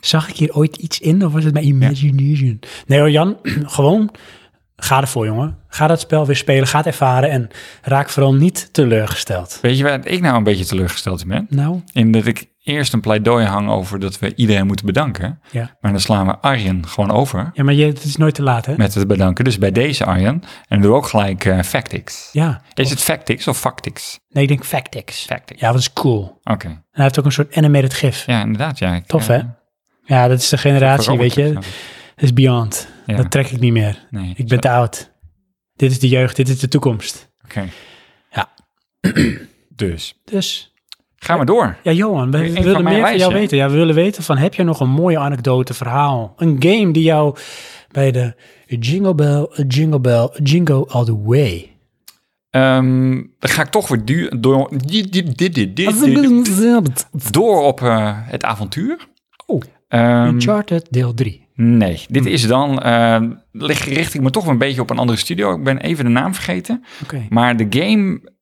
Zag ik hier ooit iets in of was het mijn imagination? Nee hoor, Jan, gewoon ga ervoor, jongen. Ga dat spel weer spelen, ga het ervaren en raak vooral niet teleurgesteld.
Weet je waar ik nou een beetje teleurgesteld in ben?
Nou,
In dat ik eerst een pleidooi hangen over dat we iedereen moeten bedanken.
Ja.
Maar dan slaan we Arjen gewoon over
Ja, maar je, het is nooit te laat, hè?
met het bedanken. Dus bij deze Arjen. En doe ook gelijk eh, Factix.
Ja.
Is het Factix of Factix?
Nee, ik denk Factix.
Factix.
Ja, dat is cool. En
Oké.
hij heeft ook een soort animated gif. Ja,
Ja, inderdaad. Ja, ik,
Tof,
eh,
hè? dat is de generatie, weet
veranderd
je.
of
Dat
zo.
is beyond.
Ja.
Dat trek ik niet meer.
Nee,
Ik ben te oud. Dit is de jeugd, dit is de toekomst.
Oké.
Ja.
dus,
Dus,
gaan we door.
ja Johan, we,
Eén
we
van
willen
mijn
meer van jou
lijstje.
weten. Ja, we willen weten van, heb je nog een mooie anekdote, verhaal? Een game die jou bij de Jingle Bell, Jingle Bell, Jingo All The Way.
Ehm, dan ga ik toch weer duur, door, di- di- di- di- di- di-
Uncharted
door op eh, het avontuur.
Oh. Hm.
Ehm,
deel 3.
nee, dit is dan, eh, lig, richt ik me toch wel een beetje op een andere studio. Ik ben even de naam vergeten.
Oké.
Maar de game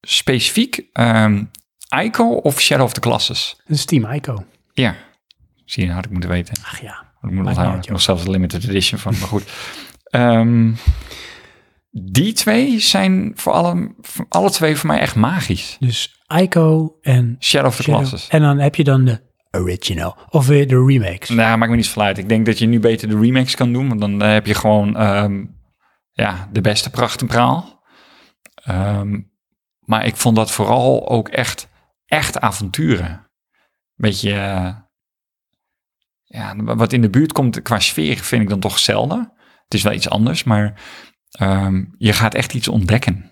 specifiek, ehm Ico of Shadow of the Classes?
Dat is Team Ico.
Ja, zie je, had ik moeten weten.
Ach ja.
Ik moet
Maakt niet
onthouden,
uit,
ik heb nog zelfs een limited edition van, maar goed. Ehm, die twee zijn voor alle, voor alle twee voor mij echt magisch.
Dus Ico en
Shadow of the
Shadow.
Classes.
En dan heb je dan de original. Of weer de remakes.
Nou, maakt me niet veel uit. Ik denk dat je nu beter de remix kan doen, want dan eh, heb je gewoon ehm, ja, de beste pracht en praal. Ehm, maar ik vond dat vooral ook echt, echt avonturen. Beetje, eh, ja, wat in de buurt komt qua sfeer vind ik dan toch zelden. Het is wel iets anders, maar ehm, je gaat echt iets ontdekken.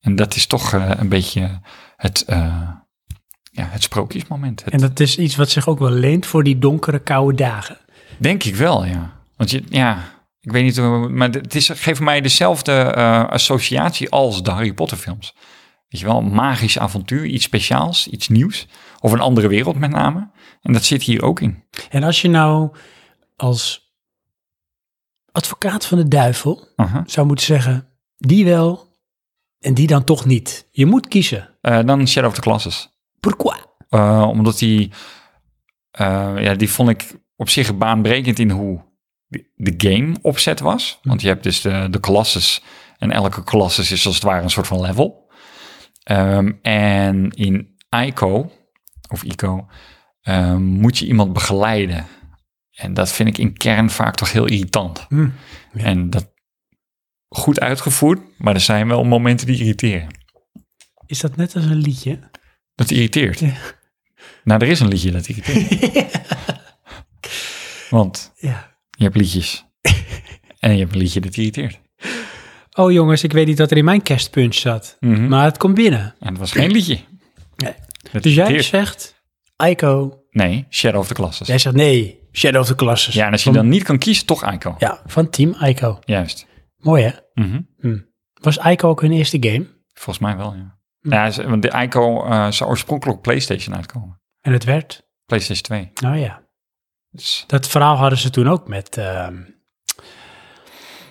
En dat is toch eh, een beetje het, eh, ja, het sprookjesmoment. Het-
En dat is iets wat zich ook wel leent voor die donkere, koude dagen.
Denk ik wel, ja. Want je, ja, ik weet niet hoe, maar het is, geeft mij dezelfde eh, associatie als de Harry Potter films. Weet je wel, een magisch avontuur, iets speciaals, iets nieuws. Of een andere wereld met name. En dat zit hier ook in.
En als je nou als advocaat van de duivel
Aha.
zou moeten zeggen, die wel en die dan toch niet. Je moet kiezen.
Eh, dan Shadow of the Classes.
Pourquoi?
Eh, omdat die, eh, ja, die vond ik op zich baanbrekend in hoe de- de game opzet was. Want je hebt dus de, de classes en elke classes is als het ware een soort van level. Ehm, en in ICO, of ICO, ehm, moet je iemand begeleiden. En dat vind ik in kern vaak toch heel irritant.
Hmm, ja.
En dat goed uitgevoerd, maar er zijn wel momenten die irriteren.
Is dat net als een liedje?
Dat irriteert.
Ja.
Nou, er is een liedje dat irriteert. Want
Ja.
je hebt liedjes. en je hebt een liedje dat irriteert.
Oh jongens, ik weet niet wat er in mijn kerstpunch zat.
Mhm.
Maar het komt binnen.
En het was geen liedje.
Nee.
Dat
Dus jij
irriteert.
zegt, Ico.
Nee, Shadow of the Classes.
Jij zegt nee, Shadow of the Classes.
Ja, en als je dan niet kan kiezen, toch Ico.
Ja, van Team Ico.
Juist.
Mooi hè?
Mhm.
Was Ico ook hun eerste game?
Volgens mij wel, ja.
Hm.
ja ze- want de Ico eh, zou oorspronkelijk op PlayStation uitkomen.
En het werd?
PlayStation 2.
Nou ja.
Dus
Dat verhaal hadden ze toen ook met ehm,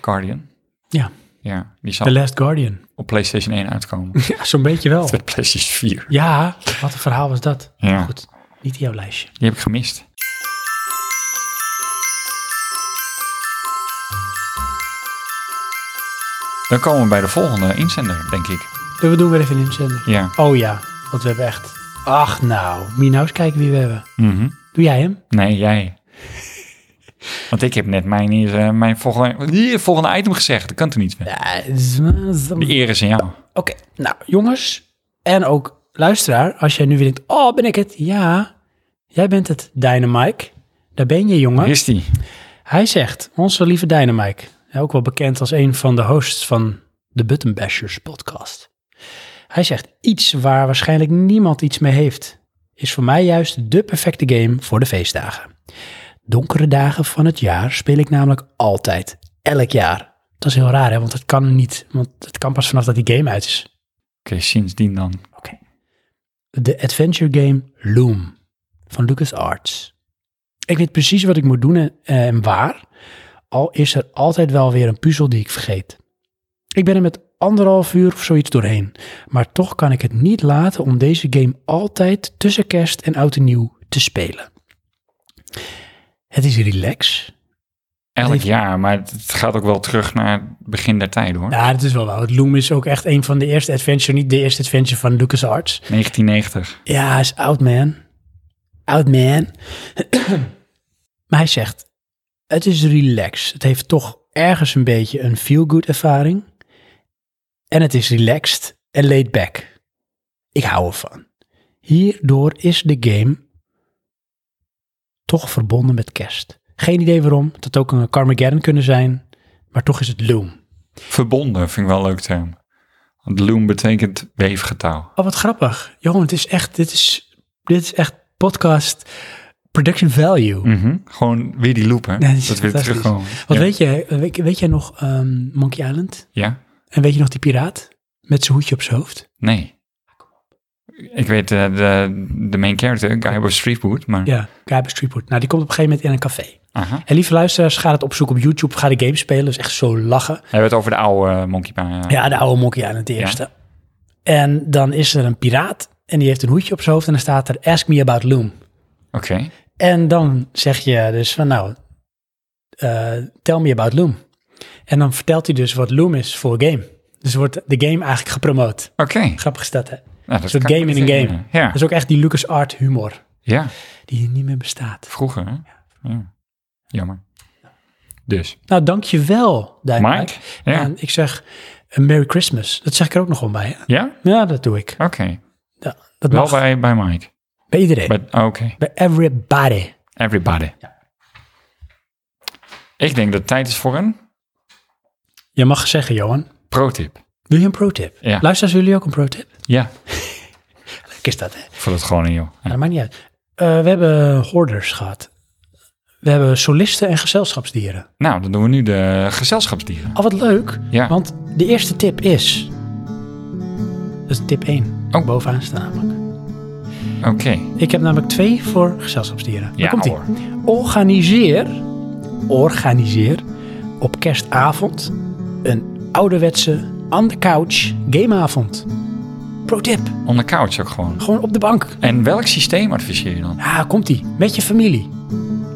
Guardian.
ja,
Ja, die
The
zou
Last Guardian.
op PlayStation 1 uitkomen.
Ja, zo'n beetje wel.
Met PlayStation 4.
Ja, wat een verhaal was dat.
Ja.
Goed, niet in jouw lijstje.
Die heb ik gemist. Dan komen we bij de volgende inzender, denk ik.
We doen weer even een inzender.
Ja.
Oh ja, want we hebben echt... Ach nou, moet je nou eens kijken wie we hebben.
Mhm.
Doe jij hem?
Nee, jij. Want ik heb net mijn, eh, mijn volgende, die volgende item gezegd. Dat kan toch niet? meer.
Ja, z- z-
De
Oké,
eer is aan jou.
nou jongens en ook luisteraar, als jij nu weer denkt, oh ben ik het? Ja, jij bent het, Dynamike. Daar ben je jongen.
Waar is die?
Hij zegt, onze lieve Dynamike, ook wel bekend als een van de hosts van de Button Bashers podcast. Hij zegt, iets waar waarschijnlijk niemand iets mee heeft, is voor mij juist de perfecte game voor de feestdagen. Donkere dagen van het jaar speel ik namelijk altijd, elk jaar. Dat is heel raar, hè? want dat kan niet, want het kan pas vanaf dat die game uit is.
Oké, sindsdien dan.
de adventure game Loom van LucasArts. Ik weet precies wat ik moet doen en, en waar, al is er altijd wel weer een puzzel die ik vergeet. Ik ben er met anderhalf uur of zoiets doorheen, maar toch kan ik het niet laten om deze game altijd tussen kerst en oud en nieuw te spelen. Het is relax.
Elk
Heeft-
jaar, maar het het gaat ook wel terug naar het begin der tijden, hoor.
Ja, dat is wel waar. Het Loom is ook echt een van de eerste adventure, niet de eerste adventure van LucasArts.
1990.
Ja, hij is oud man. Oud man. maar hij zegt, het is relaxed. Het heeft toch ergens een beetje een feel-good ervaring. En het is relaxed en laid back. Ik hou ervan. Hierdoor is de game toch verbonden met kerst. Geen idee waarom. Het had ook een Carmageddon kunnen zijn. Maar toch is het Loom.
Verbonden vind ik wel een leuk term. Want loom betekent weefgetouw.
Oh, wat grappig. Johan, het is echt, dit is, dit is echt podcast production value.
Mhm. Gewoon weer die loop, hè?
Ja, dat is
dat weer
fantastisch.
terugkomen.
Wat
ja.
weet je, weet, weet jij nog ehm, Monkey Island?
Ja?
En weet je nog die piraat? Met zijn hoedje op zijn hoofd?
Nee. Ik weet eh, de, de main character, Guy was Streetwood, maar...
Ja, Gabriel Streetwood. Nou, die komt op een gegeven moment in een café.
Aha.
En lieve luisteraars, ga het opzoeken op YouTube. Ga de game spelen. Dat is echt zo lachen.
Hij werd over de oude eh, Monkey Bar.
Ja, de oude Monkey Island, de eerste. En dan is er een piraat. En die heeft een hoedje op zijn hoofd. En dan staat er, ask me about Loom.
Oké.
En dan zeg je dus van nou, eh, tell me about Loom. En dan vertelt hij dus wat Loom is voor game. Dus wordt de game eigenlijk gepromoot.
Oké.
Grappig is dat, hè?
Nou, dat
Een soort
kan ik
game
me
in
niet
een game.
herinneren. Ja,
Dat is ook echt die LucasArts humor,
ja.
die hier niet meer bestaat.
Vroeger, hè? Ja. Jammer. Dus,
Nou, dankjewel, Dynamite.
Mike? Ja.
En ik zeg een Merry Christmas. Dat zeg ik er ook nog gewoon bij, hè?
Ja?
Ja, dat doe ik.
Oké.
Ja, dat
Wel
mag. Bij,
bij, bij Mike.
iedereen. Bij,
But, Oké.
everybody.
Everybody. Ik denk dat het tijd is voor een
Je mag zeggen, Johan.
pro-tip.
Wil je een pro-tip?
Ja.
Luisteren jullie ook een pro-tip?
Ja,
Leuk is dat, hè?
voor dat gewoon in, joh. Ja.
Maar dat maakt niet uit. Eh, we hebben hoorders gehad. We hebben solisten en gezelschapsdieren.
Nou, dan doen we nu de gezelschapsdieren.
Al wat leuk,
Ja.
want de eerste tip is... Dat is tip 1.
Oh.
Bovenaan staan namelijk.
Oké.
Ik heb namelijk twee voor gezelschapsdieren. Daar
Ja,
komt-ie.
hoor.
Organiseer, organiseer op kerstavond een ouderwetse on the couch gameavond. Pro tip,
On the couch ook gewoon.
gewoon op de bank.
En welk systeem adviseer je dan?
Ah, komt ie. Met je familie.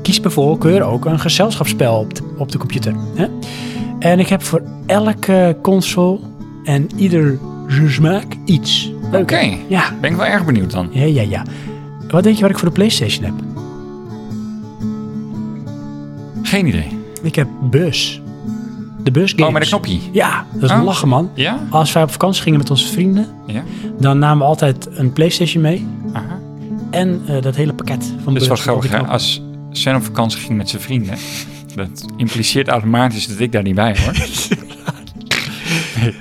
Kies bij voorkeur ook een gezelschapsspel op de, op de computer. Hè? En ik heb voor elke console en ieder zijn smaak iets.
Oké.
Leuk, hè? Ja.
Ben ik wel erg benieuwd dan.
ja, ja, ja. Wat denk je wat ik voor de PlayStation heb?
Geen idee.
Ik heb bus. De bus games.
Oh, met een knopje.
Ja, dat is een
Oh.
lachen, man.
Ja?
Als wij op vakantie gingen met onze vrienden,
Ja.
dan namen we altijd een PlayStation mee.
Aha.
En eh, dat hele pakket van bus.
Dus wat
met al die
grappig, hè?
knoppen.
als Sven op vakantie ging met zijn vrienden, dat impliceert automatisch dat ik daar niet bij hoor.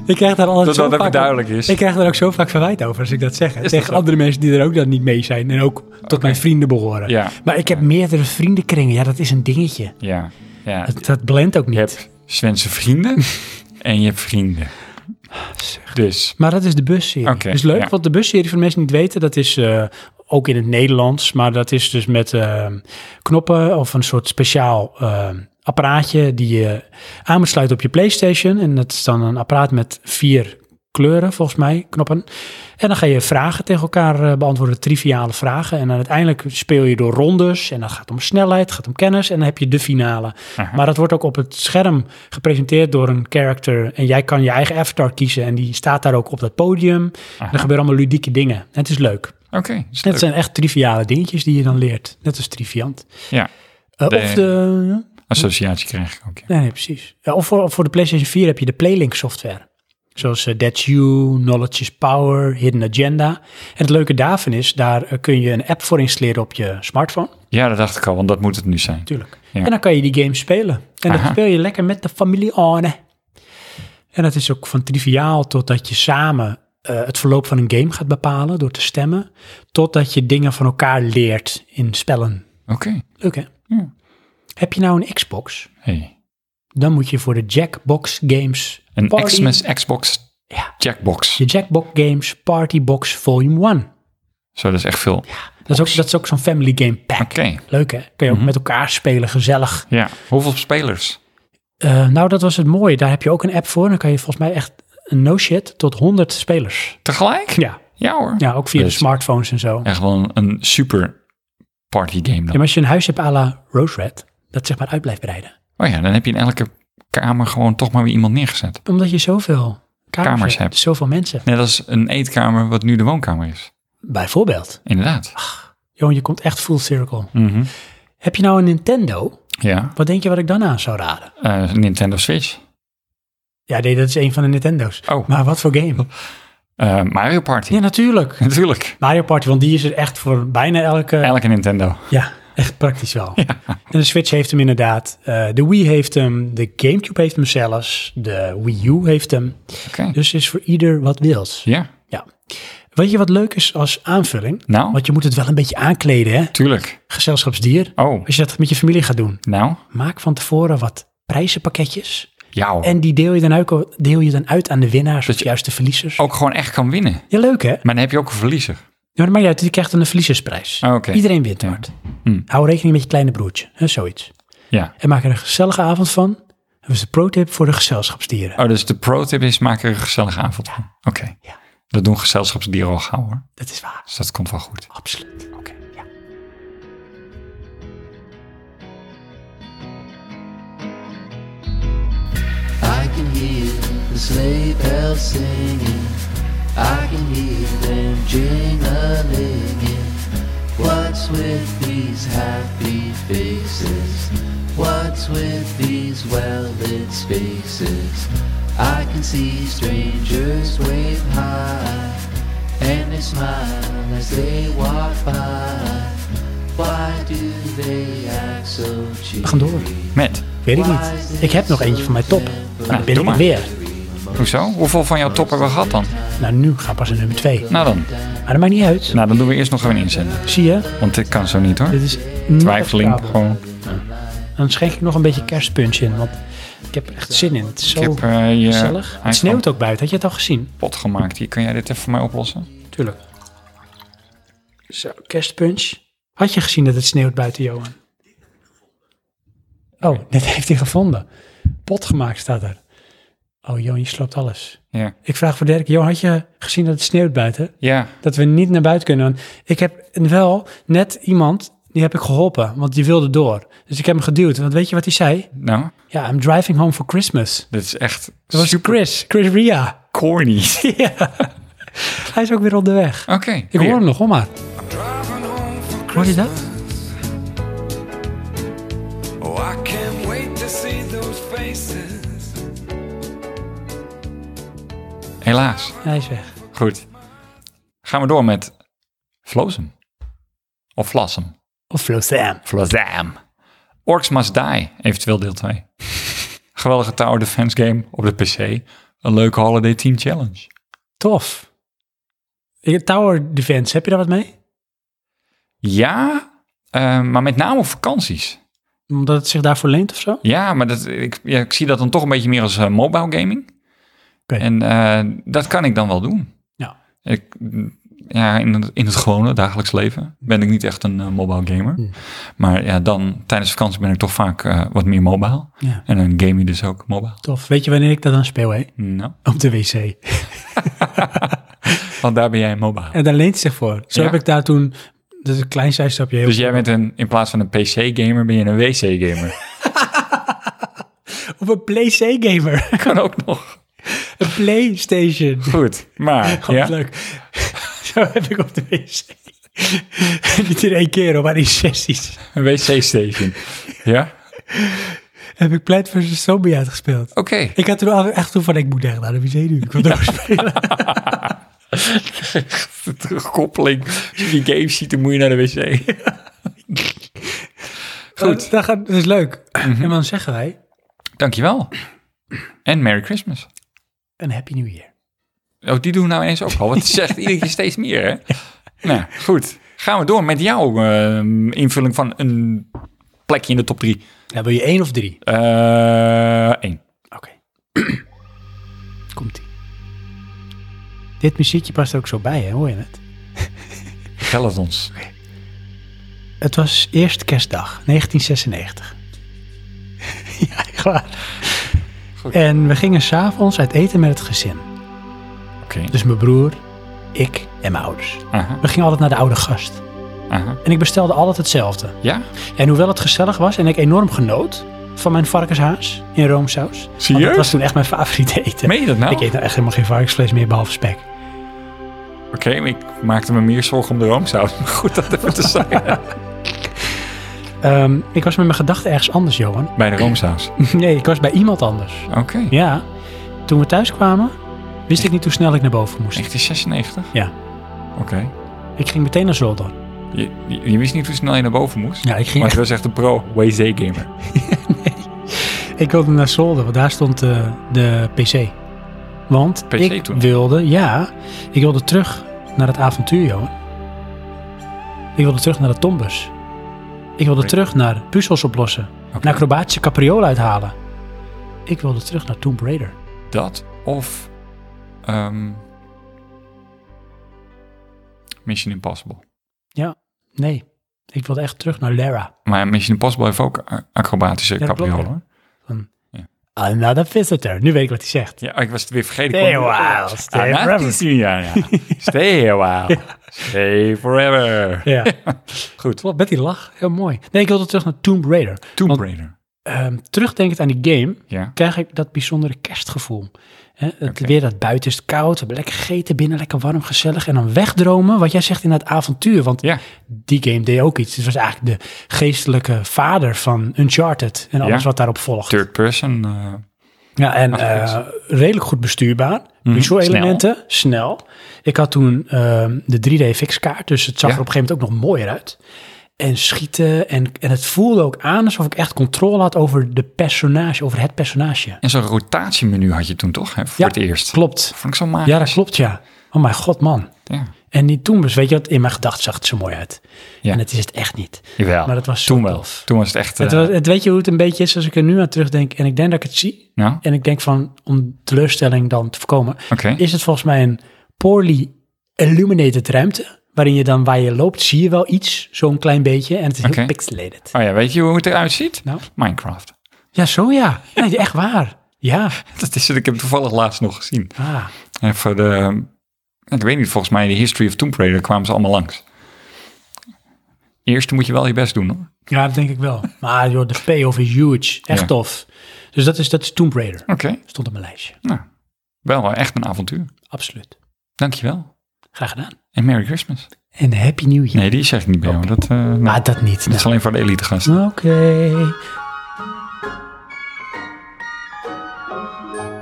Ik krijg daar altijd
Dat
zo
dat
vaak
even
aan-
duidelijk is.
Ik krijg er ook zo vaak verwijt over als ik dat zeg. hè.
dat
Tegen
zo?
andere mensen die er ook dan niet mee zijn. En ook tot mijn vrienden behoren.
Ja.
Maar ik heb meerdere vriendenkringen. Ja, dat is een dingetje.
Ja, ja.
Dat, dat blendt ook
Je
niet.
hebt Svense vrienden en je hebt vrienden. Dus,
Maar dat is de busserie.
Oké,
dus leuk,
ja.
want de busserie, voor de mensen die het niet weten, dat is eh, ook in het Nederlands. Maar dat is dus met eh, knoppen of een soort speciaal eh, apparaatje die je aan moet sluiten op je PlayStation. En dat is dan een apparaat met vier kleuren, volgens mij, knoppen. En dan ga je vragen tegen elkaar eh, beantwoorden, triviale vragen. En dan uiteindelijk speel je door rondes. En dat gaat om snelheid, gaat om kennis. En dan heb je de finale.
Aha.
Maar dat wordt ook op het scherm gepresenteerd door een character. En jij kan je eigen avatar kiezen. En die staat daar ook op dat podium.
Aha.
Er gebeuren allemaal ludieke dingen. En het is leuk.
oké. is
En
leuk.
het zijn echt triviale dingetjes die je dan leert. Net als triviant.
Ja,
Eh,
De-
Of de... ja?
associatie krijg ik ook. ja.
Nee, nee, precies. Ja, of voor, voor de PlayStation 4 heb je de Playlink software. Zoals eh, That's You, Knowledge is Power, Hidden Agenda. En het leuke daarvan is, daar eh, kun je een app voor installeren op je smartphone.
Ja, dat dacht ik al, want dat moet het nu zijn.
Tuurlijk.
Ja.
En dan kan je die games spelen. En dat
Aha.
speel je lekker met de familie Arne. En dat is ook van triviaal tot dat je samen eh, het verloop van een game gaat bepalen door te stemmen. Totdat je dingen van elkaar leert in spellen.
Oké.
Leuk hè?
Ja.
Heb je nou een Xbox?
Hey.
Dan moet je voor de Jackbox Games
Een
Party-
Xmas Xbox
Ja.
Jackbox.
De Jackbox Games Party Box Volume 1.
Zo, dat is echt veel.
Dat is ook, dat is ook zo'n family game pack.
Oké. Mhm.
Leuk hè? Kun je ook met elkaar spelen, gezellig.
Ja. Hoeveel spelers?
Eh, nou, dat was het mooie. Daar heb je ook een app voor. Dan kan je volgens mij echt no shit tot 100 spelers.
Tegelijk?
Ja,
Ja hoor.
ja ook via
Dus-
de smartphones en zo.
Echt wel een, een super party game
Ja,
dan.
maar als je een huis hebt à la Rose Red, dat zeg maar uit blijft breiden.
Oh ja, dan heb je in elke kamer gewoon toch maar weer iemand neergezet.
Omdat je zoveel kamers,
Kamers
hebt,
hebt.
zoveel mensen.
Net als een eetkamer wat nu de woonkamer is.
Bijvoorbeeld.
Inderdaad.
Johan, Johan, je komt echt full circle.
Mhm.
Heb je nou een Nintendo?
Ja,
Wat denk je wat ik dan aan zou raden?
eh, Nintendo Switch.
Ja, nee, dat is een van de Nintendo's.
Oh.
Maar wat voor game?
Eh, Mario Party.
Ja, natuurlijk.
Natuurlijk.
Mario Party, want die is er echt voor bijna elke...
Elke Nintendo.
Ja, echt praktisch wel. En de Switch heeft hem inderdaad. eh, de Wii heeft hem. De Gamecube heeft hem zelfs. De Wii U heeft hem.
Oké.
Dus is voor ieder wat wils.
Ja,
Ja. Weet je wat leuk is als aanvulling?
Nou?
Want je moet het wel een beetje aankleden, hè?
tuurlijk.
Gezelschapsdier.
Oh,
Als je dat met je familie gaat doen.
nou.
Maak van tevoren wat prijzenpakketjes.
Jou.
En die deel je dan uit, deel je dan uit aan de winnaars
Dat
of
je- Oh.
juist de verliezers.
Ook gewoon echt kan winnen.
Ja, leuk hè?
Maar dan heb je ook een verliezer.
Ja, maar maakt niet uit, je krijgt dan een verliezersprijs.
Ah, oké. Hm.
Iedereen wint, Mart. Hou rekening met je kleine broertje, hè, zoiets.
Ja.
En maak er een gezellige avond van. Dat is de pro-tip voor de gezelschapsdieren.
Oh, dus de pro-tip is maak er een gezellige avond van. Oké.
Ja.
Dat doen gezelschapsdieren al gauw hoor.
Dat is waar,
Dus dat komt wel goed.
absoluut. Oké, ja.
I can hear the sleigh bells singing. I can hear them jingling. What's with these happy faces? What's with these well-lit spaces? I can see strangers wave high, and they smile as they walk by. Why do they act so cheery?
We gaan door.
Met.
Weet ik niet. Ik heb nog eentje van mijn top. Maar dan ben
Nou, doe
ik
maar.
er weer.
Hoezo? Hoeveel van jouw top hebben we gehad dan?
Nou, nu gaan we pas naar nummer twee.
Nou dan.
Maar dat maakt niet uit.
Nou, dan doen we eerst nog een inzending.
Zie je?
Want dit kan zo niet hoor.
Dit is niet
Twijfeling
acceptabel.
gewoon.
Dan schenk ik nog een beetje kerstpunch in. Want ik heb er echt zin in. Het is zo
Ik heb eh, je
gezellig. Het sneeuwt ook buiten. Had je het al gezien?
pot gemaakt. Hier, kun jij dit even voor mij oplossen?
Tuurlijk. Zo, kerstpunch. Had je gezien dat het sneeuwt buiten, Johan? Oh, net heeft hij gevonden. Pot gemaakt staat er. Oh, Johan, je sloopt alles.
Ja.
Ik vraag voor Dirk. Johan, had je gezien dat het sneeuwt buiten?
Ja.
Dat we niet naar buiten kunnen. Want ik heb wel net iemand, die heb ik geholpen. Want die wilde door. Dus ik heb hem geduwd. Want weet je wat hij zei?
Nou,
Ja, I'm driving home for Christmas.
dit is echt
Dat was
super
Chris. Chris Ria.
corny. Oké.
Hij is ook weer op de weg. Ik hoor
weer.
hem nog, hoor maar. Hoor je dat?
Oh, I can't wait to see those faces.
Helaas.
Hij is weg.
Goed. Gaan we door met Flosum. Of Flassum.
Of Flo Sam.
Flazam. Orcs Must Die, eventueel deel 2. Geweldige tower defense game op de PC. Een leuke holiday team challenge.
Tof. Ik- Tower Defense, heb je daar wat mee?
Ja, eh, maar met name op vakanties.
Omdat het zich daarvoor leent of zo?
Ja, maar dat, ik, ja, ik zie dat dan toch een beetje meer als eh, mobile gaming.
Oké.
En eh, dat kan ik dan wel doen.
Ja.
Ik, mm, ja, in het, in het gewone dagelijks leven ben ik niet echt een eh, mobile gamer.
Hmm.
Maar ja, dan tijdens vakantie ben ik toch vaak eh, wat meer mobile.
Ja.
En dan game je dus ook mobile.
Tof. Weet je wanneer ik dat dan speel, hè?
Nou,
Op de wc.
want daar ben jij mobile.
En daar leent het zich voor. Zo
Ja.
heb ik daar toen... Dat is een klein zijstapje. Heel
Dus jij bent een, in plaats van een PC-gamer, ben je een WC-gamer.
Of een PlayStation-gamer.
kan ook nog.
een Playstation.
Goed, maar
Gewoon
ja,
leuk. Zo heb ik op de wc. Niet in één keer, hoor, maar in sessies.
een WC-station. ja,
Heb ik Plant vs. Zombie uitgespeeld.
oké.
Ik had er wel echt toen van, ik moet echt naar de wc nu. Ik wil door spelen.
De terugkoppeling. Als je die game ziet, dan moet je naar de wc. Goed.
Dat, dat gaat, dat is leuk.
Mhm.
En dan zeggen wij,
Dankjewel. En Merry Christmas.
een happy new year.
Oh, die doen we nou ineens ook al. Want het zegt iedere keer steeds meer, hè? Nou, goed. Gaan we door met jouw ehm, invulling van een plekje in de top drie.
Nou, wil je één of drie?
Eh één.
Oké. Komt-ie. Dit muziekje past er ook zo bij, hè? hoor je het?
Vertel het ons.
Het was eerst kerstdag, 1996. ja, echt waar. En we gingen s'avonds uit eten met het gezin.
Oké.
Dus mijn broer, ik en mijn ouders.
Aha,
We gingen altijd naar de oude gast.
aha.
En ik bestelde altijd hetzelfde.
Ja?
En hoewel het gezellig was en ik enorm genoot van mijn varkenshaas in roomsaus. want
Serieus?
Dat was toen echt mijn favoriete eten.
Meen je dat nou?
Ik eet nou echt helemaal geen varkensvlees meer, behalve spek.
Oké, maar ik maakte me meer zorgen om de roomsaus. Maar goed, dat even te zeggen.
Ehm, ik was met mijn gedachten ergens anders, Johan.
Bij de roomsaus.
Nee, ik was bij iemand anders.
Oké.
Ja. Toen we thuis kwamen, wist ik niet hoe snel ik naar boven moest.
1996?
Ja.
Oké.
Ik ging meteen naar Zolder.
Je, je, je wist niet hoe snel je naar boven moest?
Ja, ik ging
Maar je was echt een pro WZ gamer.
Ik wilde naar Zolder, want daar stond eh, de PC. Want
PC
ik
toen?
wilde, ja, ik wilde terug naar het avontuur, Johan. Ik wilde terug naar de tombus. Ik wilde
Oké.
terug naar puzzels oplossen. Naar acrobatische capriolen uithalen. Ik wilde terug naar Tomb Raider.
Dat of ehm, Mission Impossible.
Ja, nee. Ik wilde echt terug naar Lara.
Maar Mission Impossible heeft ook a- acrobatische
dat klopt,
capriolen.
ja.
hoor.
Another visitor. Nu weet ik wat hij zegt.
Ja, ik was het weer vergeten.
Stay
Ik kon-
a while,
Ah,
stay
nou,
forever.
het is nu, ja, ja. Stay a while, stay forever.
Ja.
Goed.
Klopt, Betty lach. Heel mooi. Nee, ik wilde terug naar Tomb Raider.
Tomb
Want,
Raider.
ehm, terugdenkend aan die game,
Ja.
krijg ik dat bijzondere kerstgevoel. Hè, het
Oké.
weer dat buiten is koud, we hebben lekker gegeten binnen, lekker warm, gezellig. En dan wegdromen, wat jij zegt in dat avontuur. Want
Ja.
die game deed ook iets. Het was eigenlijk de geestelijke vader van Uncharted en alles
Ja.
wat daarop volgt.
Third person. eh,
Ja, en
Ach,
eh, redelijk goed bestuurbaar. Visuelelementen, snel. Ik had toen ehm, de 3D-fixkaart, dus het zag
Ja.
er op een gegeven moment ook nog mooier uit. En schieten, en, en het voelde ook aan alsof ik echt controle had over de personage, over het personage.
en zo'n rotatiemenu had je toen toch, hè, voor
Ja,
het eerst.
Klopt.
Vond ik zo magisch.
Ja, dat klopt, ja. Oh mijn god, man.
Ja.
En die toen, dus weet je wat, in mijn gedachten zag het zo mooi uit.
Ja.
En het is het echt niet.
Jawel.
Maar dat was zo
toen wel.
tof.
Toen was het echt...
Het,
eh,
was- het, weet je hoe het een beetje is als ik er nu aan terugdenk en ik denk dat ik het zie?
nou,
En ik denk van, om teleurstelling dan te voorkomen,
oké.
is het volgens mij een poorly illuminated ruimte. Waarin je dan waar je loopt, zie je wel iets, zo'n klein beetje. En het is
Oké.
heel pixelated.
Oh ja, weet je hoe het eruit ziet?
Nou?
Minecraft.
Ja, zo ja. Nee, echt waar. Ja.
Dat is het. Ik heb het toevallig laatst nog gezien.
Ah,
En voor de... Ik weet niet, volgens mij de History of Tomb Raider kwamen ze allemaal langs. Eerst moet je wel je best doen hoor.
ja, dat denk ik wel. Maar joh, de payoff is huge. Echt
Ja.
tof. Dus dat is, dat is Tomb Raider.
Oké,
Stond op mijn lijstje.
nou. Wel eh, echt een avontuur.
Absoluut.
Dankjewel.
Graag gedaan.
En Merry Christmas.
En Happy New Year.
Nee, die zeg ik niet bij jou. Dat, eh, nou,
Ah, dat niet.
dat is
Nou,
alleen voor de elite gasten.
Oké.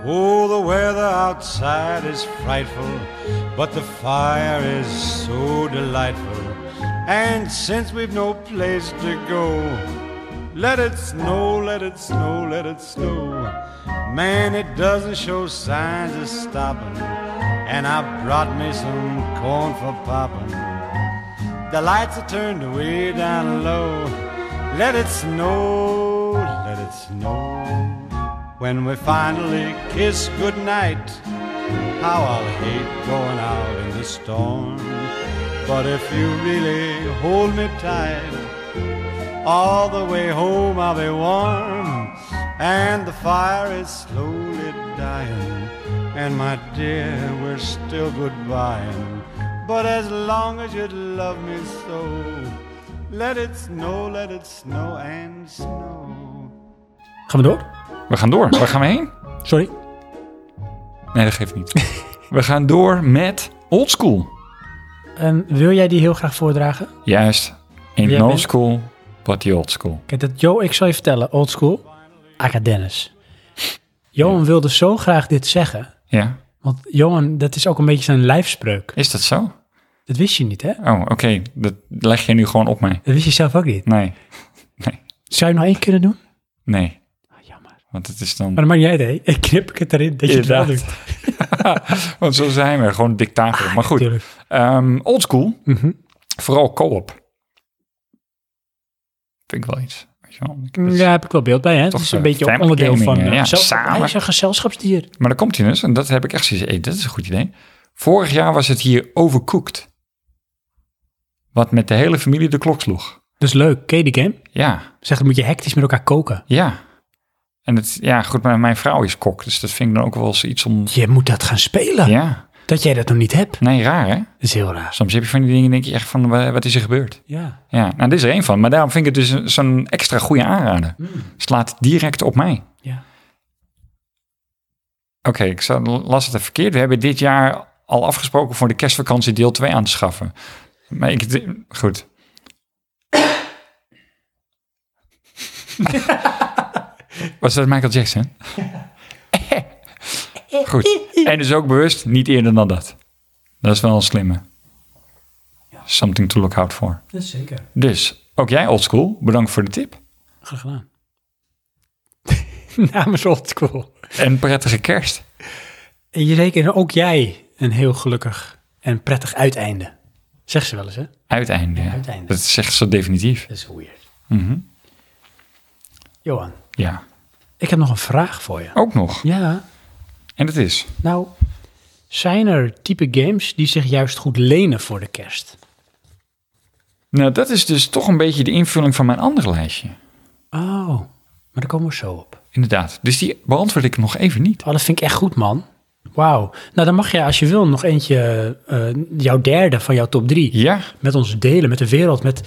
Oh, the weather outside is frightful, but the fire is so delightful. And since we've no place to go, let it snow, let it snow, let it snow. Man, it doesn't show signs of stopping, and I brought me some corn for popping. The lights are turned way down low. Let it snow, let it snow. When we finally kiss goodnight, how I'll hate going out in the storm. But if you really hold me tight, all the way home I'll be warm. And the fire is slowly dying, and my dear, we're still goodbying. But as long as you love me so, let it snow, let it snow and snow.
Gaan we door?
We gaan door. Waar gaan we heen?
Sorry.
Nee, dat geeft niet. we gaan door met Old School.
En wil jij die heel graag voordragen?
Juist.
Jij
In no
bent-
school, but the old school.
Kijk, dat Jo, ik zal je vertellen, oldschool, aka Dennis. Johan wilde zo graag dit zeggen.
Ja,
Want Johan, dat is ook een beetje zijn lijfspreuk.
is dat zo?
Dat wist je niet, hè?
Oh, oké. Dat leg je nu gewoon op mij.
Dat wist je zelf ook niet.
Nee,
Zou je nog één kunnen doen?
nee.
Ah, jammer.
Want het is dan...
Maar dan maak jij het, hè? Ik knip het erin dat je het wel
Inderdaad.
doet.
Want zo zijn we, gewoon dictator. maar goed,
Tuurlijk.
Ehm old school,
Ah, Mhm.
vooral co-op. Vind ik wel iets. Weet je wel? Ik- dat is-
Daar heb ik wel beeld bij, hè? Het
Toch,
is een
eh,
beetje ook
family
onderdeel
gaming,
van...
eh,
eh,
ja,
zelf-
samen.
Hij is een gezelschapsdier.
Maar dan komt hij dus, en dat heb ik echt zoiets hey, dat is een goed idee. Vorig jaar was het hier overcooked. Wat met de hele familie de klok sloeg.
Dus leuk. Ken je die game?
Ja,
Zegt, dan moet je hectisch met elkaar koken.
ja. En het, ja, goed, maar mijn vrouw is kok, dus dat vind ik dan ook wel eens iets om...
Je moet dat gaan spelen.
Ja,
Dat jij dat nog niet hebt.
nee, raar hè?
Dat is heel raar.
Soms heb je van die dingen, denk je echt van, wa- wat is er gebeurd?
Ja.
Ja, nou, dit is er één van. Maar daarom vind ik het dus een- zo'n extra goede aanrader. Slaat direct op mij.
Ja.
Oké, ik zal- las het even verkeerd. We hebben dit jaar al afgesproken voor de kerstvakantie deel 2 aan te schaffen. Maar ik... Goed. Was dat Michael Jackson? Goed. En dus ook bewust niet eerder dan dat. Dat is wel een slimme. Something to look out for.
Dat is zeker.
Dus, ook jij oldschool, bedankt voor de tip.
Graag gedaan. Namens Old School.
En prettige kerst.
En je rekenen ook jij een heel gelukkig en prettig uiteinde. Zeg ze wel eens, hè?
Uiteinde.
uiteinde.
Dat zegt ze definitief.
Dat is weird. Johan,
Ja.
ik heb nog een vraag voor je.
Ook nog.
Ja,
En dat is...
nou, zijn er type games die zich juist goed lenen voor de kerst?
Nou, dat is dus toch een beetje de invulling van mijn andere lijstje.
Oh, maar daar komen we zo op.
Inderdaad. Dus die beantwoord ik nog even niet.
Oh, dat vind ik echt goed, man. Wauw. Nou, dan mag je als je wil nog eentje, eh, jouw derde van jouw top drie,
Ja?
met ons delen, met de wereld, met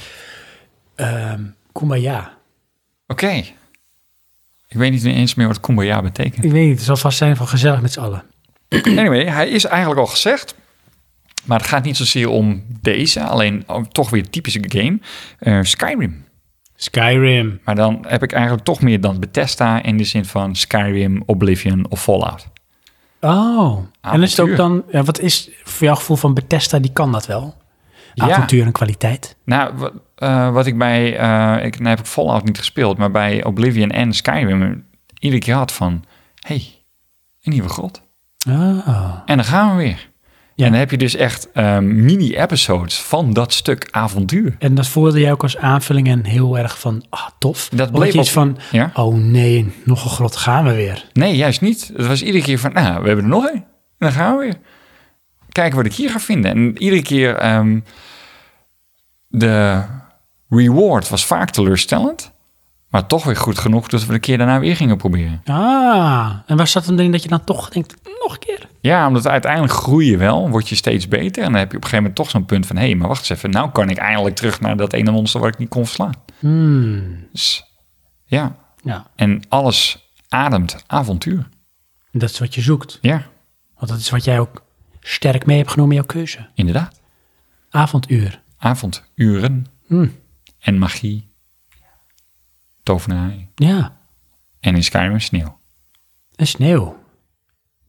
ehm Kumbaya.
Oké. Ik weet niet eens meer wat Kumbaya betekent.
Ik weet niet, het zal vast zijn van gezellig met z'n allen.
Anyway, hij is eigenlijk al gezegd. Maar het gaat niet zozeer om deze, alleen ook toch weer typische game. eh, Skyrim.
Skyrim.
Maar dan heb ik eigenlijk toch meer dan Bethesda in de zin van Skyrim, Oblivion of Fallout.
Oh, en is het ook
Avontuur.
dan, ja, wat is voor jouw gevoel van Bethesda, die kan dat wel? Avontuur en kwaliteit.
Nou, wat, eh, wat ik bij... eh ik, nou heb ik Fallout niet gespeeld, maar bij Oblivion en Skyrim... iedere keer had van... hey, een nieuwe grot.
Oh.
En dan gaan we weer.
Ja.
En dan heb je dus echt eh, mini-episodes van dat stuk avontuur.
En dat voelde jij ook als aanvulling en heel erg van, ah, tof.
Dat
Omdat
bleef
je iets
ook-
van,
Ja?
oh nee, nog een grot gaan we weer.
Nee, juist niet. Het was iedere keer van, nou, we hebben er nog één. En dan gaan we weer. Kijken wat ik hier ga vinden. En iedere keer... ehm, de reward was vaak teleurstellend. Maar toch weer goed genoeg dat we de keer daarna weer gingen proberen.
Ah, en waar zat hem erin dat je dan toch denkt, nog een keer?
Ja, omdat uiteindelijk groei je wel, word je steeds beter. En dan heb je op een gegeven moment toch zo'n punt van... hé, maar wacht eens even, nou kan ik eindelijk terug naar dat ene monster waar ik niet kon verslaan.
Hmm.
Dus ja,
Ja,
en alles ademt avontuur.
dat is wat je zoekt.
Ja,
Want dat is wat jij ook sterk mee hebt genomen in jouw keuze.
inderdaad.
Avonduur.
Avonduren
Hmm.
en magie, tovenarij
Ja,
en in Skyrim sneeuw.
en sneeuw.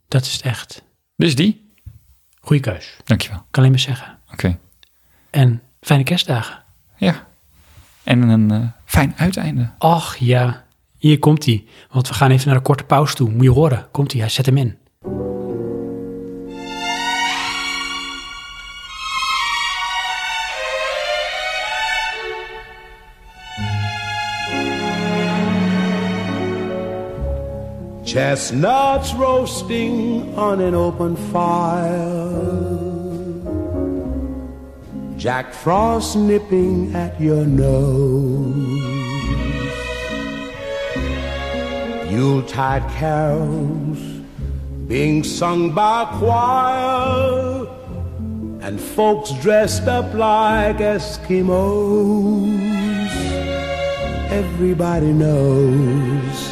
Dat is het echt.
Dus die,
Goeie keus.
dankjewel.
Kan alleen maar zeggen.
Oké,
En fijne kerstdagen.
ja. En een eh, fijn uiteinde.
Ach ja, hier komt hij. Want we gaan even naar een korte pauze toe. Moet je horen. Komt hij, hij zet hem in.
Chestnuts roasting on an open fire. Jack Frost nipping at your nose. Yuletide carols being sung by a choir. And folks dressed up like Eskimos. Everybody knows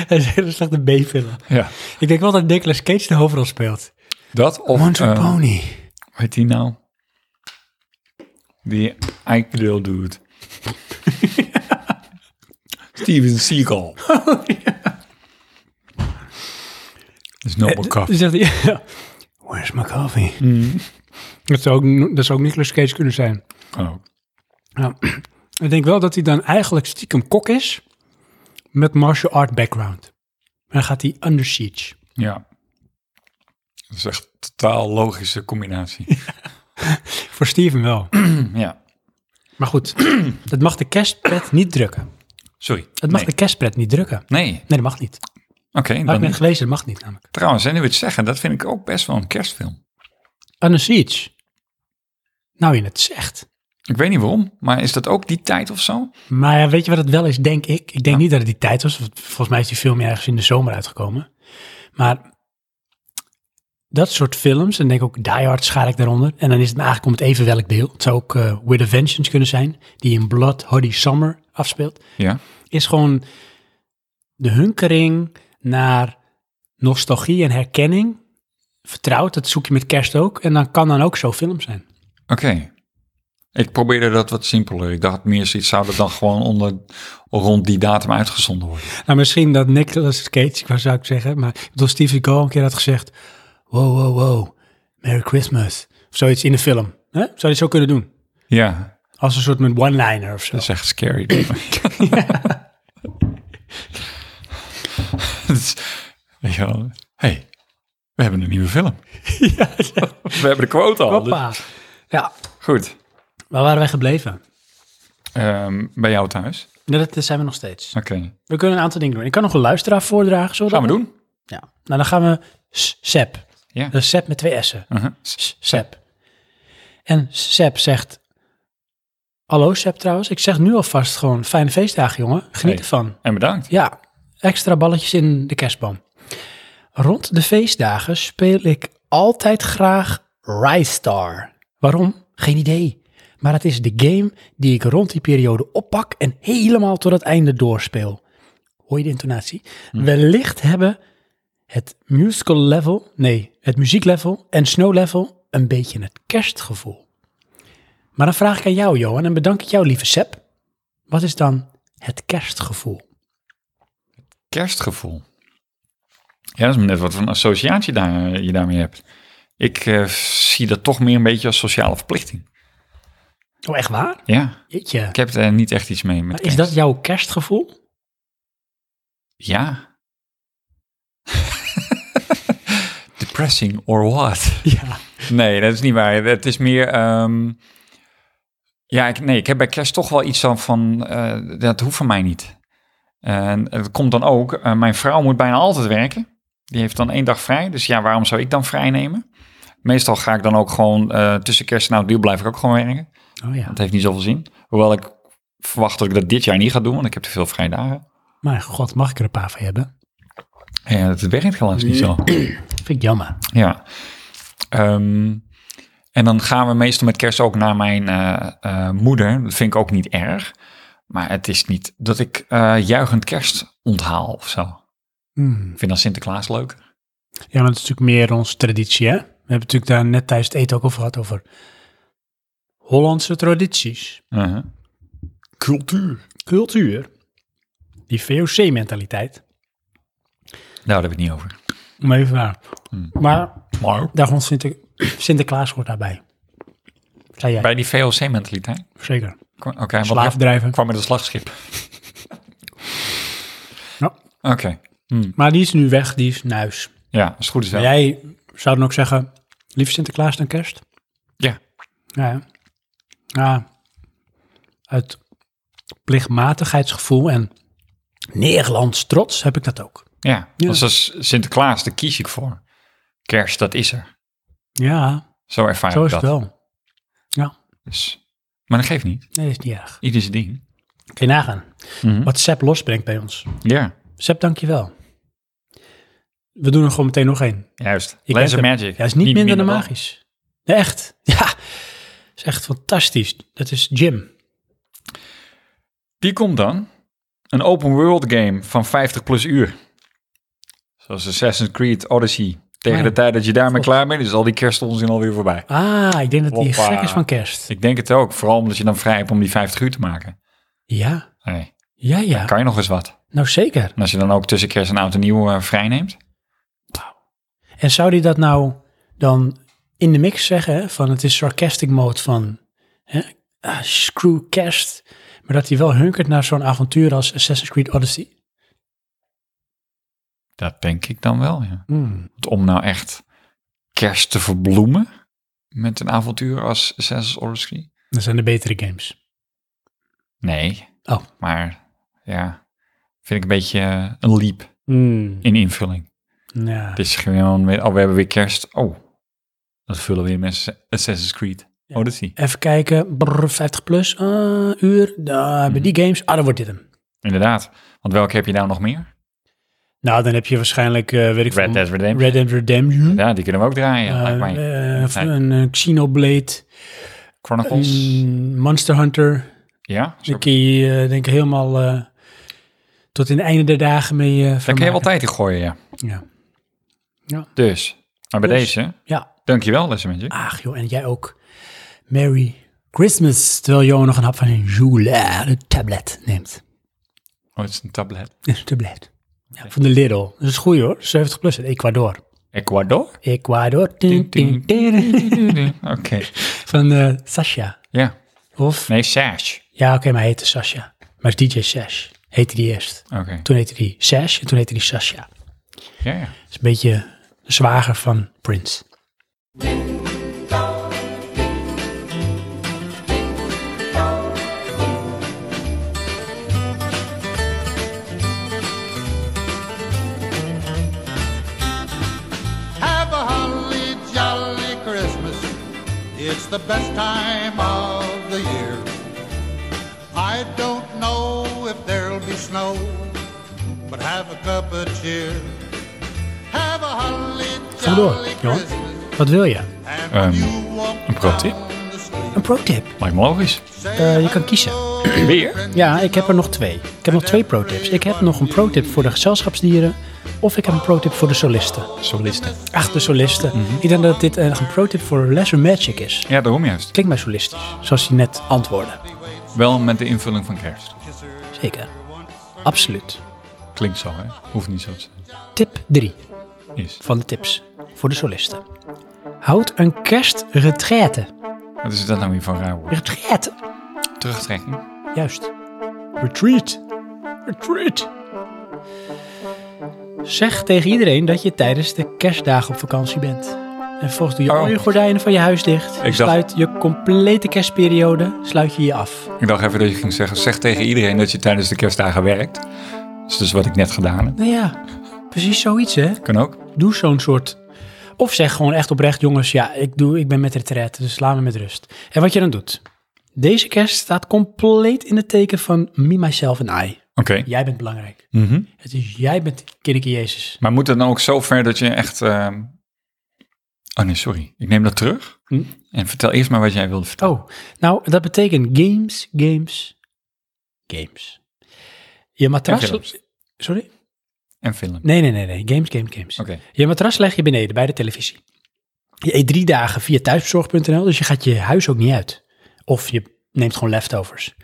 dat is een hele slechte B-film.
ja.
Ik denk wel dat Nicolas Cage de hoofdrol speelt.
Dat of...
One Trick
eh,
Pony.
Hoe heet die nou? Die Eikedeel dude. Steven Seagal. is no more
Dan Dus
coffee.
zegt hij, ja, Mhm. where's my coffee? Dat, zou ook, dat zou ook Nicolas Cage kunnen zijn.
Kan ook.
Nou, ik denk wel dat hij dan eigenlijk stiekem kok is met martial art background. En dan gaat hij under siege.
Ja. Dat is echt een totaal logische combinatie.
Voor Steven wel.
ja.
Maar goed, het mag de kerstpret niet drukken.
Sorry.
Het mag
nee.
de kerstpret niet drukken.
Nee. Oké,
Nee, dat mag niet. Maar
dan
ik ben
niet.
gelezen, dat mag niet namelijk.
Trouwens, en nu we het zeggen, dat vind ik ook best wel een kerstfilm.
Under siege. Nou, je het zegt.
Ik weet niet waarom, maar is dat ook die tijd of zo?
Maar ja, weet je wat het wel is, denk ik? Ik denk niet dat het die tijd was. want Volgens mij is die film ergens in de zomer uitgekomen. Maar dat soort films, en denk ook Die Hard schaar ik daaronder. En dan is het me eigenlijk om het even welk deel. Het zou ook eh, With a Vengeance kunnen zijn, die in Blood Hoodie Summer afspeelt.
Ja.
Is gewoon de hunkering naar nostalgie en herkenning. Vertrouwd, dat zoek je met kerst ook. En dan kan dan ook zo'n film zijn.
Oké. Ik probeerde dat wat simpeler. Ik dacht meer zoiets, zou dat dan gewoon onder, rond die datum uitgezonden worden?
Nou, misschien dat Nicolas Cage, ik wou zou ik zeggen, maar ik bedoel, Steve Seagal een keer had gezegd, wow, wow, wow, Merry Christmas. Of zoiets in de film. Hè? Zou hij zo kunnen doen?
Ja,
Als een soort met one-liner of zo.
dat is echt scary. Dus, denk ik. Dat is- weet je wel, hey, we hebben een nieuwe film. We hebben de quote al. dus-
Hoppa. Ja,
Goed,
waar waren wij gebleven?
Ehm, bij jou thuis.
Ja, dat zijn we nog steeds.
Oké,
We kunnen een aantal dingen doen. Ik kan nog een luisteraar voordragen. Zullen
gaan we
dat
doen.
Ja. Nou, dan gaan we S- Sep.
Ja.
Dat is Sep Eh, met twee S'en.
Uh-huh.
S- Sep. En Sep zegt... Hallo Sep trouwens, ik zeg nu alvast gewoon fijne feestdagen jongen. Geniet
Hey.
ervan.
En bedankt.
Ja, extra balletjes in de kerstboom. Rond de feestdagen speel ik altijd graag Rystar. Waarom? Geen idee. Maar het is de game die ik rond die periode oppak en helemaal tot het einde doorspeel. Hoor je de intonatie? Wellicht hebben het musical level, nee, het muzieklevel en snow level een beetje het kerstgevoel. Maar dan vraag ik aan jou, Johan, en bedank ik jou, lieve Seb. Wat is dan het kerstgevoel?
Kerstgevoel. Ja, dat is maar net wat voor een associatie daar, je daarmee hebt. Ik eh, zie dat toch meer een beetje als sociale verplichting.
Oh, echt waar?
Ja.
Jeetje.
Ik heb er niet echt iets mee met
Maar is dat
kerst.
jouw kerstgevoel?
Ja. Depressing or what?
Ja.
Nee, dat is niet waar. Het is meer... ehm, ja, ik, nee, ik heb bij kerst toch wel iets van... van eh, dat hoeft van mij niet. En het komt dan ook... eh, mijn vrouw moet bijna altijd werken. Die heeft dan één dag vrij. Dus ja, waarom zou ik dan vrij nemen? Meestal ga ik dan ook gewoon... eh, tussen kerst en oud en nieuw blijf ik ook gewoon werken.
Oh ja.
Dat heeft niet zoveel zin. Hoewel ik verwacht dat ik dat dit jaar niet ga doen, want ik heb te veel vrije dagen.
Maar god, mag ik er een paar van hebben?
Ja, dat werkt helaas niet zo.
Vind ik jammer.
Ja. Ehm, en dan gaan we meestal met kerst ook naar mijn eh, eh, moeder. Dat vind ik ook niet erg. Maar het is niet dat ik eh, juichend kerst onthaal of zo.
Hmm.
Ik vind dan Sinterklaas leuk.
Ja, maar dat is natuurlijk meer onze traditie, hè? We hebben het natuurlijk daar net tijdens het eten ook over gehad, over Hollandse tradities.
Uh-huh. Cultuur.
Cultuur. Die VOC-mentaliteit.
Nou, daar hebben we het niet over.
Om even waar. Maar
Maar
daar komt Sinter Sinterklaas hoort daarbij. Zei jij,
bij die VOC-mentaliteit.
zeker.
Oké, wat-
Slaafdrijven.
kwam met een slagschip.
Ja.
Oké. Hmm.
Maar die is nu weg, die is naar huis.
Ja, als het goed is wel.
Jij zou dan ook zeggen, liever Sinterklaas dan kerst?
Ja.
Ja, ja. ja. Uit plichtmatigheidsgevoel en Nederlands trots heb ik dat ook.
Ja,
Ja.
Dus als Sinterklaas, daar kies ik voor. Kerst, dat is er.
Ja,
Zo ervaar
zo
ik
is
dat.
het wel.
Dus, maar dat geeft niet.
Nee, dat is niet erg.
Ieder zijn ding.
Kun je nagaan
Mhm.
wat Sepp losbrengt bij ons.
Ja,
Sepp, dankjewel. We doen er gewoon meteen nog één.
juist.
Je
Laser
kent hem.
Magic.
Ja, is niet, minder, dan
belangrijk.
magisch. Nee, echt. Ja, is echt fantastisch. Dat is Jim.
Die komt dan. Een open world game van 50 plus uur. Zoals Assassin's Creed Odyssey. Tegen
Oh.
de tijd dat je daarmee
God.
klaar bent, is al die kerstonzin alweer voorbij.
Ah, ik denk dat hij
Hoppa.
gek is van kerst.
Ik denk het ook. Vooral omdat je dan vrij hebt om die 50 uur te maken.
Ja,
Hey,
ja, ja.
Kan je nog eens wat?
Nou zeker.
En als je dan ook tussen kerst en oud en nieuw eh, vrij neemt.
En zou hij dat nou dan in de mix zeggen? hè, Van het is sarcastic mode van hè, ah, screw kerst. Maar dat hij wel hunkert naar zo'n avontuur als Assassin's Creed Odyssey.
Dat denk ik dan wel, ja.
Hmm.
Want om nou echt kerst te verbloemen met een avontuur als Assassin's Odyssey?
Dat zijn de betere games.
Nee.
Oh.
Maar ja, vind ik een beetje eh, een leap
Hmm.
in invulling.
Ja.
Het is gewoon, weer- oh, we hebben weer kerst. Oh, dat vullen we in met Assassin's Creed Odyssey.
Even kijken, brr, 50 plus, ah, uur, daar hebben die games. Ah, dan wordt dit hem.
Inderdaad. Want welke heb je nou nog meer?
Nou, dan heb je waarschijnlijk, eh, weet ik
Red
veel,
Dead Redemption.
Red Dead Redemption.
Ja, die kunnen we ook draaien.
Eh,
lijkt mij.
eh, of
Nee.
een eh, Xenoblade,
Chronicles.
een Monster Hunter.
ja, zo-
Daar kun je eh, denk ik helemaal eh, tot in het einde der dagen mee eh
daar kun je wel
vermaken.
tijd in gooien, ja.
Ja.
Dus, maar bij
Dus. Ah.
deze,
ja,
dankjewel, Lesser Magic.
ach joh, en jij ook. Merry Christmas, terwijl Johan nog een hap van een Jula, de tablet, neemt.
Oh, het is een tablet.
Een tablet. Ja, van de Lidl. Dat is goed hoor, 70 plus, uit Ecuador.
Ecuador?
Ecuador. Tin, tin, tin.
Oké.
Van eh Sasha.
Ja.
Of?
Nee, Sash.
Ja, oké, maar hij heette Sasha. Maar het is DJ Sash. Heette die eerst.
Oké.
Toen heette die Sash en toen heette die Sasha.
Ja, ja.
Dat is een beetje de zwager van Prince.
Have a holly jolly Christmas. It's the best time of the year. I don't know if there'll be snow, but have a cup of cheer. Have a holly
Ga maar door,
jolly
Johan.
Christmas.
Wat wil je?
And
Ehm,
when you walk
een pro-tip?
down the street,
Een pro-tip.
Lijkt me logisch.
say
Eh, je kan kiezen.
Weer?
Ja, ik heb er nog twee. Ik heb nog twee pro-tips. Ik heb nog een pro-tip voor de gezelschapsdieren. Of ik heb een pro-tip voor de solisten.
Solisten.
Ach, de solisten. Ik denk dat dit eh, een pro-tip voor Lesser Magic is.
Ja, daarom juist.
Klinkt mij solistisch, zoals je net antwoordde.
Wel met de invulling van kerst.
Zeker. Absoluut.
Klinkt zo, hè? Hoeft niet zo te zijn.
Tip 3
Is.
van de tips voor de solisten. Houd een kerstretraite.
Wat is dat nou weer van raar woord?
Retraite.
Terugtrekking?
Juist. Retreat. Retreat. Zeg tegen iedereen dat je tijdens de kerstdagen op vakantie bent. En volgens doe je
Oh.
al je gordijnen van je huis dicht.
dacht-
Sluit je complete kerstperiode, sluit je je af.
Ik dacht even dat je ging zeggen, zeg tegen iedereen dat je tijdens de kerstdagen werkt. Dat is dus wat ik net gedaan heb.
Nou ja, precies zoiets hè.
Kan ook.
Doe zo'n soort. Of zeg gewoon echt oprecht, jongens, ja, ik, doe, ik ben met retraite, dus laat me met rust. En wat je dan doet. Deze kerst staat compleet in het teken van me, myself en I.
Oké.
Jij bent belangrijk.
Mhm.
Het is jij bent kinderke Jezus.
Maar moet het dan ook zo ver dat je echt... ehm, Oh nee, sorry. Ik neem dat terug.
Hm?
En vertel eerst maar wat jij wilde vertellen.
Oh, nou, dat betekent games, games, games. Je
en
matras...
films.
Sorry? Oh.
En film.
Nee, nee, nee, nee. Games, games, games.
Oké.
Je matras leg je beneden bij de televisie. Je eet drie dagen via thuisbezorg.nl, dus je gaat je huis ook niet uit. Of je neemt gewoon leftovers.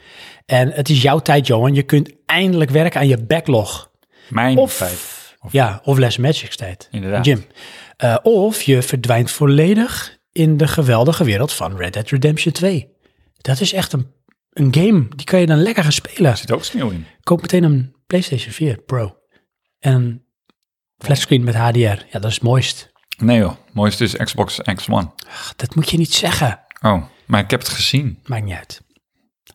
En het is jouw tijd, Johan. Je kunt eindelijk werken aan je backlog.
Mijn
Of,
feit. Of-
ja, of Les Magic's tijd.
Inderdaad.
Jim. Eh, of je verdwijnt volledig in de geweldige wereld van Red Dead Redemption 2. Dat is echt een, een game. Die kan je dan lekker gaan spelen.
Er zit ook sneeuw in.
Koop meteen een PlayStation 4 Pro. En een Flatscreen met HDR. Ja, dat is het mooist.
Nee joh, mooiste is Xbox X1.
Dat moet je niet zeggen.
Oh, maar ik heb het gezien.
Maakt niet uit.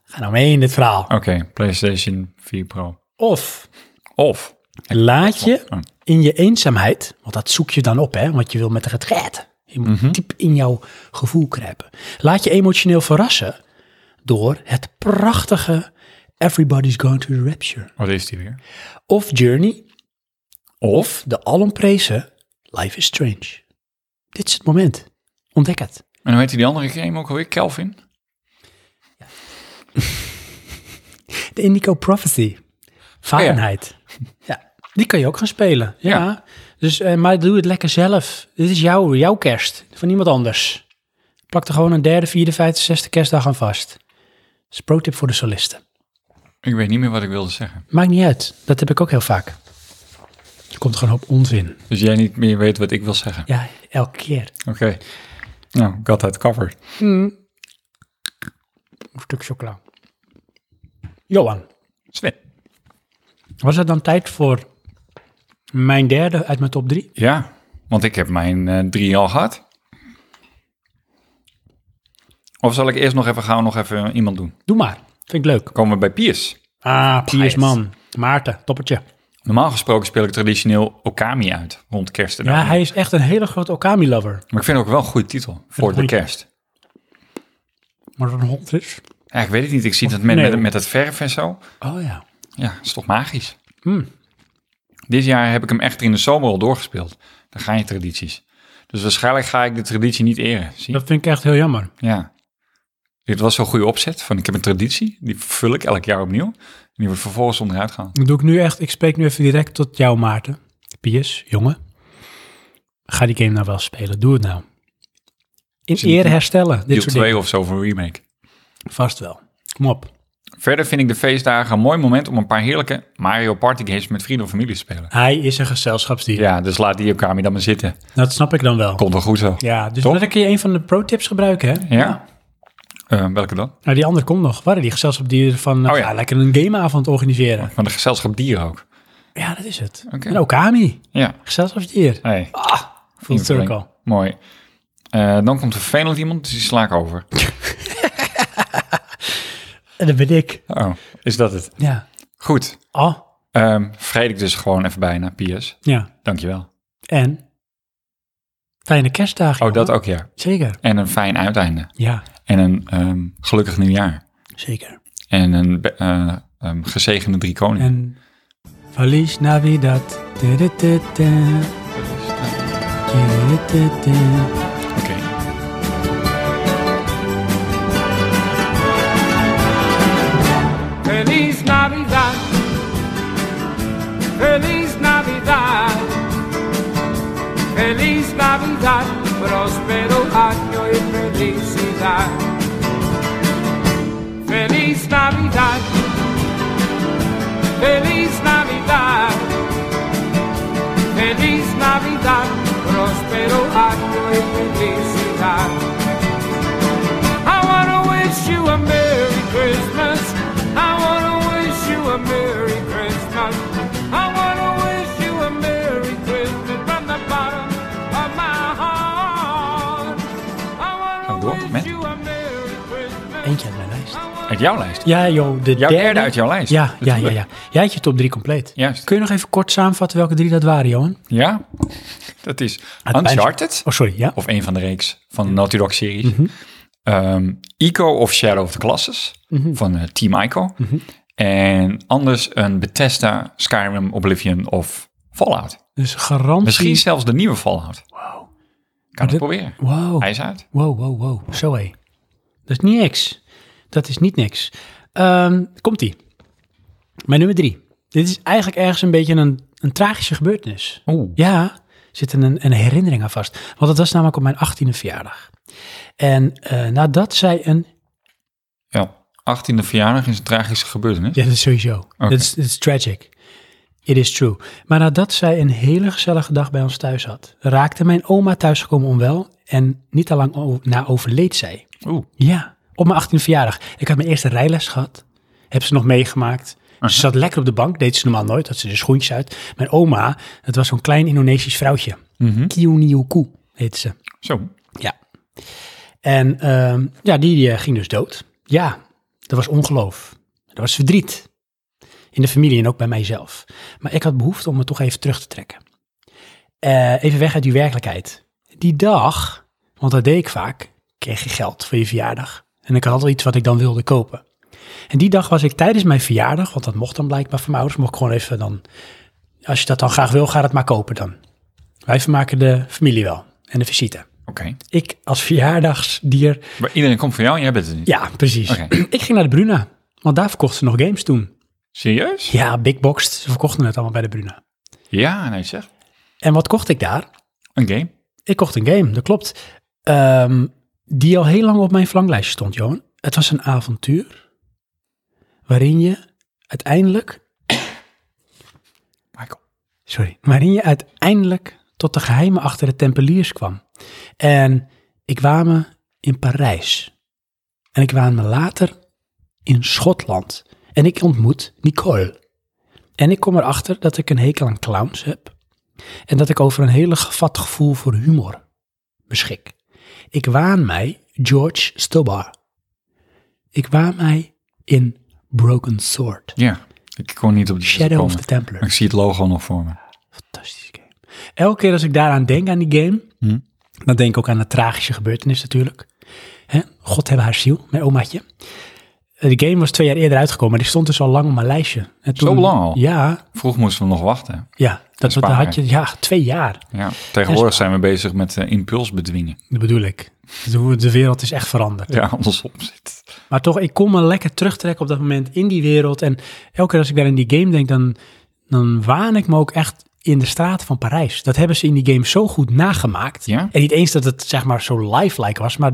Ga nou mee in dit verhaal.
Oké, PlayStation 4 Pro.
Of
Of,
laat
Oh.
je in je eenzaamheid, want dat zoek je dan op, hè, want je wil met de retreat. Je moet diep in jouw gevoel kruipen. Laat je emotioneel verrassen door het prachtige Everybody's Going to the Rapture.
wat is die weer?
Of Journey,
Of,
de alomprezen Life is Strange. Dit is het moment. Ontdek het.
en hoe heet die andere game ook alweer? Kelvin?
De Indigo Prophecy. Fahrenheit. Oh ja. die kan je ook gaan spelen. Ja.
Ja.
Dus, eh, maar doe het lekker zelf. Dit is jouw, jouw kerst, van niemand anders. Plak er gewoon een derde, vierde, vijfde, zesde kerstdag aan vast. Dat is pro-tip voor de solisten.
Ik weet niet meer wat ik wilde zeggen.
Maakt niet uit. Dat heb ik ook heel vaak. Er komt gewoon een hoop onzin.
Dus jij niet meer weet wat ik wil zeggen.
Ja, elke keer.
Oké. Nou, got that covered.
Een stuk chocola. Johan,
Sven.
was het dan tijd voor mijn derde uit mijn top drie?
Ja, want ik heb mijn eh, drie al gehad. Of zal ik eerst nog even gauw nog even iemand doen?
Doe maar. Vind ik leuk.
Dan komen we bij Piers.
Ah, Piersman. Maarten, toppertje.
Normaal gesproken speel ik traditioneel Okami uit rond kerst. en
Ja,
oud.
hij is echt een hele grote Okami-lover.
Maar ik vind het ook wel een goede titel voor de
goeie.
kerst.
Maar dat een hond is.
Ja, ik weet het niet. Ik zie dat men
nee.
met, met het verf en zo.
Oh ja.
Ja, dat is toch magisch.
Hmm.
Dit jaar heb ik hem echter in de zomer al doorgespeeld. Dan gaan je tradities. Dus waarschijnlijk ga ik de traditie niet eren. Zie?
Dat vind ik echt heel jammer.
Ja. Dit was zo'n goede opzet. Van ik heb een traditie. Die vervul ik elk jaar opnieuw. En die wordt vervolgens onderuit gehaald.
Dat doe ik nu echt. Ik spreek nu even direct tot jou, Maarten. Piers, jongen. Ga die game nou wel spelen. Doe het nou. In
Is het
eer
een
herstellen. Dit
Deel
soort
2
dingen.
of zo voor een remake.
Vast wel. Kom op.
Verder vind ik de feestdagen een mooi moment om een paar heerlijke Mario Party games met vrienden of familie te spelen.
Hij is een gezelschapsdier.
Ja, dus laat die Okami dan maar zitten.
Dat snap ik dan wel.
Komt wel goed zo.
Ja, dus
Toch?
dan kun je een van de pro-tips gebruiken, hè?
Ja? Eh, welke dan?
Nou, die andere komt nog. Waren die gezelschapsdieren van... eh,
Oh ja.
ga lekker een gameavond organiseren.
Van de gezelschap dieren ook.
Ja, dat is het.
Oké.
Een Okami.
Ja.
Gezelschapsdier.
Hey.
Full circle.
Mooi. Eh, dan komt er vervelend iemand, dus die sla ik over.
En dat ben ik.
Oh, is dat het?
Ja.
Goed.
Oh,
Ehm vrede ik dus gewoon even bijna, Piers.
ja.
Dankjewel.
En fijne kerstdagen.
Oh, dat
jongen.
ook, ja.
Zeker.
En een fijn uiteinde.
Ja,
En een ehm, gelukkig nieuwjaar.
zeker.
En een be- eh, ehm, gezegende drie koningen.
En Feliz Navidad. Tudutudu. Tudutudu.
Oké.
Feliz Navidad. Feliz Navidad. Feliz Navidad. Próspero año y felicidad. Feliz Navidad. Feliz Navidad. Feliz Navidad. Próspero año y felicidad. I wanna wish you a Merry Christmas. I wanna wish you a Merry Christmas. I wanna wish you a Merry Christmas from the bottom of my heart. I
Gaan we
wanna
door
wish
met?
you a Merry Christmas.
Eentje uit mijn lijst.
Uit jouw lijst.
Ja, joh. De
Jouw derde uit jouw lijst.
Ja, ja, ja,
Natuurlijk.
ja. Jij had je top drie compleet.
Juist.
Kun je nog even kort samenvatten welke drie dat waren, Johan?
Ja, dat is
Ah, het
Uncharted.
Oh, sorry. Ja.
Of een van de reeks van de Naughty Dog series.
Mhm.
Ehm, Ico of Shadow of the Classes
Mhm.
van eh, Team Ico. En anders een Bethesda, Skyrim, Oblivion of Fallout.
Dus garantie.
Misschien zelfs de nieuwe Fallout. Wow. Kan ik
dit- Oh.
proberen.
Wow.
Hij is uit.
Wow, wow, wow. Zo hé. Dat is niet niks. Dat is niet niks. Ehm, Komt-ie. Mijn nummer drie. Dit is eigenlijk ergens een beetje een, een tragische gebeurtenis.
Oeh.
Ja, er zit een, een herinnering aan vast. Want het was namelijk op mijn 18e verjaardag. En eh, nadat zij een...
Ja, 18e verjaardag is een tragische gebeurtenis.
Ja, dat is sowieso. Dat is, dat is tragic. It is true. Maar nadat zij een hele gezellige dag bij ons thuis had, raakte mijn oma thuisgekomen onwel. En niet te lang o- na overleed zij.
Oeh.
Ja, op mijn 18e verjaardag. Ik had mijn eerste rijles gehad. Heb ze nog meegemaakt.
Uh-huh.
Ze zat lekker op de bank, deed ze normaal nooit, had ze de schoentjes uit. Mijn oma, het was zo'n klein Indonesisch vrouwtje.
Mhm.
Kiunioku heette ze.
Zo.
Ja. En ehm, ja, die, eh, ging dus dood. Ja, er was ongeloof. Er was verdriet. In de familie en ook bij mijzelf. Maar ik had behoefte om me toch even terug te trekken. Eh, even weg uit die werkelijkheid. Die dag, want dat deed ik vaak, kreeg je geld voor je verjaardag. En ik had altijd iets wat ik dan wilde kopen. En die dag was ik tijdens mijn verjaardag, want dat mocht dan blijkbaar van mijn ouders, mocht ik gewoon even dan, als je dat dan graag wil, ga het maar kopen dan. Wij vermaken de familie wel en de visite.
Oké.
Ik als verjaardagsdier.
Maar iedereen komt voor jou en jij bent het niet.
Ja, precies.
Oké.
Ik ging naar de Bruna. Want daar verkochten ze nog games toen.
Serieus?
Ja, Big Boxed. Ze verkochten het allemaal bij de Bruna.
Ja, nee zeg.
En wat kocht ik daar?
Een game.
Ik kocht een game, dat klopt. Ehm, die al heel lang op mijn verlanglijstje stond, Johan. Het was een avontuur. Waarin je uiteindelijk.
Michael.
Sorry. Waarin je uiteindelijk tot de geheimen achter de Tempeliers kwam. En ik waande in Parijs. En ik waande later in Schotland. En ik ontmoet Nicole. En ik kom erachter dat ik een hekel aan clowns heb. En dat ik over een hele gevat gevoel voor humor beschik. Ik waan mij George Stobart. Ik waan mij in Broken Sword.
Ja. Ik kon niet op die shit
Shadow of
komen.
the Templar.
Maar Ik zie het logo nog voor me.
Fantastische game. Elke keer als ik daaraan denk, aan die game,
Hm.
dan denk ik ook aan de tragische gebeurtenis natuurlijk. Hè? God hebben haar ziel, mijn omaatje. Eh, De game was twee jaar eerder uitgekomen, maar die stond dus al lang op mijn lijstje. En
Zo lang al?
Ja,
Vroeger moesten we nog wachten.
ja dat, dat
Sparen.
had je, ja, twee jaar.
Ja. Tegenwoordig zijn we bezig met eh, impuls bedwingen.
Dat bedoel ik. De, de wereld is echt veranderd.
Ja, andersom zit.
Maar toch, ik kon me lekker terugtrekken op dat moment in die wereld. En elke keer als ik daar in die game denk, dan, dan waan ik me ook echt in de straten van Parijs. Dat hebben ze in die game zo goed nagemaakt.
Ja?
En niet eens dat het zeg maar zo lifelike was, maar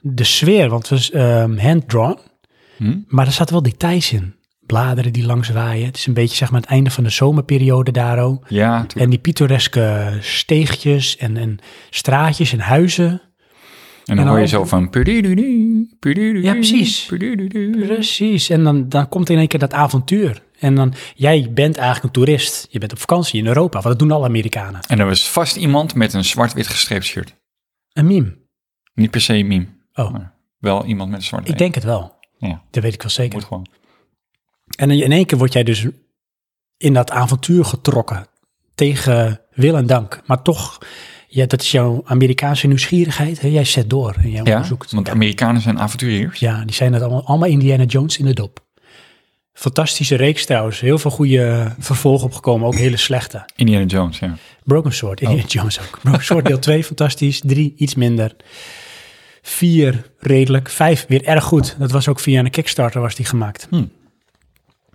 de sfeer, want het was ehm, hand-drawn.
Hm?
Maar er zaten wel details in. Bladeren die langs waaien. Het is een beetje zeg maar het einde van de zomerperiode daar ook.
Ja, tuurlijk.
En die pittoreske steegjes en, en straatjes en huizen.
En dan hoor je
dan-
zo van... pudududu, pudududu,
Ja, precies.
pudududu.
Precies, en dan, dan komt in één keer dat avontuur. En dan, jij bent eigenlijk een toerist. Je bent op vakantie in Europa, want dat doen alle Amerikanen.
En er was vast iemand met een zwart-wit gestreept shirt.
Een meme.
Niet per se een meme.
Oh,
maar Wel iemand met een zwart
ik denk het wel.
Ja,
Dat weet ik wel zeker.
moet gewoon.
En in één keer word jij dus in dat avontuur getrokken. Tegen wil en dank. Maar toch, ja, dat is jouw Amerikaanse nieuwsgierigheid. Hè? Jij zet door en jij
Ja,
onderzoekt.
want Amerikanen zijn avonturiers.
Ja, die zijn dat allemaal, allemaal Indiana Jones in de dop. Fantastische reeks trouwens. Heel veel goede vervolgen opgekomen. Ook hele slechte.
Indiana Jones, ja.
Broken Sword, Indiana Jones ook. Broken Sword deel 2, fantastisch. 3, iets minder. 4, redelijk. 5, weer erg goed. Dat was ook via een Kickstarter was die gemaakt.
Hmm.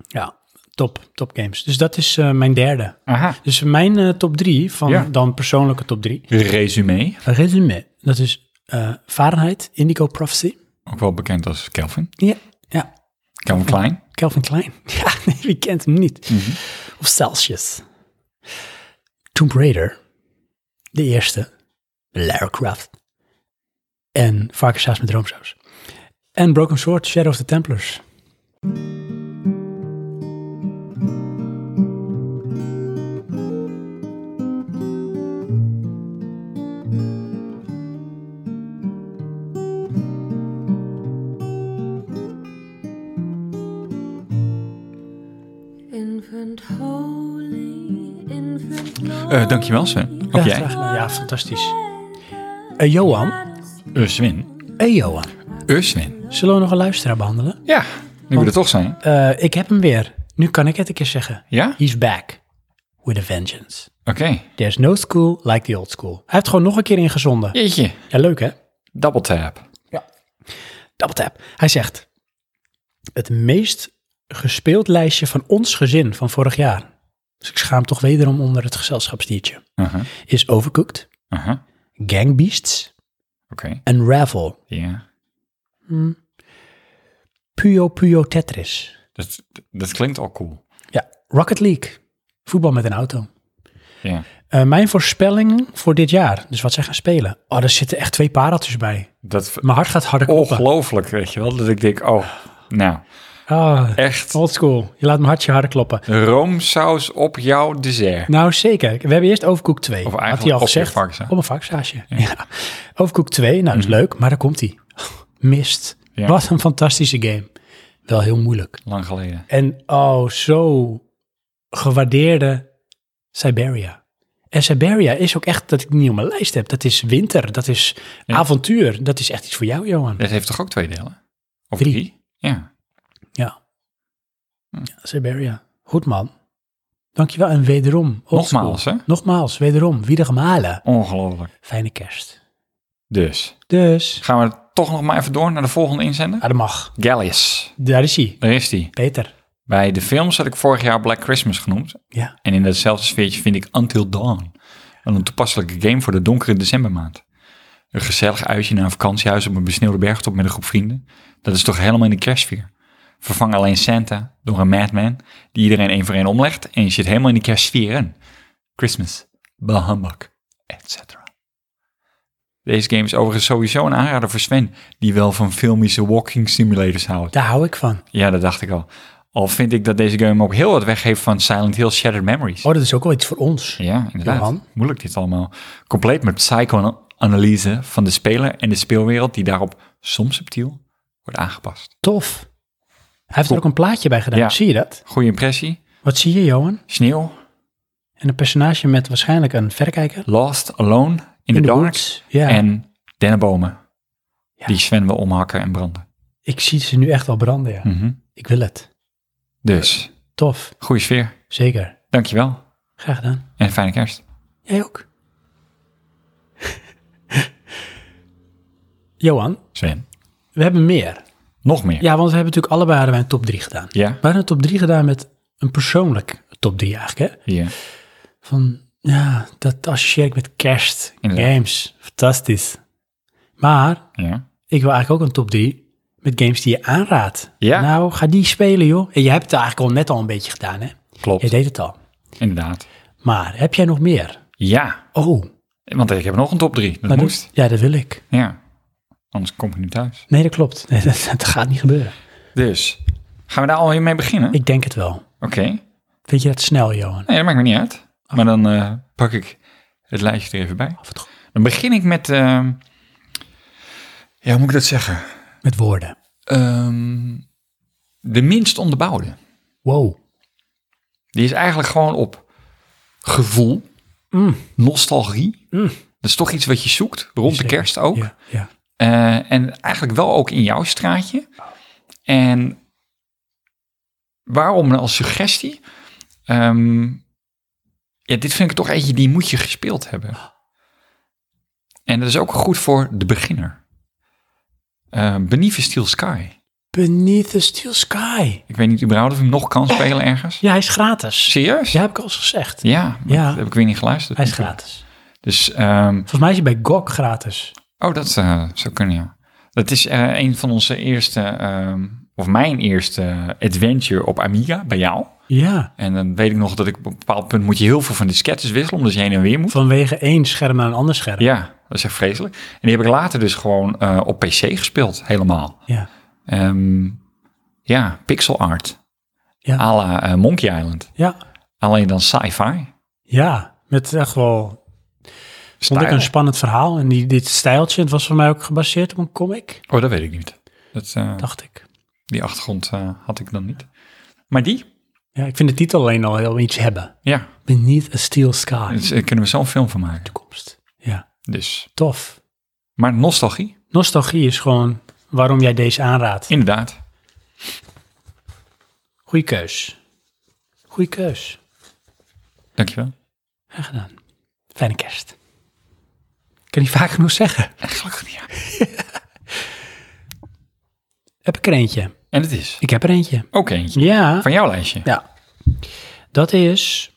Ja, top, top games. Dus dat is eh, mijn derde.
Aha.
Dus mijn eh, top 3, van
Ja.
dan persoonlijke top 3.
Resume,
Resume, dat is eh Fahrenheit, Indigo Prophecy.
ook wel bekend als Kelvin.
Ja, ja.
Kelvin Klein.
Calvin Klein. Ja, nee, wie kent hem niet? Of Celsius. Tomb Raider. De eerste. Lara Croft. En Varkenshaas met Droomsaus. En Broken Sword, Shadow of the Templars.
Infant holy, infant
Eh dankjewel, Sven. Ook
ja,
jij.
graag gedaan. Ja, fantastisch. Eh, Johan.
Eh, Sven.
eh Johan.
Eh, Sven.
Zullen we nog een luisteraar behandelen?
Ja, nu we er toch zijn.
Eh, ik heb hem weer. Nu kan ik het een keer zeggen.
Ja?
He's back. With a vengeance.
Oké.
There's no school like the old school. Hij heeft gewoon nog een keer ingezonden.
Jeetje.
Ja, leuk hè?
Double tap.
Double tap. Hij zegt: Het meest gespeeld lijstje van ons gezin van vorig jaar. Dus ik schaam toch wederom onder het gezelschapsdiertje.
Aha,
Is Overcooked,
aha.
Gang Beasts,
Oké.
Unravel,
Ja.
Puyo Puyo Tetris.
Dat, dat klinkt al cool.
Ja, Rocket League, voetbal met een auto.
Ja.
Eh, mijn voorspellingen voor dit jaar, dus wat zij gaan spelen. Oh, daar zitten echt twee pareltjes bij.
Dat
Mijn hart gaat harder kloppen.
ongelooflijk, weet je wel. Dat ik denk, oh, nou.
Ah,
Echt
old school. Je laat mijn hartje harder kloppen.
roomsaus op jouw dessert.
Nou, zeker. We hebben eerst Overkoek 2.
Of
had hij
eigenlijk
al
op je
gezegd.
varkenshaas.
Op een varkenshaasje. Ja. Overkoek 2, nou, dat is leuk, maar daar komt hij. Mist.
Mhm. Ja.
Wat een fantastische game. Wel heel moeilijk.
Lang geleden.
En oh, zo gewaardeerde Siberia. En Siberia is ook echt dat ik niet op mijn lijst heb. Dat is winter, dat is
Ja.
avontuur. Dat is echt iets voor jou, Johan.
Dat heeft toch ook twee delen? Of
Drie.
drie? Ja.
Ja. ja Siberia. Goed, man. Dankjewel. En wederom. oldschool.
Nogmaals, hè?
Nogmaals, wederom. Wieder gemalen.
Ongelooflijk.
Fijne kerst.
Dus,
Dus,
gaan we toch nog maar even door naar de volgende inzender?
ah, dat mag.
Gallius.
Daar is hij.
Daar is die.
Peter.
Bij de films had ik vorig jaar Black Christmas genoemd.
Ja.
En in datzelfde sfeertje vind ik Until Dawn. Wel Een toepasselijke game voor de donkere decembermaand. Een gezellig uitje naar een vakantiehuis op een besneeuwde bergtop met een groep vrienden. Dat is toch helemaal in de kerstsfeer. Vervang alleen Santa door een madman die iedereen één voor één omlegt. En je zit helemaal in de kerstsfeer in. Christmas, bah humbug, etc. Deze game is overigens sowieso een aanrader voor Sven, die wel van filmische walking simulators houdt.
Daar hou ik van.
Ja, dat dacht ik al. Al vind ik dat deze game ook heel wat weggeeft van Silent Hill Shattered Memories.
Oh, dat is ook wel iets voor ons.
ja, inderdaad.
Johan?
Moeilijk dit allemaal. Compleet met psychoanalyse van de speler en de speelwereld die daarop soms subtiel wordt aangepast.
Tof. Hij heeft er ook een plaatje bij gedaan.
Ja.
Zie je dat?
Goede impressie.
Wat zie je, Johan?
Sneeuw.
En een personage met waarschijnlijk een verrekijker.
Lost, Alone, In, the,
de
Dark.
woods, ja.
En dennenbomen.
Ja.
Die Sven wil omhakken en branden.
Ik zie ze nu echt wel branden, ja.
Mhm.
Ik wil het.
Dus,
Tof.
goede sfeer.
Zeker.
Dankjewel.
Graag gedaan.
En fijne kerst.
Jij ook. Johan,
Sven.
we hebben meer.
Nog meer.
Ja, want we hebben natuurlijk allebei hadden wij een top 3 gedaan.
Ja.
We hadden een top 3 gedaan met een persoonlijk top 3 eigenlijk, hè?
Ja.
van ja, dat associeer ik met kerst,
Inderdaad.
games, fantastisch. Maar
Ja.
ik wil eigenlijk ook een top 3 met games die je aanraadt.
Ja.
Nou, ga die spelen joh. En je hebt het eigenlijk al net al een beetje gedaan hè.
Klopt.
Je deed het al.
Inderdaad.
Maar heb jij nog meer?
Ja.
Oh,
Want ik heb nog een top 3. Dat
maar
moest.
dat- ja, dat wil ik.
Ja. Anders kom ik niet thuis.
Nee, dat klopt. Nee, dat, dat gaat niet gebeuren.
Dus, gaan we daar alweer mee beginnen?
Ik denk het wel.
Oké.
Vind je dat snel, Johan?
Nee, dat maakt me niet uit.
Oh.
Maar dan eh, pak ik het lijstje er even bij.
Of het goed-
Dan begin ik met... ehm, ja, hoe moet ik dat zeggen?
Met woorden.
Ehm, de minst onderbouwde.
Wow.
Die is eigenlijk gewoon op gevoel,
Mm.
nostalgie. Dat is toch iets wat je zoekt, rond de
Zeker.
kerst ook.
Ja, ja.
Eh, en eigenlijk wel ook in jouw straatje. En waarom als suggestie? Ehm, ja, dit vind ik toch eentje die moet je gespeeld hebben. En dat is ook goed voor de beginner. Eh Beneath the Steel Sky.
Beneath the Steel Sky.
Ik weet niet überhaupt of ik hem nog kan spelen ergens.
Ja, hij is gratis.
Serieus?
Ja, heb ik al eens gezegd.
Ja, maar
Ja.
dat heb ik weer niet geluisterd.
Hij is gratis.
Dus, ehm,
Volgens mij is hij bij GOG gratis.
oh, dat eh, zou kunnen, ja. Dat is eh, een van onze eerste, ehm, of mijn eerste adventure op Amiga, bij jou.
Ja,
En dan weet ik nog dat ik op een bepaald punt moet je heel veel van die diskettes wisselen, omdat je heen en weer moet.
vanwege één scherm naar een ander scherm.
Ja, dat is echt vreselijk. En die heb ik later dus gewoon eh, op PC gespeeld, helemaal.
Ja.
Ehm, ja, pixel art.
Ja.
À la eh, Monkey Island.
ja.
Alleen dan sci-fi.
Ja, met echt wel... Vond ik
Style.
een spannend verhaal. En die, dit stijltje, het was voor mij ook gebaseerd op een comic,
Oh, dat weet ik niet. Dat, eh,
dacht ik.
die achtergrond eh, had ik dan niet. Maar die?
Ja, ik vind de titel alleen al heel iets hebben.
Ja,
Beneath a Steel Sky.
daar kunnen we zo'n film van maken.
Toekomst. Ja,
Dus.
tof.
Maar nostalgie,
Nostalgie is gewoon waarom jij deze aanraadt.
inderdaad.
Goeie keus. Goeie keus.
Dankjewel.
Graag gedaan. Fijne kerst. Ik kan niet vaak genoeg zeggen.
Echt gelukkig niet. ja.
Heb ik er eentje?
En het is
Ik heb er eentje.
ook eentje
Ja.
van jouw lijstje.
Ja. Dat is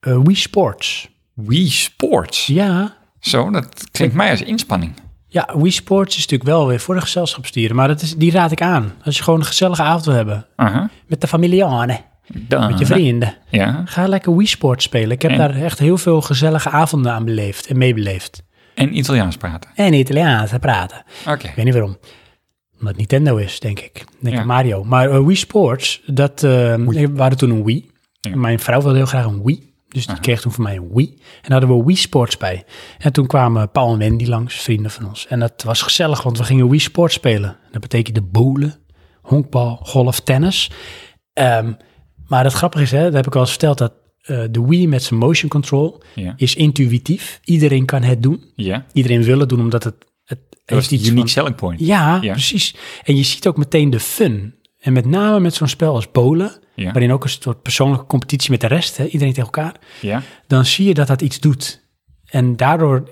eh Wii Sports.
Wii Sports.
Ja.
Zo, dat klinkt mij als inspanning.
Ja, Wii Sports is natuurlijk wel weer voor de gezelschapsdieren, maar dat is, die raad ik aan. Als je gewoon een gezellige avond wil hebben.
Aha.
Met de familianen,
Dan.
met je vrienden.
Ja.
Ga lekker Wii Sports spelen. Ik heb
En?
daar echt heel veel gezellige avonden aan beleefd en meebeleefd.
En Italiaans praten.
En Italiaans te praten.
Oké.
Ik weet niet waarom. Omdat Nintendo is, denk ik. Denk
Ja.
aan Mario. Maar eh, Wii Sports, dat, eh, we hadden toen een Wii.
Ja.
Mijn vrouw wilde heel graag een Wii. Dus die kreeg toen van mij een Wii. En daar hadden we Wii Sports bij. En toen kwamen Paul en Wendy langs, vrienden van ons. En dat was gezellig, want we gingen Wii Sports spelen. Dat betekende bowlen, honkbal, golf, tennis. Ehm, maar het grappige is, hè, dat heb ik al eens verteld, dat eh, de Wii met zijn motion control
Ja.
is intuïtief. Iedereen kan het doen.
Ja.
Iedereen wil het doen, omdat het, het
Dat
heeft
is die
iets
unique
van...
selling point.
Ja,
Ja.
precies. En je ziet ook meteen de fun. En met name met zo'n spel als Polen,
Ja.
waarin ook een soort persoonlijke competitie met de rest, hè, iedereen tegen elkaar,
Ja.
dan zie je dat dat iets doet. En daardoor,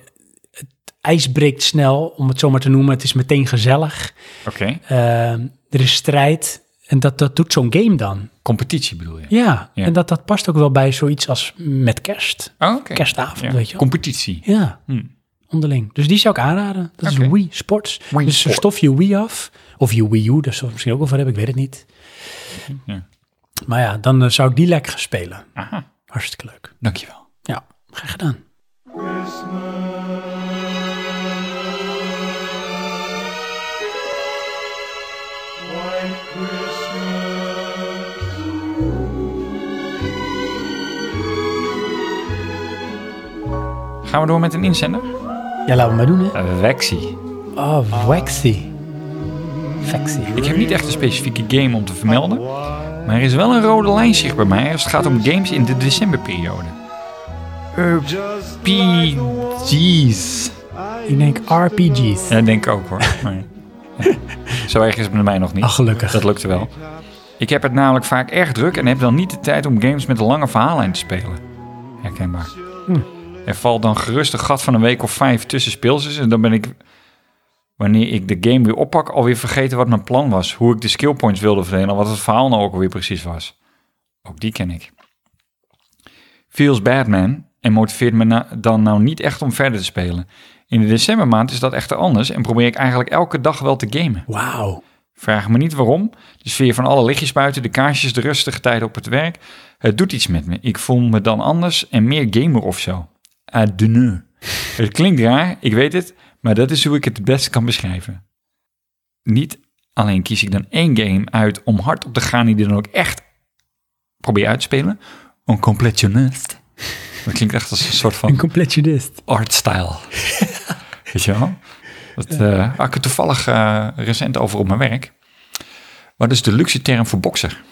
het ijs breekt snel, om het zo maar te noemen. Het is meteen gezellig.
Oké.
Ehm, er is strijd. En dat, dat doet zo'n game dan.
Competitie bedoel je?
Ja,
Ja.
en dat, dat past ook wel bij zoiets als met kerst.
Oh, oké.
Kerstavond,
Ja.
weet je wel.
Competitie.
Ja,
Hmm.
onderling. Dus die zou ik aanraden. Dat
Oké.
is Wii Sports.
Wii
dus
Sports.
stof je Wii af. Of je Wii U, daar zullen we misschien ook wel voor hebben. Ik weet het niet.
Ja.
Maar ja, dan eh, zou ik die lekker gaan spelen.
Aha.
Hartstikke leuk.
Dankjewel.
Ja, graag gedaan.
Gaan we door met een inzender?
Ja, laten we maar doen, hè.
Wexy.
Oh, Waxy. Waxy.
Ik heb niet echt een specifieke game om te vermelden, maar er is wel een rode lijn zichtbaar bij mij als het gaat om games in de decemberperiode. RPG's.
Ik denk RPG's.
Ja, dat denk ik ook hoor. Maar, ja. Zo erg is het met mij nog niet.
Ach, gelukkig.
Dat lukte wel. Ik heb het namelijk vaak erg druk en heb dan niet de tijd om games met een lange verhaallijn te spelen. Herkenbaar. Er valt dan gerust een gat van een week of vijf tussen speelses en dan ben ik, wanneer ik de game weer oppak, alweer vergeten wat mijn plan was. Hoe ik de skillpoints wilde verdelen en wat het verhaal nou ook alweer precies was. Ook die ken ik. Feels bad man en motiveert me na- dan nou niet echt om verder te spelen. In de decembermaand is dat echter anders en probeer ik eigenlijk elke dag wel te gamen.
Wauw.
Vraag me niet waarom. De sfeer van alle lichtjes buiten, de kaarsjes, de rustige tijd op het werk. Het doet iets met me. Ik voel me dan anders en meer gamer of zo. Adenu. Het klinkt raar, ik weet het, maar dat is hoe ik het het beste kan beschrijven. Niet alleen kies ik dan één game uit om hard op te gaan die dan ook echt probeer uit te spelen. Een completionist. Dat klinkt echt als een soort van
Een completionist.
artstyle. Weet je wel? Dat eh, had ik er toevallig eh, recent over op mijn werk. Wat is de luxe term voor bokser?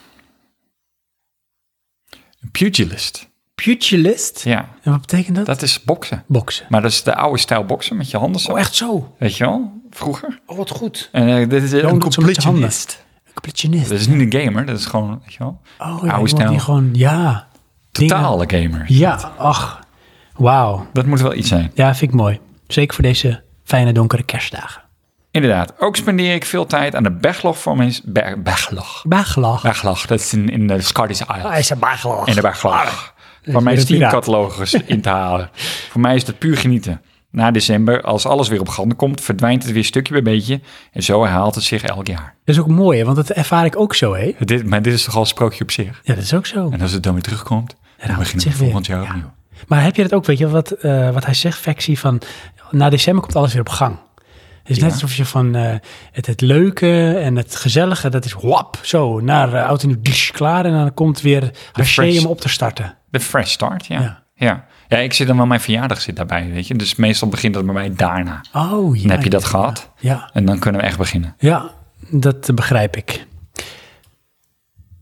Een pugilist.
Pugilist?
Ja,
En wat betekent dat?
dat is boksen.
Boksen.
Maar dat is de oude stijl boksen met je handen zo.
Oh, echt zo?
Weet je wel? Vroeger.
Oh, wat goed.
En eh, dit is een
doet ze met je handen.
completionist. Dus
Een completionist.
Dat is niet een gamer, dat is gewoon, weet je wel,
Oh, ja,
oude
iemand
stijl.
die gewoon, ja. dingen-
totale gamer.
Ja, ach. Wauw.
Dat moet wel iets zijn.
Ja, vind ik mooi. Zeker voor deze fijne donkere kerstdagen.
Inderdaad, ook spendeer ik veel tijd aan de backlog voor mijn... Be- backlog.
Baaglach.
Backlog, dat is in, in de Scottish Isles.
Hij Ah, is een baaglach.
En de backlog. Voor
is
mij
weer
is
een
Steam
piraat.
catalogus in te halen. Voor mij is dat puur genieten. Na december, als alles weer op gang komt, verdwijnt het weer stukje bij beetje. En zo herhaalt het zich elk jaar.
Dat is ook mooi, hè, want dat ervaar ik ook zo, hè?
Dit, maar dit is toch al een sprookje op zich?
Ja, dat is ook zo.
En als het dan weer terugkomt, dan
het
beginnen
zich
we volgend
weer.
jaar
Ja.
opnieuw.
Maar heb je dat ook, weet je, wat, eh, wat hij zegt, Vexie, van na december komt alles weer op gang. Het is net alsof je van eh, het, het leuke en het gezellige, dat is wap, zo, naar eh, oud en nieuw, dish, klaar. En dan komt weer haché
fresh.
om op te starten.
De fresh start, ja.
Ja.
ja. ja. ik zit dan wel, mijn verjaardag zit daarbij, weet je. Dus meestal begint dat bij mij daarna.
Oh, ja.
Dan heb je dat
ja,
gehad
Ja,
en dan kunnen we echt beginnen.
ja, dat eh, begrijp ik.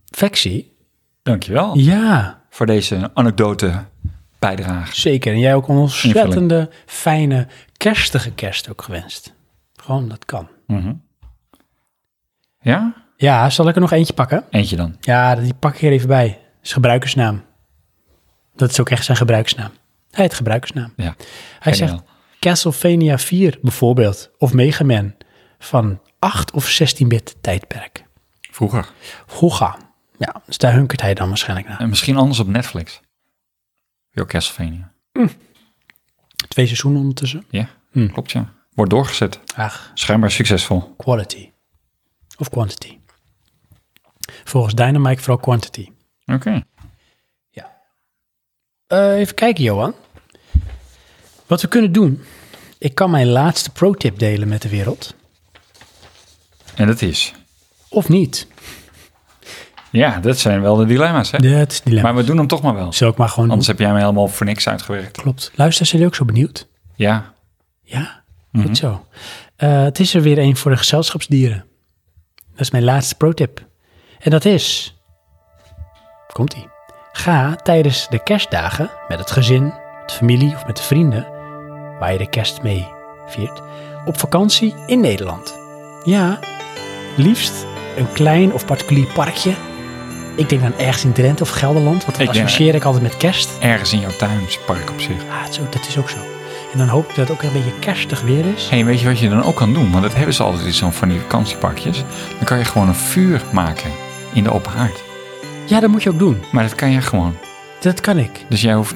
Vexie?
Dankjewel
Ja.
voor deze anekdote bijdrage.
Zeker. En jij ook een ontzettende fijne kerstige kerst ook gewenst. Gewoon, dat kan.
Ja?
Ja, zal ik er nog eentje pakken?
Eentje dan.
Ja, die pak ik er even bij. Is gebruikersnaam. Dat is ook echt zijn gebruikersnaam. Hij heet gebruikersnaam.
Ja.
Hij
Geniaal.
zegt Castlevania 4 bijvoorbeeld, of Mega Man, van 8 of 16-bit tijdperk.
Vroeger.
Hoega. Ja, dus daar hunkert hij dan waarschijnlijk naar.
En misschien anders op Netflix. Yo, Castlevania.
Twee seizoenen ondertussen.
Ja,
Hm.
klopt ja. Wordt doorgezet.
Ach,
Schijnbaar succesvol.
quality. Of quantity. Volgens Dynamite vooral quantity.
Oké.
Eh, even kijken, Johan. Wat we kunnen doen. Ik kan mijn laatste pro-tip delen met de wereld.
En dat is.
Of niet.
Ja, dat zijn wel de dilemma's, hè?
Dat is dilemma.
Maar we doen hem toch maar wel.
Zal ik maar gewoon
Anders heb jij me helemaal voor niks uitgewerkt.
Klopt. Luister, zijn jullie ook zo benieuwd?
Ja.
Ja,
Mhm.
goed zo. Eh, het is er weer een voor de gezelschapsdieren. Dat is mijn laatste pro-tip. En dat is... Komt-ie. Ga tijdens de kerstdagen met het gezin, de familie of met de vrienden... waar je de kerst mee viert, op vakantie in Nederland. Ja, liefst een klein of particulier parkje... Ik denk dan ergens in Drenthe of Gelderland, want dat
Ik denk-
associeer ik altijd met kerst.
Ergens in jouw tuin is een park op zich.
Ah, zo, dat is ook zo. En dan hoop ik dat het ook een beetje kerstig weer is.
hey, weet je wat je dan ook kan doen? Want dat hebben ze altijd in zo'n van die vakantieparkjes. Dan kan je gewoon een vuur maken in de open haard.
Ja, dat moet je ook doen.
Maar dat kan jij gewoon.
Dat kan ik.
Dus jij hoeft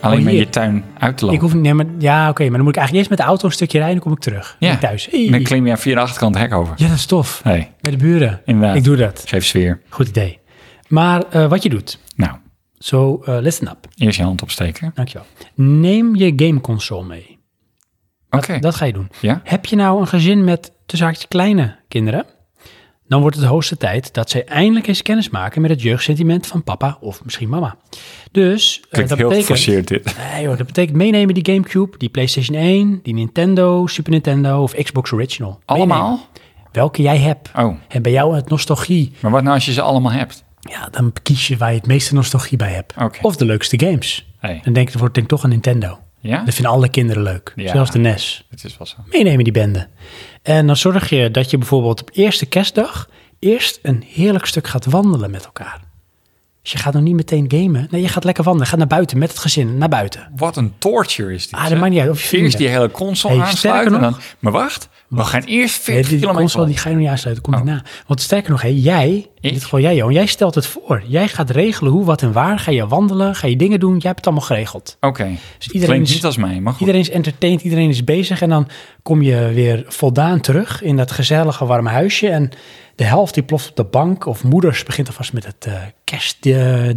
alleen
Oh,
maar
hier.
je tuin uit te lopen.
Ik hoef, nee, maar, ja, oké, maar dan moet ik eigenlijk eerst met de auto een stukje rijden en dan kom ik terug.
ja.
Ben ik thuis. Hey.
Dan klim je via de achterkant het hek over.
Ja, dat is tof.
Nee,
Bij de buren.
inderdaad.
Ik doe dat.
Geef sfeer.
Goed idee. Maar eh, wat je doet,
Nou,
zo eh, listen up.
eerst je hand opsteken.
Dankjewel. Neem je gameconsole mee.
Oké.
Dat ga je doen.
Ja?
Heb je nou een gezin met tussen haakjes kleine kinderen? Dan wordt het de hoogste tijd dat zij eindelijk eens kennis maken met het jeugdsentiment van papa of misschien mama. Dus eh,
Klinkt
dat
heel
betekent.
geforceerd dit.
Nee joh, dat betekent meenemen die Gamecube, die PlayStation 1, die Nintendo, Super Nintendo of Xbox Original. Meenemen.
Allemaal?
Welke jij hebt.
Oh,
En bij jou het nostalgie.
maar wat nou als je ze allemaal hebt?
Ja, dan kies je waar je het meeste nostalgie bij hebt.
Oké.
Of de leukste games.
Hey.
Dan denk ik, dat wordt denk ik toch een Nintendo.
Ja?
Dat vinden alle kinderen leuk.
Ja.
Zelfs de NES.
Het is wel zo.
Meenemen die bende. En dan zorg je dat je bijvoorbeeld op eerste kerstdag eerst een heerlijk stuk gaat wandelen met elkaar. Dus je gaat nog niet meteen gamen. Nee, je gaat lekker wandelen. Ga naar buiten met het gezin. Naar buiten.
Wat een torture is dit.
Ah, dat
zeg.
maakt niet uit of je vrienden
Eerst die hele console
Hey,
aansluiten.
sterker
en Dan, maar wacht, we gaan eerst
Nee, die
40
die
kilometer. Oh.
console die ga je nog niet aansluiten, komt niet na. Want sterker nog, hè, jij, in dit geval jij, Johan, jij stelt het voor. Jij gaat regelen hoe, wat en waar. Ga je wandelen, ga je dingen doen. Jij hebt het allemaal geregeld.
Oké,
Dus iedereen
klinkt
is-
niet als mij, maar goed.
Iedereen is entertained, iedereen is bezig. En dan kom je weer voldaan terug in dat gezellige, warme huisje. En de helft die ploft op de bank. Of moeders begint alvast met het eh, kerstdiner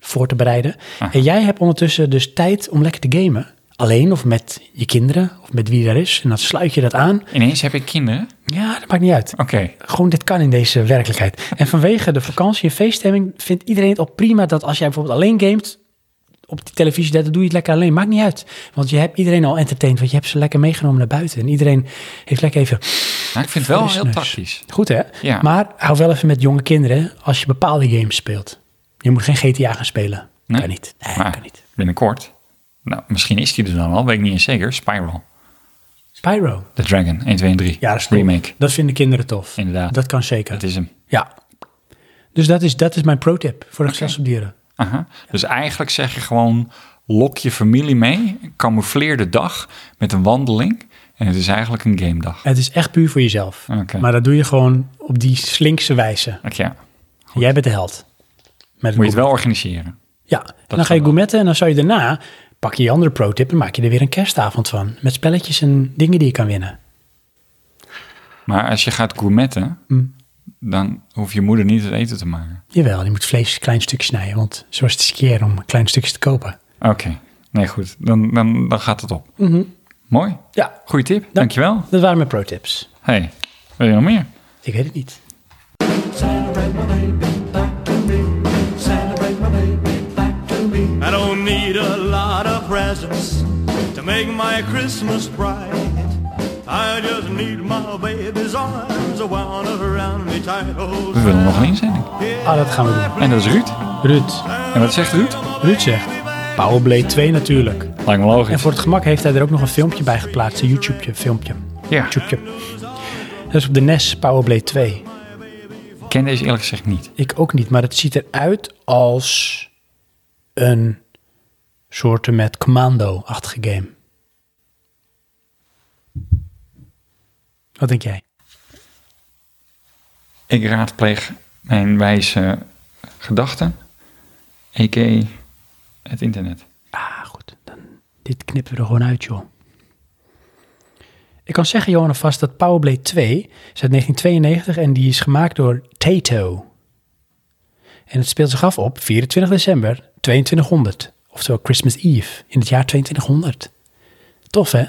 voor te bereiden. En jij hebt ondertussen dus tijd om lekker te gamen. Alleen of met je kinderen of met wie er is. En dan sluit je dat aan.
Ineens heb ik kinderen?
Ja, dat maakt niet uit.
Oké,
Gewoon, dit kan in deze werkelijkheid. En vanwege de vakantie en feeststemming vindt iedereen het al prima dat als jij bijvoorbeeld alleen gamet op de televisie, dat doe je het lekker alleen. Maakt niet uit. Want je hebt iedereen al entertained, want je hebt ze lekker meegenomen naar buiten. En iedereen heeft lekker even
Nou, ik vind het wel heel
Frisneus.
tactisch.
goed, hè?
Ja.
Maar hou wel even met jonge kinderen als je bepaalde games speelt. Je moet geen GTA gaan spelen.
Nee?
Kan niet. Nee,
Maar
kan niet.
binnenkort, nou, misschien is die er dan al, weet ik niet eens zeker. Spiral,
Spyro.
The Dragon, 1, 2 en 3.
Ja, dat is cool.
Remake,
Dat vinden kinderen tof.
Inderdaad.
Dat kan zeker.
dat is hem.
Ja. Dus dat is, dat is mijn pro-tip voor de gezelschapsdieren.
Aha. Dus eigenlijk zeg je gewoon, lok je familie mee, camoufleer de dag met een wandeling. En het is eigenlijk een game dag.
Het is echt puur voor jezelf.
Oké.
Maar dat doe je gewoon op die slinkse wijze.
Oké, ja.
Jij bent de held. Met
moet je het wel organiseren.
Ja, en dan ga je
kan wel.
gourmetten en dan zou je daarna... pak je je andere pro-tip en maak je er weer een kerstavond van. Met spelletjes en dingen die je kan winnen.
Maar als je gaat gourmetten,
Mm.
dan hoeft je moeder niet het eten te maken.
Jawel, je moet vlees een klein stukje snijden. Want zo is het skeer om klein stukjes te kopen.
Oké, nee goed, dan, dan, dan gaat het op. Mooi,
Mhm. Ja,
goede tip, dankjewel.
dat waren mijn pro-tips.
Hey, wil je nog meer?
Ik weet het niet.
I don't need a lot of presents to make my Christmas bright. I just need my baby's arms wound around me tight. Oh,
We willen nog een inzending.
Ah, dat gaan we doen.
En dat is Ruud.
Ruud.
En wat zegt Ruud?
Ruud zegt... Powerblade 2 natuurlijk.
Lijkt me
En
logisch.
voor het gemak heeft hij er ook nog een filmpje bij geplaatst. Een YouTube filmpje.
Ja,
YouTube. Dat is op de NES Powerblade 2.
ik ken deze eerlijk gezegd niet.
Ik ook niet, maar het ziet eruit als een soort met commando-achtige game. Wat denk jij?
Ik raadpleeg mijn wijze gedachten, a.k.a. het internet.
Ah, goed. Dan, dit knippen we er gewoon uit, joh. Ik kan zeggen, Johan, alvast dat Powerblade 2 is uit 1992 en die is gemaakt door Tato. En het speelt zich af op 24 december 2200, oftewel Christmas Eve in het jaar 2200. Tof, hè?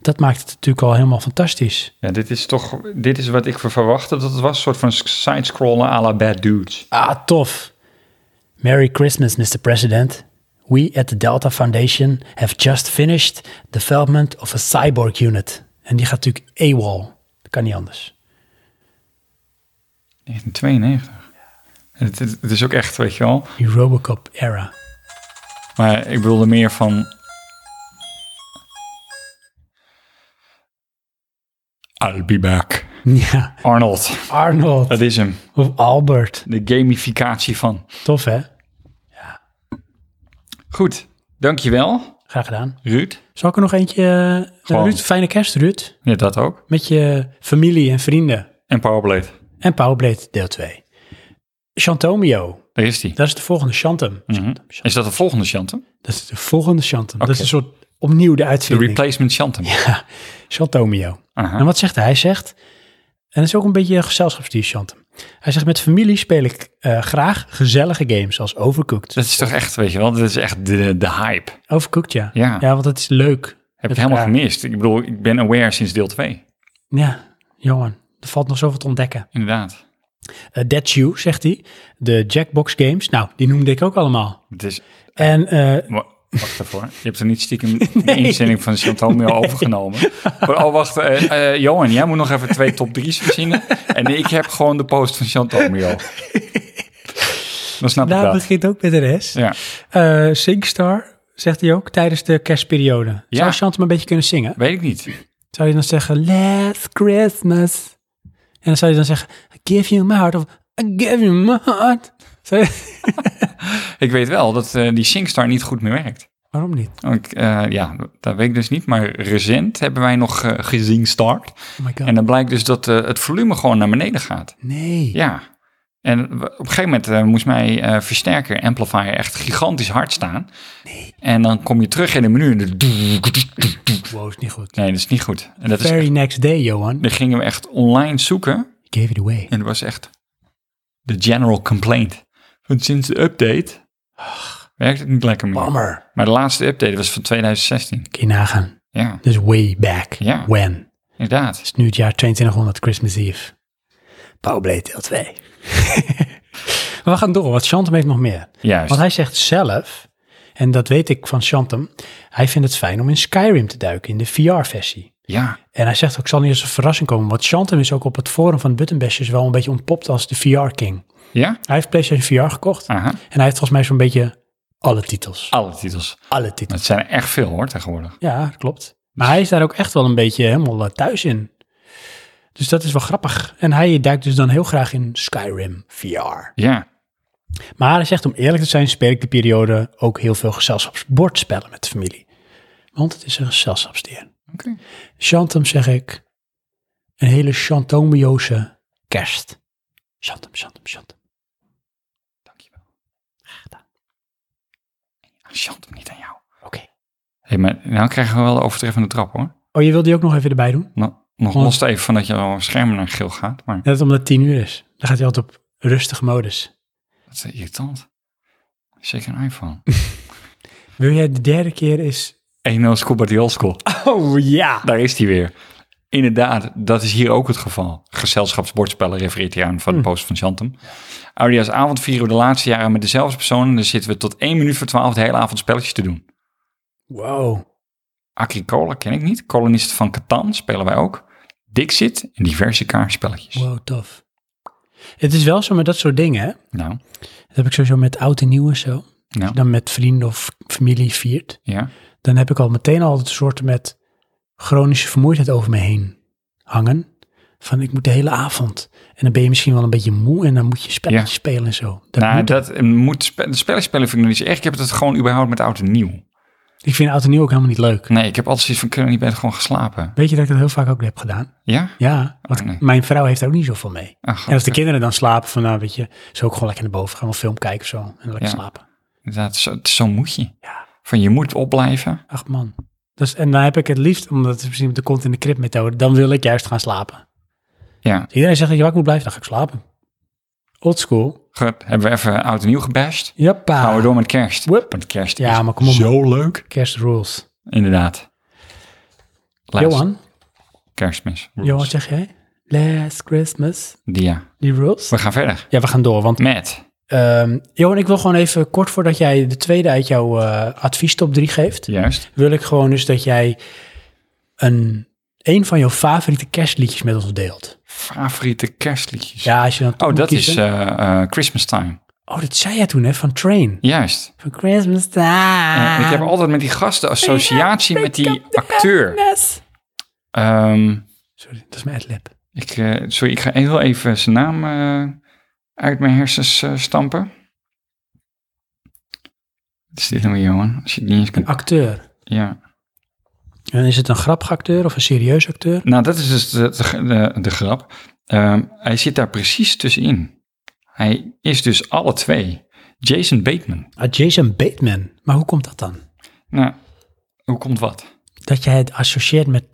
dat maakt het natuurlijk al helemaal fantastisch.
Ja, dit is toch dit is wat ik verwachtte dat het was. Een soort van side-scrollen à la Bad Dudes.
Ah, tof. Merry Christmas, Mr. President. We at the Delta Foundation have just finished development of a cyborg unit. En die gaat natuurlijk AWOL. Dat kan niet anders.
1992. Het, het, het is ook echt, weet je wel.
Die Robocop era.
Maar ik bedoelde meer van... I'll be back.
Ja,
Arnold.
Arnold
Dat is hem.
of Albert.
De gamificatie van.
Tof hè?
Goed. Dankjewel,
Graag gedaan.
Ruud.
Zal ik er nog eentje... eh,
Gewoon.
Ruud, fijne kerst Ruud.
Ja, dat ook.
Met je familie en vrienden.
En Powerblade.
En Powerblade deel 2. Chantomio.
Daar is die.
Dat is de volgende Chantum.
Mhm. Is dat de volgende Chantem?
Dat is de volgende Chantum. Dat is
Oké.
een soort opnieuw de
De
uitvinding.
replacement Chantem.
Ja, Chantomio.
Aha.
En wat zegt hij? Hij zegt, en dat is ook een beetje een gezelschapsdier, Chantem. Hij zegt, met familie speel ik eh, graag gezellige games als Overcooked.
Dat is toch echt, weet je wel, dat is echt de, de hype.
Overcooked, ja.
Ja.
want dat is leuk.
Heb
Met
ik helemaal
elkaar.
gemist. Ik bedoel, ik ben aware sinds deel 2.
Ja, jongen. Er valt nog zoveel te ontdekken.
Inderdaad.
Eh, Dead Shoe, zegt hij. De Jackbox games. Nou, die noemde ik ook allemaal.
Het is...
En eh,
wa- Wacht even hoor. Je hebt er niet stiekem de inzending van Chantal meer overgenomen. Maar, oh, wacht. eh, eh, Johan, jij moet nog even twee top 3's verzinnen. En ik heb gewoon de post van Chantal Mio. Dan snap ik
daar
dat.
begint ook met de rest.
Ja.
Eh, Singstar, zegt hij ook, tijdens de kerstperiode.
Ja.
Zou Chantem een beetje kunnen zingen?
Weet ik niet.
Zou je dan zeggen, last Christmas. En dan zou je dan zeggen, I give you my heart. Of, I give you my heart. Zou je-
Ik weet wel dat eh, die Singstar niet goed meer werkt.
Waarom niet?
Ik, eh, ja, dat weet ik dus niet. Maar recent hebben wij nog eh gezien start.
Oh my god.
En dan blijkt dus dat eh, het volume gewoon naar beneden gaat.
nee.
Ja. En w- op een gegeven moment eh, moest mijn eh, versterker, amplifier, echt gigantisch hard staan. En dan kom je terug in het menu en dan...
Wow, is niet goed.
Nee, dat is niet goed. En dat is,
Very next day, Johan.
dan gingen we echt online zoeken
You gave it away.
en dat was echt de general complaint. Want sinds de update werkt het niet lekker meer.
Bummer.
Maar de laatste update was van 2016.
Kun je nagaan.
Ja,
Dus way back.
Ja.
When. Het
inderdaad.
is nu het jaar 2200, Christmas Eve. Powerblade deel 2. maar we gaan door, want Chantem heeft nog meer.
Juist.
Want hij zegt zelf, en dat weet ik van Chantem, hij vindt het fijn om in Skyrim te duiken, in de VR-versie.
Ja,
En hij zegt ook, ik zal niet als een verrassing komen, want Chantem is ook op het forum van Buttonbashers wel een beetje ontpopt als de VR-king.
ja.
Hij heeft PlayStation VR gekocht
Aha.
en hij heeft volgens mij zo'n beetje alle titels.
Alle titels.
Alle titels.
Het zijn er echt veel hoor, tegenwoordig.
Ja, dat klopt. Maar hij is daar ook echt wel een beetje helemaal eh, thuis in. Dus dat is wel grappig. En hij duikt dus dan heel graag in Skyrim VR.
Ja,
Maar hij zegt, om eerlijk te zijn, speel ik de periode ook heel veel gezelschapsbordspellen met de familie. Want het is een gezelschapsdeer.
oké.
Chantem zeg ik, een hele chantomiose kerst. Chantem, chantem, chantem.
Dankjewel. Graag gedaan. Chant niet aan jou.
Oké.
hey, maar nou krijgen we wel de overtreffende trap hoor.
Oh, je wil die ook nog even erbij doen?
Nou, nog
Gewoon-
los even van dat je al schermen naar geel gaat, maar
Net omdat het tien uur is. Dan gaat hij altijd op rustige modus.
dat is irritant. Zeker een iPhone.
Wil jij de derde keer is...
1-0 Scuba Diolsco.
Oh ja!
Daar is hij weer. Inderdaad, dat is hier ook het geval. Gezelschapsbordspellen refereert hij aan van
Hm.
de post van Chantem. Audia's avond vieren we de laatste jaren met dezelfde persoon. En dan zitten we tot 1 minuut voor 12 de hele avond spelletjes te doen.
Wow.
Agricola ken ik niet. Kolonisten van Catan spelen wij ook. Dixit en diverse kaartspelletjes.
Wow, tof. Het is wel zo met dat soort dingen, hè?
Nou,
Dat heb ik sowieso met oud en nieuw en zo. Als
nou,
je dan met vrienden of familie viert.
ja.
Dan heb ik al meteen al het soort met chronische vermoeidheid over me heen hangen. Van ik moet de hele avond. En dan ben je misschien wel een beetje moe en dan moet je spelletjes spelen en zo. Dat
nou,
moet-
dat moet spe spellen spelen vind ik nog niet zo erg. Ik heb het gewoon überhaupt met oud en nieuw.
Ik vind oud en nieuw ook helemaal niet leuk.
Nee, ik heb altijd zoiets van, kunnen niet ben gewoon geslapen.
Weet je dat ik dat heel vaak ook heb gedaan?
Ja?
Ja, want
Oh, nee.
mijn vrouw heeft er ook niet zoveel mee.
Ach,
en als de kinderen dan slapen, van nou weet je, zo ook gewoon lekker naar boven gaan of film kijken of zo. En dan lekker
Ja.
slapen.
Inderdaad, zo, zo moet je.
Ja.
Van, je moet opblijven.
Ach man. Dus, en dan heb ik het liefst, omdat het misschien de kont in de krip methode, dan wil ik juist gaan slapen.
Ja,
Als iedereen zegt dat je wakker moet blijven, dan ga ik slapen. Old school.
Goed, hebben we even oud en nieuw gebashed.
Jappa.
Gaan we door met kerst.
Wup.
Want kerst
Ja,
is
maar kom op.
zo leuk.
Kerst rules.
Inderdaad. Last
Johan?
Kerstmis.
Jo, wat zeg jij? Last Christmas.
Dia.
Die rules?
We gaan verder.
Ja, we gaan door, want...
Met.
Ehm Johan, ik wil gewoon even kort voordat jij de tweede uit jouw eh, advies top 3 geeft,
Juist.
wil ik gewoon dus dat jij een, een van jouw favoriete kerstliedjes met ons deelt.
Favoriete kerstliedjes.
Ja, als je dan toch
oh,
moet
dat is
kiezen.
eh, eh, Christmas Time.
oh, dat zei jij toen, hè, van Train.
Juist.
Van Christmas Time. Ah.
Eh, ik heb altijd met die gasten associatie met die acteur.
Yes.
Ehm,
Sorry, dat is mijn adlib.
ik, eh, sorry, ik ga heel even zijn naam eh, uit mijn hersens eh, stampen. Wat is dit nou weer, Johan? Als je het niet eens
Oh.
kunt...
Acteur.
Ja.
En is het een grappig acteur of een serieus acteur?
Nou, dat is dus de, de, de, de grap. Ehm, hij zit daar precies tussenin. Hij is dus alle twee. Jason Bateman.
Ah, Jason Bateman. Maar hoe komt dat dan?
Nou, hoe komt wat?
Dat jij het associeert met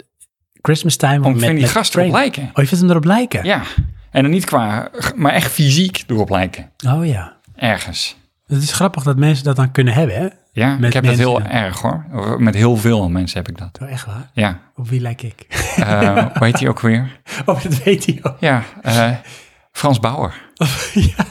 Christmas Time?
Om
met,
van die
met
gasten
Train.
op lijken.
Oh, je vindt hem erop lijken?
Ja. En dan niet qua, maar echt fysiek erop lijken.
Oh ja.
Ergens.
Het is grappig dat mensen dat dan kunnen hebben, hè?
Ja,
Met
ik heb dat
mensen,
heel
ja.
erg hoor. Of Met heel veel mensen heb ik dat.
Oh, echt waar?
Ja.
Op wie lijk ik?
Eh hoe heet hij ook weer?
oh, dat weet hij ook.
Ja, eh, Frans Bauer.
ja,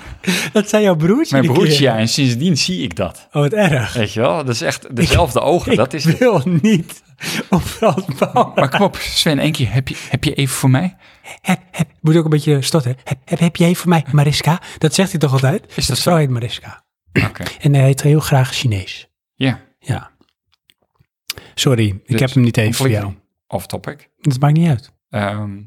dat zijn jouw broertje.
Mijn
die
broertje,
keer.
ja. En sindsdien zie ik dat.
Oh, wat erg.
Weet je wel? Dat is echt dezelfde ogen. Dat is
ik wil niet op Frans Bauer.
Maar kom op, Sven, één keer. Heb je, heb je even voor mij?
Heb, heb, moet ook een beetje stotteren. Heb, heb, heb jij voor mij Mariska? Dat zegt hij toch altijd? Is
dat
dat
zo?
vrouw heet Mariska.
Oké.
En hij heet heel graag Chinees.
Ja.
Ja. Sorry, ik
Dus,
heb hem niet even voor
conflict
jou.
Off topic.
Dat maakt niet uit.
Ehm,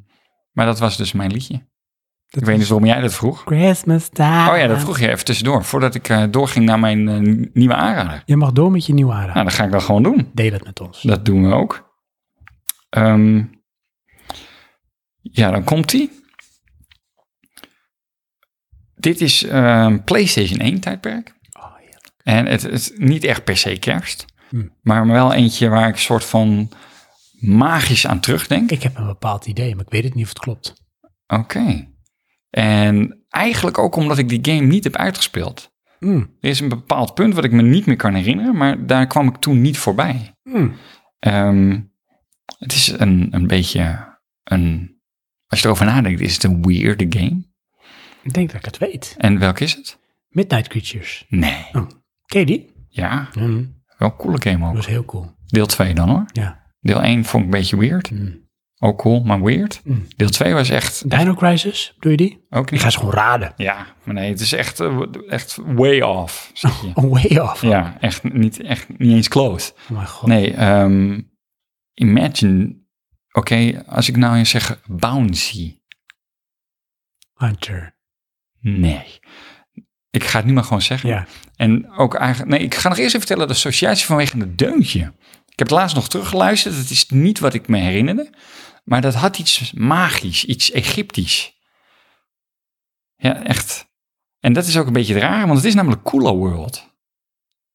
maar dat was dus mijn liedje.
Dat Ah,
ik weet niet waarom jij dat vroeg.
Christmas time.
Oh ja, dat vroeg je even tussendoor. Voordat ik eh, doorging naar mijn eh, nieuwe aanrader.
Je mag door met je nieuwe aanrader.
Nou, dat ga ik dan gewoon doen.
Deel het met ons.
Dat doen we ook. Ehm, ja, dan komt die. Dit is ehm, PlayStation 1 tijdperk.
Oh, heerlijk.
En het is niet echt per se kerst.
Hmm.
Maar wel eentje waar ik soort van magisch aan terugdenk.
Ik heb een bepaald idee, maar ik weet het niet of het klopt.
Oké. En eigenlijk ook omdat ik die game niet heb uitgespeeld.
Mm,
Er is een bepaald punt wat ik me niet meer kan herinneren, maar daar kwam ik toen niet voorbij.
mm.
Ehm, het is een, een beetje een. Als je erover nadenkt, is het een weirde game.
Ik denk dat ik het weet.
En welk is het?
Midnight Creatures.
Nee.
Ken je die?
Ja,
Mm,
wel een coole game
Dat
ook.
was heel cool.
Deel 2 dan hoor.
Ja.
Deel 1 vond ik een beetje weird.
Mm.
Ook cool, maar weird.
Mm.
Deel 2 was echt.
Dino Crisis, doe je die?
Ook
Ik
niet.
ga ze gewoon raden.
Ja, maar nee, het is echt, eh, echt way off. zeg je.
Een Oh, way off.
Ja, echt niet, echt niet eens close.
Oh mijn god.
Nee, ehm, imagine. Oké, als ik nou eens zeg bouncy.
Hunter.
Nee. Ik ga het nu maar gewoon zeggen.
Ja.
En ook eigenlijk. Nee, ik ga nog eerst even vertellen de associatie vanwege het deuntje. Ik heb het laatst nog teruggeluisterd. Het is niet wat ik me herinnerde. Maar dat had iets magisch, iets Egyptisch. Ja, echt. En dat is ook een beetje het rare, want het is namelijk Koolo World.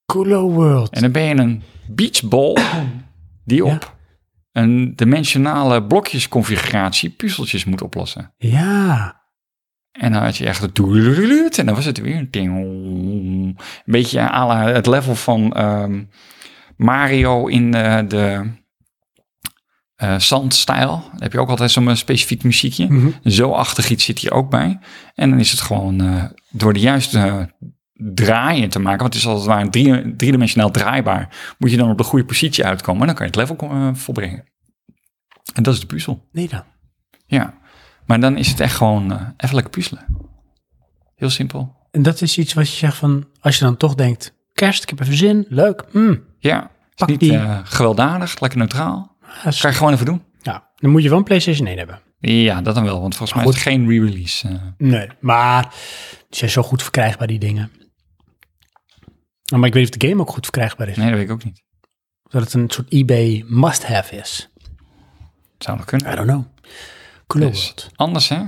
Coolo World.
En dan ben je een beachball die
Ja.
op een dimensionale blokjesconfiguratie puzzeltjes moet oplossen.
Ja.
En dan had je echt het doedeloedeloed en dan was het weer een ding. Een beetje à la het level van ehm, Mario in eh, de eh zandstijl. Dan heb je ook altijd zo'n eh, specifiek muziekje.
Mhm.
Zo achtig iets zit hier ook bij. En dan is het gewoon eh, door de juiste eh, draaien te maken, want het is als het ware drie, driedimensionaal draaibaar, moet je dan op de goede positie uitkomen en dan kan je het level kom- eh, volbrengen. En dat is de puzzel.
Nee dan.
Ja, maar dan is het echt gewoon eh, even lekker puzzelen. Heel simpel.
En dat is iets wat je zegt van, als je dan toch denkt, kerst, ik heb even zin, leuk. Mm.
Ja, het is
Pak
niet
die.
eh, gewelddadig, lekker neutraal.
Ah, dat is-
Ga je gewoon even doen.
Ja, dan moet je wel een PlayStation 1 hebben.
Ja, dat dan wel, want volgens mij is
Goed.
het geen re-release. eh.
Nee, maar die zijn zo goed verkrijgbaar, die dingen. Maar ik weet niet of de game ook goed verkrijgbaar is.
nee, dat weet ik ook niet.
Dat het een soort eBay must-have is.
Zou nog kunnen.
I don't know. Cool
Dus
world.
anders hè,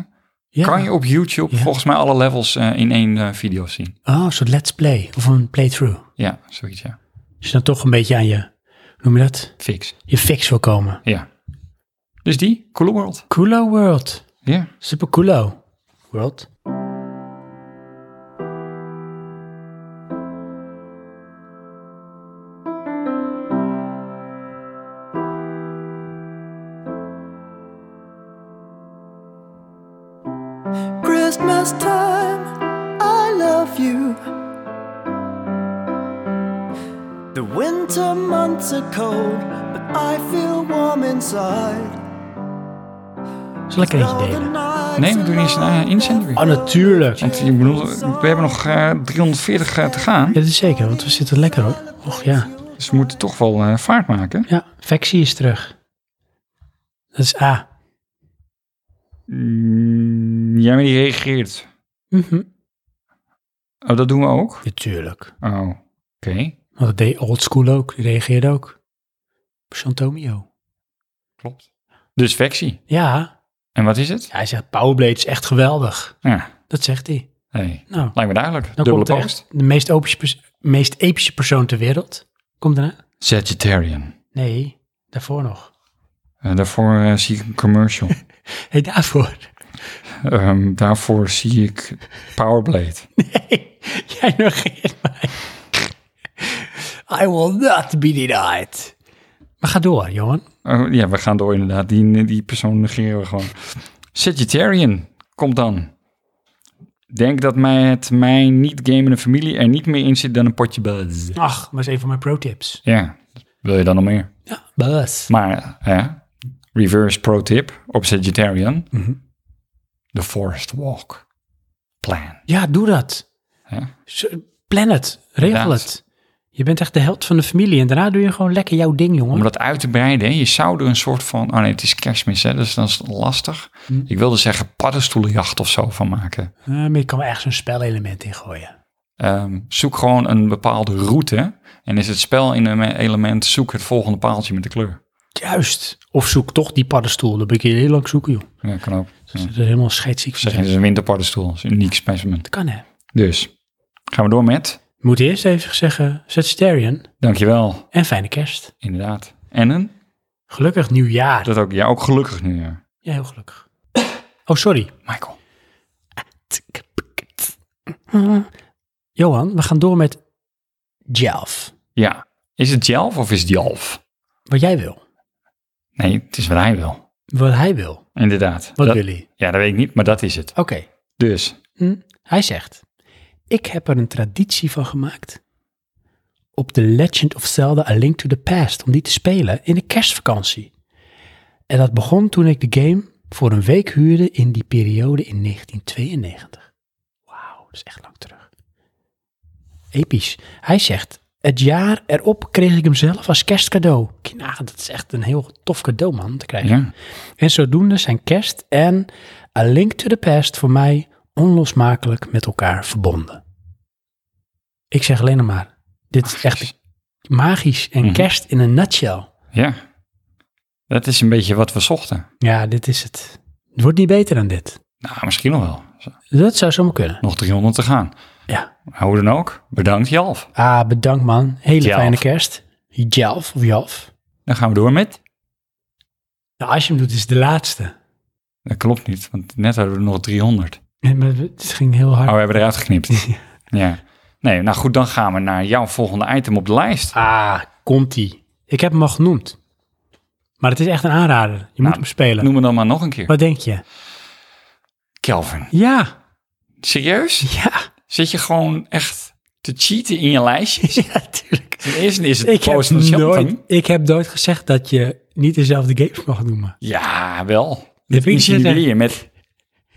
Ja.
kan je op YouTube
Ja.
volgens mij alle levels eh, in één eh, video zien.
Oh, een soort let's play of een playthrough.
Ja, zoiets ja.
Als je dan toch een beetje aan je, hoe noem je dat?
Fix.
Je fix wil komen.
Ja. Dus die, Cool World.
Coolo world.
Ja.
Super coolo world.
Christmas time, I love you. The winter months are cold, but I feel warm inside.
Zal ik er eentje delen?
Nee, we doen eerst een eh, inzender.
Oh, natuurlijk.
ik bedoel, we hebben nog eh, 340 te gaan.
Ja, dat is zeker, want we zitten lekker hoor. Och ja.
Dus we moeten toch wel eh, vaart maken.
Ja, Vexie is terug. Dat is A.
Mm, ja, maar die reageert.
Mhm.
Oh, dat doen we ook?
Natuurlijk.
Oh, oké.
Want dat deed oldschool ook. Die reageerde ook. Chantomio.
Klopt. Dus Vexie.
Ja,
En wat is het?
hij zegt Powerblade is echt geweldig.
Ja.
Dat zegt hij.
Hey.
Nou.
Lijkt me duidelijk.
Dan
Dubbele
komt er
post.
echt de meest, epische pers- meest epische persoon ter wereld. Komt daarna?
Sagittarian.
Nee, daarvoor nog.
Eh, daarvoor eh, zie ik een commercial.
Hé, hey, daarvoor.
Ehm, daarvoor zie ik Powerblade.
Jij negeert mij. I will not be denied. Maar ga door, Johan.
Oh, ja, we gaan door inderdaad. Die, die persoon negeren we gewoon. Sagittarian komt dan. Denk dat mij het mijn niet gamende familie er niet meer in zit dan een potje buzz.
Ach, maar eens even mijn pro-tips.
Ja, wil je dan nog meer?
Buzz.
Maar, hè, reverse pro tip op Sagittarian. The forest walk. Plan.
Ja, doe dat.
Ja.
Z- Plan het. Regel
Inderdaad.
het. Je bent echt de held van de familie. En daarna doe je gewoon lekker jouw ding, jongen.
Om dat uit te breiden, hè, je zou er een soort van... Oh nee, het is kerstmis, hè, dus dat is lastig. Ik wilde zeggen paddenstoelenjacht of zo van maken.
Eh, maar je kan wel ergens een spelelement in gooien.
Ehm, zoek gewoon een bepaalde route. En is het spel in een element, zoek het volgende paaltje met de kleur.
Juist. Of zoek toch die paddenstoel. Dan ben ik hier heel lang zoeken, joh.
Ja, kan ook.
Dat is helemaal scheidsziek.
Zeg, het is een winterpaddenstoel. Het is een uniek specimen.
Dat kan, hè.
Dus, gaan we door met...
Moet eerst even zeggen, Sagittarian
Dankjewel,
en fijne kerst.
inderdaad. En een?
Gelukkig nieuwjaar.
Dat ook, ja, ook gelukkig nieuwjaar.
Ja, heel gelukkig. Oh, sorry.
Michael.
Johan, we gaan door met Jelf.
Ja, is het Jelf of is het Jalf?
Wat jij wil.
Nee, het is wat hij wil.
Wat hij wil.
Inderdaad.
Wat
Dat-
wil hij?
Ja, dat weet ik niet, maar dat is het.
Oké.
Dus,
Hm, Hij zegt, ik heb er een traditie van gemaakt op The Legend of Zelda A Link to the Past, om die te spelen in de kerstvakantie. En dat begon toen ik de game voor een week huurde in die periode in 1992. Wauw, dat is echt lang terug. Episch. Hij zegt, het jaar erop kreeg ik hem zelf als kerstcadeau. Knagen, dat is echt een heel tof cadeau, man, te krijgen.
ja.
En zodoende zijn kerst en A Link to the Past voor mij onlosmakelijk met elkaar verbonden. Ik zeg alleen nog maar, dit is echt magisch en
Mhm.
kerst in een nutshell.
Ja. Dat is een beetje wat we zochten.
Ja, dit is het. Het wordt niet beter dan dit.
Nou, misschien nog wel.
Dat zou zomaar kunnen.
Nog 300 te gaan.
Ja.
Hoe dan ook, bedankt Jalf.
Ah, bedankt man. Hele
Jelf.
fijne kerst. Jelf of Jalf.
Dan gaan we door met.
Nou, als je hem doet, is het de laatste.
Dat klopt niet, want net hadden we nog 300.
Nee, maar het ging heel hard.
Oh, we hebben eruit geknipt. ja. Nee, nou goed, dan gaan we naar jouw volgende item op de lijst.
Ah, komt-ie. Ik heb hem al genoemd. Maar het is echt een aanrader. Je moet hem spelen.
Nou, Noem me dan maar nog een keer.
Wat denk je?
Kelvin.
Ja,
Serieus?
ja,
Zit je gewoon echt te cheaten in je lijstjes?
ja, tuurlijk.
Ten eerste is het
Ik heb,
Poison
nooit, ik heb nooit gezegd dat je niet dezelfde games mag noemen.
Ja, wel.
vind
Dit
ik
insinueer je
zeggen.
met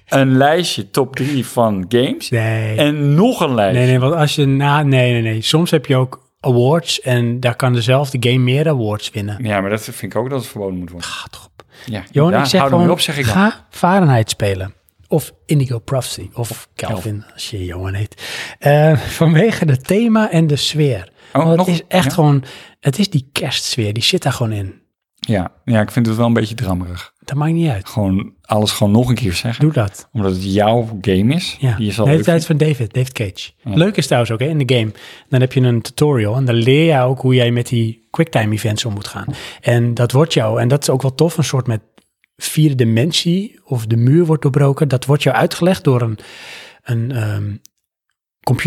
een lijstje top 3 van games.
Nee.
En nog een lijst.
nee, nee, want als je na... Nee, nee, nee. Soms heb je ook awards en daar kan dezelfde game meer awards winnen.
Ja, maar dat vind ik ook dat het verboden moet worden.
Ga toch op.
Ja,
Johan,
ja,
ik zeg
hou er
gewoon,
mee op, zeg ik dan.
ga Fahrenheit spelen. Of Indigo Prophecy, of, Calvin, als je Johan heet. Eh, vanwege het thema en de sfeer.
Oh,
Want
nog-
het is echt
ja.
gewoon... Het is die kerstsfeer, die zit daar gewoon in.
Ja, ja, ik vind het wel een beetje drammerig.
Dat maakt niet uit.
gewoon alles gewoon nog een keer zeggen.
Doe dat.
Omdat het jouw game is.
Ja,
Die je zal
de hele
leuk
tijd van David, David Cage. Leuk is trouwens ook hè, in de game. Dan heb je een tutorial en dan leer je ook hoe jij met die quicktime events om moet gaan. En dat wordt jou, en dat is ook wel tof, een soort met vierde dimensie of de muur wordt doorbroken. Dat wordt jou uitgelegd door een, een ehm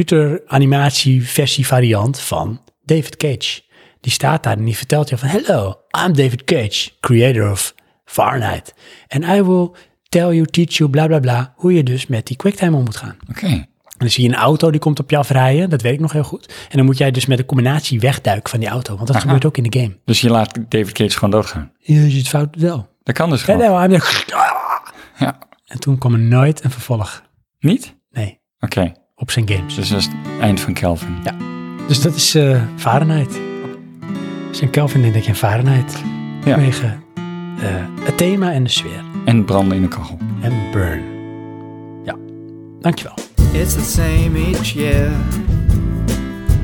computeranimatie versie variant van David Cage. Die staat daar en die vertelt je van... Hello, I'm David Cage, creator of Fahrenheit. And I will tell you, teach you, bla bla bla, hoe je dus met die quicktime om moet gaan.
Oké.
En dan zie je een auto die komt op je afrijden, dat weet ik nog heel goed. En dan moet jij dus met een combinatie wegduiken van die auto, want dat
Aha.
gebeurt ook in de game.
Dus je laat David Cage gewoon doodgaan.
Je ziet het fout wel.
Dat kan dus
En,
gewoon.
dan, en toen kwam er nooit een vervolg.
Niet?
Nee,
Oké.
op zijn games.
Dus dat is het eind van Kelvin.
Ja. Dus dat is eh Fahrenheit. Als je een Kelvin denkt, denk je aan Fahrenheit.
Ja.
Vanwege eh, het thema en de sfeer.
En branden in de kachel.
En burn. Ja, dankjewel.
It's the same each year.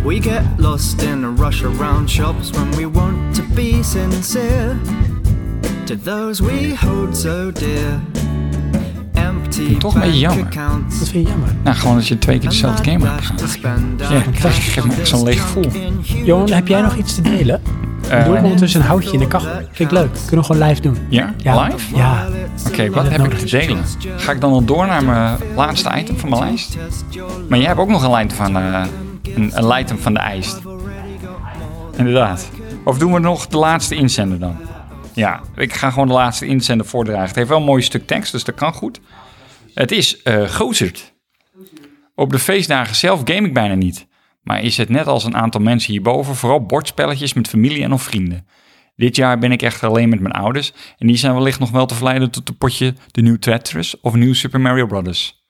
We get lost in a rush around shops when we want to be sincere to those we hold so dear. Empty
Toch een beetje
bank
jammer.
accounts.
Dat vind je jammer.
Nou, gewoon dat je twee keer dezelfde game hebt gedaan. Ja,
gedaan.
dat geeft me ook zo'n leeg gevoel.
Johan, heb jij nog iets te delen?
Eh,
Doe ik ondertussen een houtje in de kachel. Vind ik leuk. Kunnen we gewoon live doen.
Ja?
Ja.
Live?
Ja. Ah,
Oké, wat heb ik te delen? Ga ik dan al door naar mijn laatste item van mijn lijst? Maar jij hebt ook nog een item van, eh, een, een item van de ijs. Inderdaad. Of doen we nog de laatste inzender dan? Ja, ik ga gewoon de laatste inzender voordragen. Het heeft wel een mooi stuk tekst, dus dat kan goed. Het is eh Gozerd. Op de feestdagen zelf game ik bijna niet. Maar is het net als een aantal mensen hierboven vooral bordspelletjes met familie en of vrienden. Dit jaar ben ik echt alleen met mijn ouders. En die zijn wellicht nog wel te verleiden tot een potje The New Tetris of New Super Mario Bros.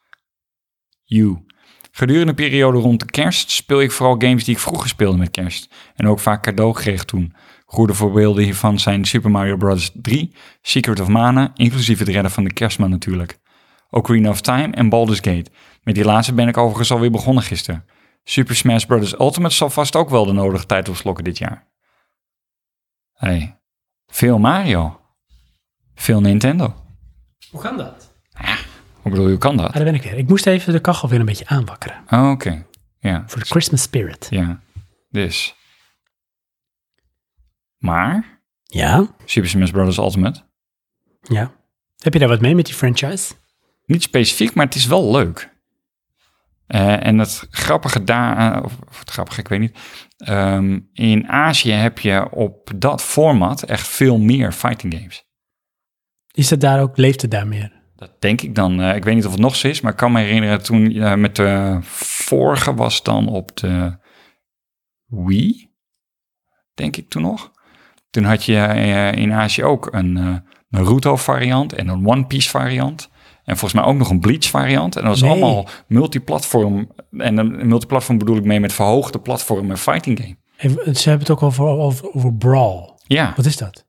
You. Gedurende de periode rond de kerst speel ik vooral games die ik vroeger speelde met kerst. En ook vaak cadeau kreeg toen. Goede voorbeelden hiervan zijn Super Mario Bros. 3, Secret of Mana, inclusief het redden van de kerstman natuurlijk. Ocarina of Time en Baldur's Gate. Met die laatste ben ik overigens alweer begonnen gisteren. Super Smash Bros. Ultimate zal vast ook wel de nodige tijd opslokken dit jaar. Hey, veel Mario. Veel Nintendo.
Hoe kan dat?
Hoe bedoel je, hoe kan
Ah,
dat?
daar ben ik weer. Ik moest even de kachel weer een beetje aanwakkeren.
Oh, Oké, ja.
Voor de Christmas spirit.
Ja, dus. Maar,
Ja.
Super Smash Bros. Ultimate,
Ja. Heb je daar wat mee met die franchise?
niet specifiek, maar het is wel leuk. Eh, en het grappige daar, eh, of, of het grappige, ik weet niet. Ehm, in Azië heb je op dat format echt veel meer fighting games.
Is dat daar ook, leeft het daar meer?
Dat denk ik dan. eh, ik weet niet of het nog zo is, maar ik kan me herinneren toen eh, met de vorige was dan op de Wii, denk ik toen nog. Toen had je eh, in Azië ook een eh, Naruto-variant en een One Piece-variant. En volgens mij ook nog een Bleach-variant. En dat was
Nee.
allemaal multiplatform. En een multiplatform bedoel ik mee met verhoogde platform en fighting game.
Even- Ze hebben het ook over, over, over brawl.
Ja,
Wat is dat?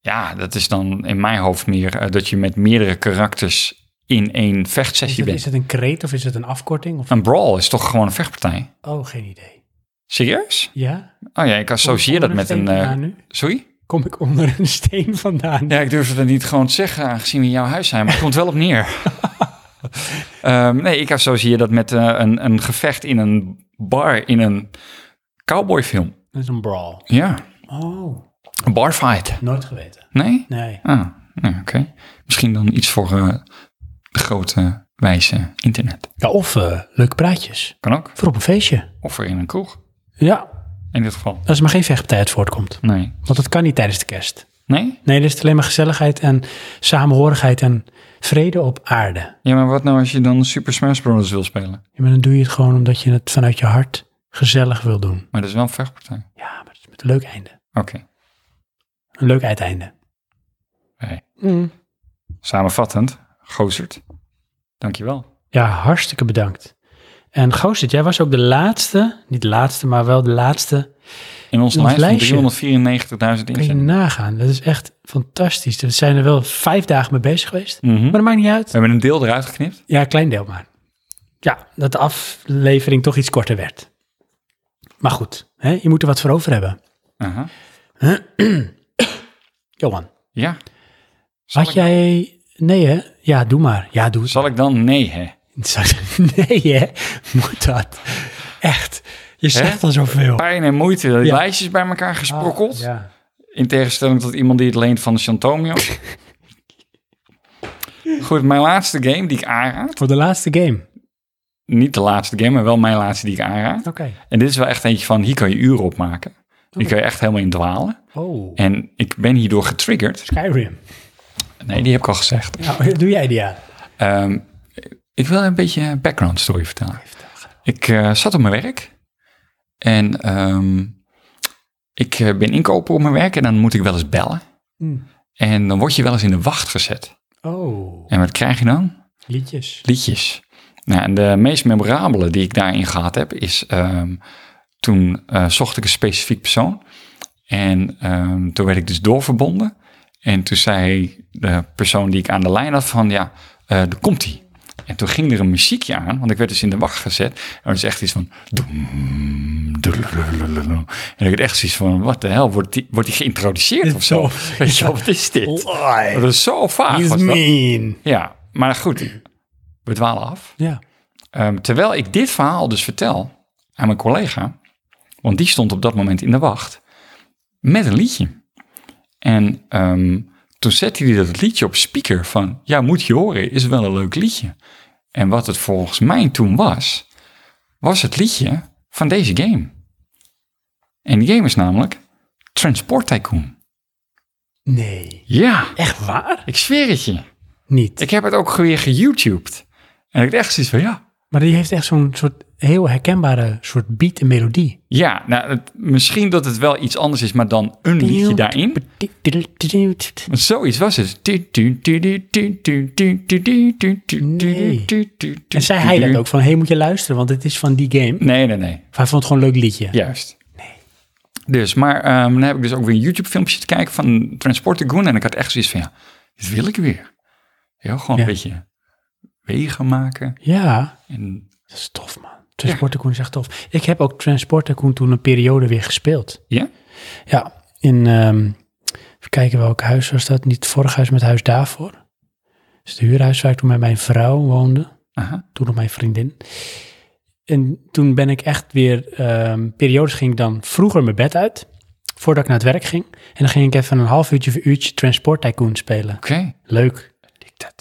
ja, dat is dan in mijn hoofd meer eh, dat je met meerdere karakters in één
Is
vechtsessie
het, is
bent.
het een kreet of is het een afkorting? Of,
Een brawl is toch gewoon een vechtpartij?
oh, geen idee.
Serieus?
Ja?
Oh ja, ik associeer
Kom ik
dat met een...
onder
eh,
steen vandaan nu?
sorry?
Kom ik onder een steen vandaan?
Ja, ik durfde dat niet gewoon te zeggen, aangezien we in jouw huis zijn, maar het komt wel op neer. Ehm, nee, ik associeer dat met eh, een, een gevecht in een bar, in een cowboyfilm.
Dat is een brawl.
Ja,
Oh,
een barfight.
nooit geweten.
Nee?
Nee.
Ah, nou, oké. Misschien dan iets voor eh, de grote, wijze internet.
Ja, of eh, leuke praatjes.
Kan ook.
Voor op een feestje.
Of voor in een kroeg,
Ja,
in dit geval.
als er maar geen vechtpartij uit voortkomt.
Nee.
Want dat kan niet tijdens de kerst.
Nee?
Nee, er is alleen maar gezelligheid en samenhorigheid en vrede op aarde.
Ja, maar wat nou als je dan Super Smash Bros. wil spelen?
Ja, maar dan doe je het gewoon omdat je het vanuit je hart gezellig wil doen.
Maar dat is wel een vechtpartij.
Ja, maar het is met een leuk einde.
Oké.
Een leuk uiteinde.
Nee.
Mm.
Samenvattend, Gozert, dankjewel.
Ja, hartstikke bedankt. En Goostit, jij was ook de laatste, niet de laatste, maar wel de laatste.
In ons
In ons
lijst van 394.000
Kun je
inzendingen.
nagaan. Dat is echt fantastisch. We zijn er wel vijf dagen mee bezig geweest.
Mhm.
Maar dat maakt niet uit.
We hebben een deel eruit geknipt.
Ja, klein deel maar. Ja, dat de aflevering toch iets korter werd. Maar goed, hè, je moet er wat voor over hebben.
Aha.
Johan,
Ja. Zal
had
ik, nou-
jij... Nee hè? Ja, doe maar. Ja, doe het.
zal ik dan nee, hè?
Nee hè? Moet dat? Echt. Je zegt al zoveel.
Pijn en moeite, die
Ja. Ah,
lijstjes bij elkaar gesprokkeld.
Ja.
In tegenstelling tot iemand die het leent van Santomio. Goed, mijn laatste game die ik aanraad.
Voor de laatste game.
Niet de laatste game, maar wel mijn laatste die ik aanraad.
Oké.
En dit is wel echt eentje van, hier kan je uren op maken. Hier kan je echt helemaal in dwalen.
Oh.
En ik ben hierdoor getriggerd.
Skyrim.
Eh, Nee, die heb ik al gezegd.
Nou, doe jij die aan?
Ehm, ik wil een beetje een background story vertellen. Ik eh, zat op mijn werk en ehm, ik eh, ben inkoper op mijn werk en dan moet ik wel eens bellen.
Hmm.
En dan word je wel eens in de wacht gezet.
Oh,
En wat krijg je dan?
liedjes.
Liedjes. Nou, en de meest memorabele die ik daarin gehad heb is ehm, toen eh, zocht ik een specifiek persoon. En ehm, toen werd ik dus doorverbonden. En toen zei de persoon die ik aan de lijn had van ja, eh daar komt hij. En toen ging er een muziekje aan, want ik werd dus in de wacht gezet. En dat is echt iets van... doem, doelululululu. En ik had echt zoiets van, wat de hel, wordt die, wordt die geïntroduceerd of zo? Weet je wel, wat is dit? Dat is zo vaag.
He's
was dat.
mean.
Ja, maar goed, we dwalen af.
Ja.
Ehm, terwijl ik dit verhaal dus vertel aan mijn collega, want die stond op dat moment in de wacht, met een liedje. En ehm, toen zette hij dat liedje op speaker van, ja, moet je horen, is wel een leuk liedje. En wat het volgens mij toen was, was het liedje van deze game. En die game is namelijk Transport Tycoon.
Nee.
Ja.
Echt waar?
Ik zweer het je.
Niet.
Ik heb het ook weer geYouTubed. En ik dacht echt zoiets van, ja,
Maar die heeft echt zo'n soort heel herkenbare soort beat en melodie.
Ja, nou, het- misschien dat het wel iets anders is, maar dan een liedje daarin. Zoiets was het.
En zei hij dat ook? Van, hé, hey, moet je luisteren, want het is van die game.
Nee, nee, nee.
Hij vond het gewoon een leuk liedje.
Juist. Dus, maar ehm, dan heb ik dus ook weer een YouTube-filmpje te kijken van Transport Goon. En ik had echt zoiets van, ja, dit wil ik weer. Ja, gewoon een
Ja.
beetje wegen maken.
Ja.
En
Dat is tof, man. Transport Tycoon is echt tof. Ik heb ook Transport Tycoon toen een periode weer gespeeld.
Ja?
Ja, in... ehm, even kijken welk huis was dat. Niet het vorige huis, maar het huis daarvoor. Dat is het huurhuis waar ik toen met mijn vrouw woonde.
Aha.
Toen nog mijn vriendin. En toen ben ik echt weer... ehm, periodes ging ik dan vroeger mijn bed uit... voordat ik naar het werk ging. En dan ging ik even een half uurtje of een uurtje Transport Tycoon spelen.
Oké.
Leuk.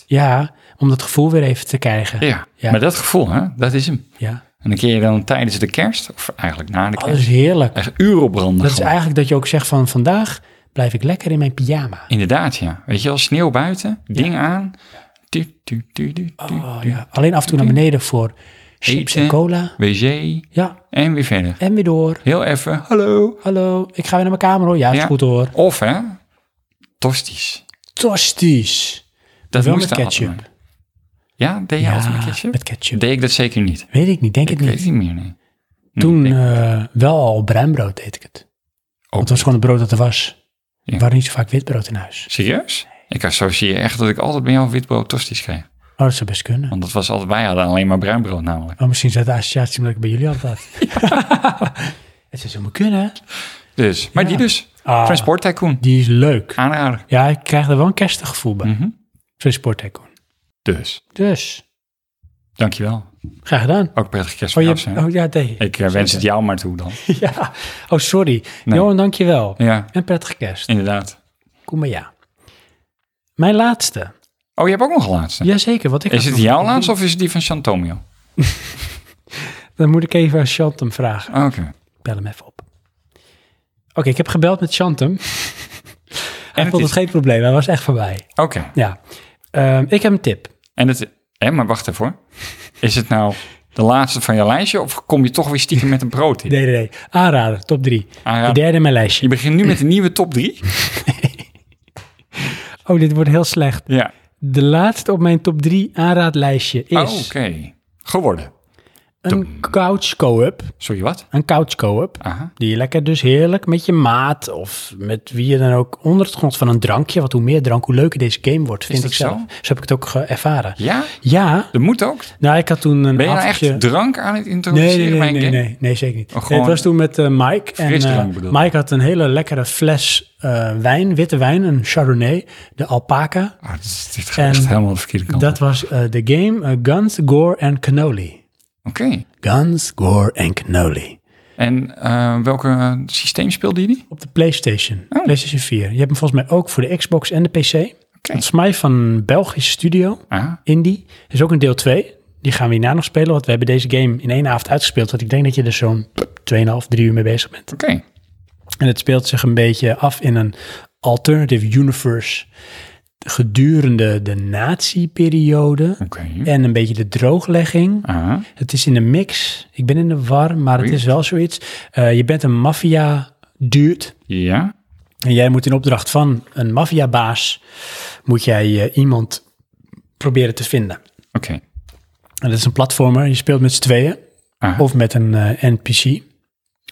Ja, om dat gevoel weer even te krijgen.
Ja,
Ja.
maar dat gevoel, hè, dat is hem.
Ja.
En dan kun je dan tijdens de kerst, of eigenlijk na de
Oh,
kerst...
dat is heerlijk.
Echt uren branden
Dat is
gewoon.
eigenlijk dat je ook zegt van vandaag blijf ik lekker in mijn pyjama.
Inderdaad, ja. Weet je wel, sneeuw buiten, ding aan. Tu, tu, tu, tu, tu,
Oh,
tu.
Alleen af en toe naar beneden voor chips en
Eten.
cola.
Wc
Ja,
en weer verder.
en weer door.
Heel even, hallo.
Hallo, ik ga weer naar mijn kamer hoor. Ja, is
Ja.
goed hoor.
Of hè, tosties.
Tostisch.
Dat
Wel
moest
met
er
ketchup.
altijd bij. Ja, deed je
Ja,
altijd met ketchup?
met ketchup.
Deed ik dat zeker niet.
Weet ik niet, denk
Ik
ik
weet het
niet.
niet meer, nee.
Toen eh, wel al bruinbrood deed ik het.
Oh,
Want het was gewoon het brood dat er was.
Ja.
Er waren niet zo vaak witbrood in huis.
Serieus? Ik associeer echt dat ik altijd bij jou witbrood tosties kreeg.
Oh, dat zou best kunnen.
Want dat was altijd, wij hadden alleen maar bruinbrood namelijk.
Oh, misschien is dat de associatie omdat ik bij jullie altijd had. het zou zomaar kunnen.
Dus, maar die dus.
Ah.
Transport Tycoon.
Die is leuk.
Aanrader.
Ja, ik krijg er wel een kerstig gevoel bij.
Ah. Mhm.
Transport Tycoon.
Dus,
Dus,
dankjewel.
graag gedaan.
Ook prettige kerst
Oh,
voor
je,
jou, Sam.
oh ja, nee.
Ik eh, wens het jou maar toe dan.
Ja. Oh, sorry.
Nee.
Johan, dankjewel.
Ja,
En prettige kerst.
inderdaad.
Kom maar ja. Mijn laatste.
Oh, je hebt ook nog een laatste.
Jazeker, wat ik...
Is
had
het
nog-
jouw laatste of is het die van Chantomio?
Dan moet ik even aan Chantem vragen.
Oké.
Bel hem even op. Oké, ik heb gebeld met Chantem. Hij
het
vond
is-
het geen probleem. Hij was echt van mij.
Oké.
Ja. Ehm, ik heb een tip.
En het... Hé, maar wacht even hoor. Is het nou de laatste van je lijstje of kom je toch weer stiekem met een brood in?
Nee, nee, nee. Aanrader, top 3.
Aanrader.
De derde in mijn lijstje.
Je begint nu met de nieuwe top drie?
Oh, dit wordt heel slecht.
Ja.
De laatste op mijn top 3 aanraadlijstje is...
Oh, Oké. Geworden.
Een couch co-op.
Sorry, wat?
Een couch co-op.
Aha.
Die je lekker dus heerlijk met je maat of met wie je dan ook onder het grond van een drankje. Want hoe meer drank, hoe leuker deze game wordt, vind
dat
ik zelf.
zo?
Zo heb ik het ook ge- ervaren.
Ja?
Ja,
Dat moet ook.
nou ik had toen een
Ben je nou
avondje-
echt drank aan het
Nee,
introduceren
nee,
bij
nee,
een
nee,
game?
nee, nee, zeker niet.
Oh,
Nee,
gewoon
het was toen met eh, Mike. En,
frisdrank
eh,
bedoel je?
Mike had een hele lekkere fles eh, wijn, witte wijn, een Chardonnay, de Alpaca.
Ah, dit, is- dit
En
gaat echt helemaal de verkeerde kant.
Dat was eh, de game eh, Guns, Gore en Cannoli.
Oké.
Guns, Gore en Cannoli.
En eh welke eh, systeem speelde je die?
Op de PlayStation.
Oh.
PlayStation 4. Je hebt hem volgens mij ook voor de Xbox en de PC.
Oké.
Het is mij van een Belgische studio,
Ah,
Indie. Er is ook een deel 2. Die gaan we hierna nog spelen, want we hebben deze game in één avond uitgespeeld. Want ik denk dat je er zo'n 2,5, 3 uur mee bezig bent.
oké.
En het speelt zich een beetje af in een alternative universe. gedurende de nazi-periode en een beetje de drooglegging.
Ah.
Het is in een mix. Ik ben in de war, maar het is wel zoiets. Eh, je bent een maffia-duurt.
Ja.
En jij moet in opdracht van een maffiabaas... moet jij eh, iemand proberen te vinden.
Oké.
En dat is een platformer. Je speelt met z'n tweeën.
Ah.
Of met een eh, NPC.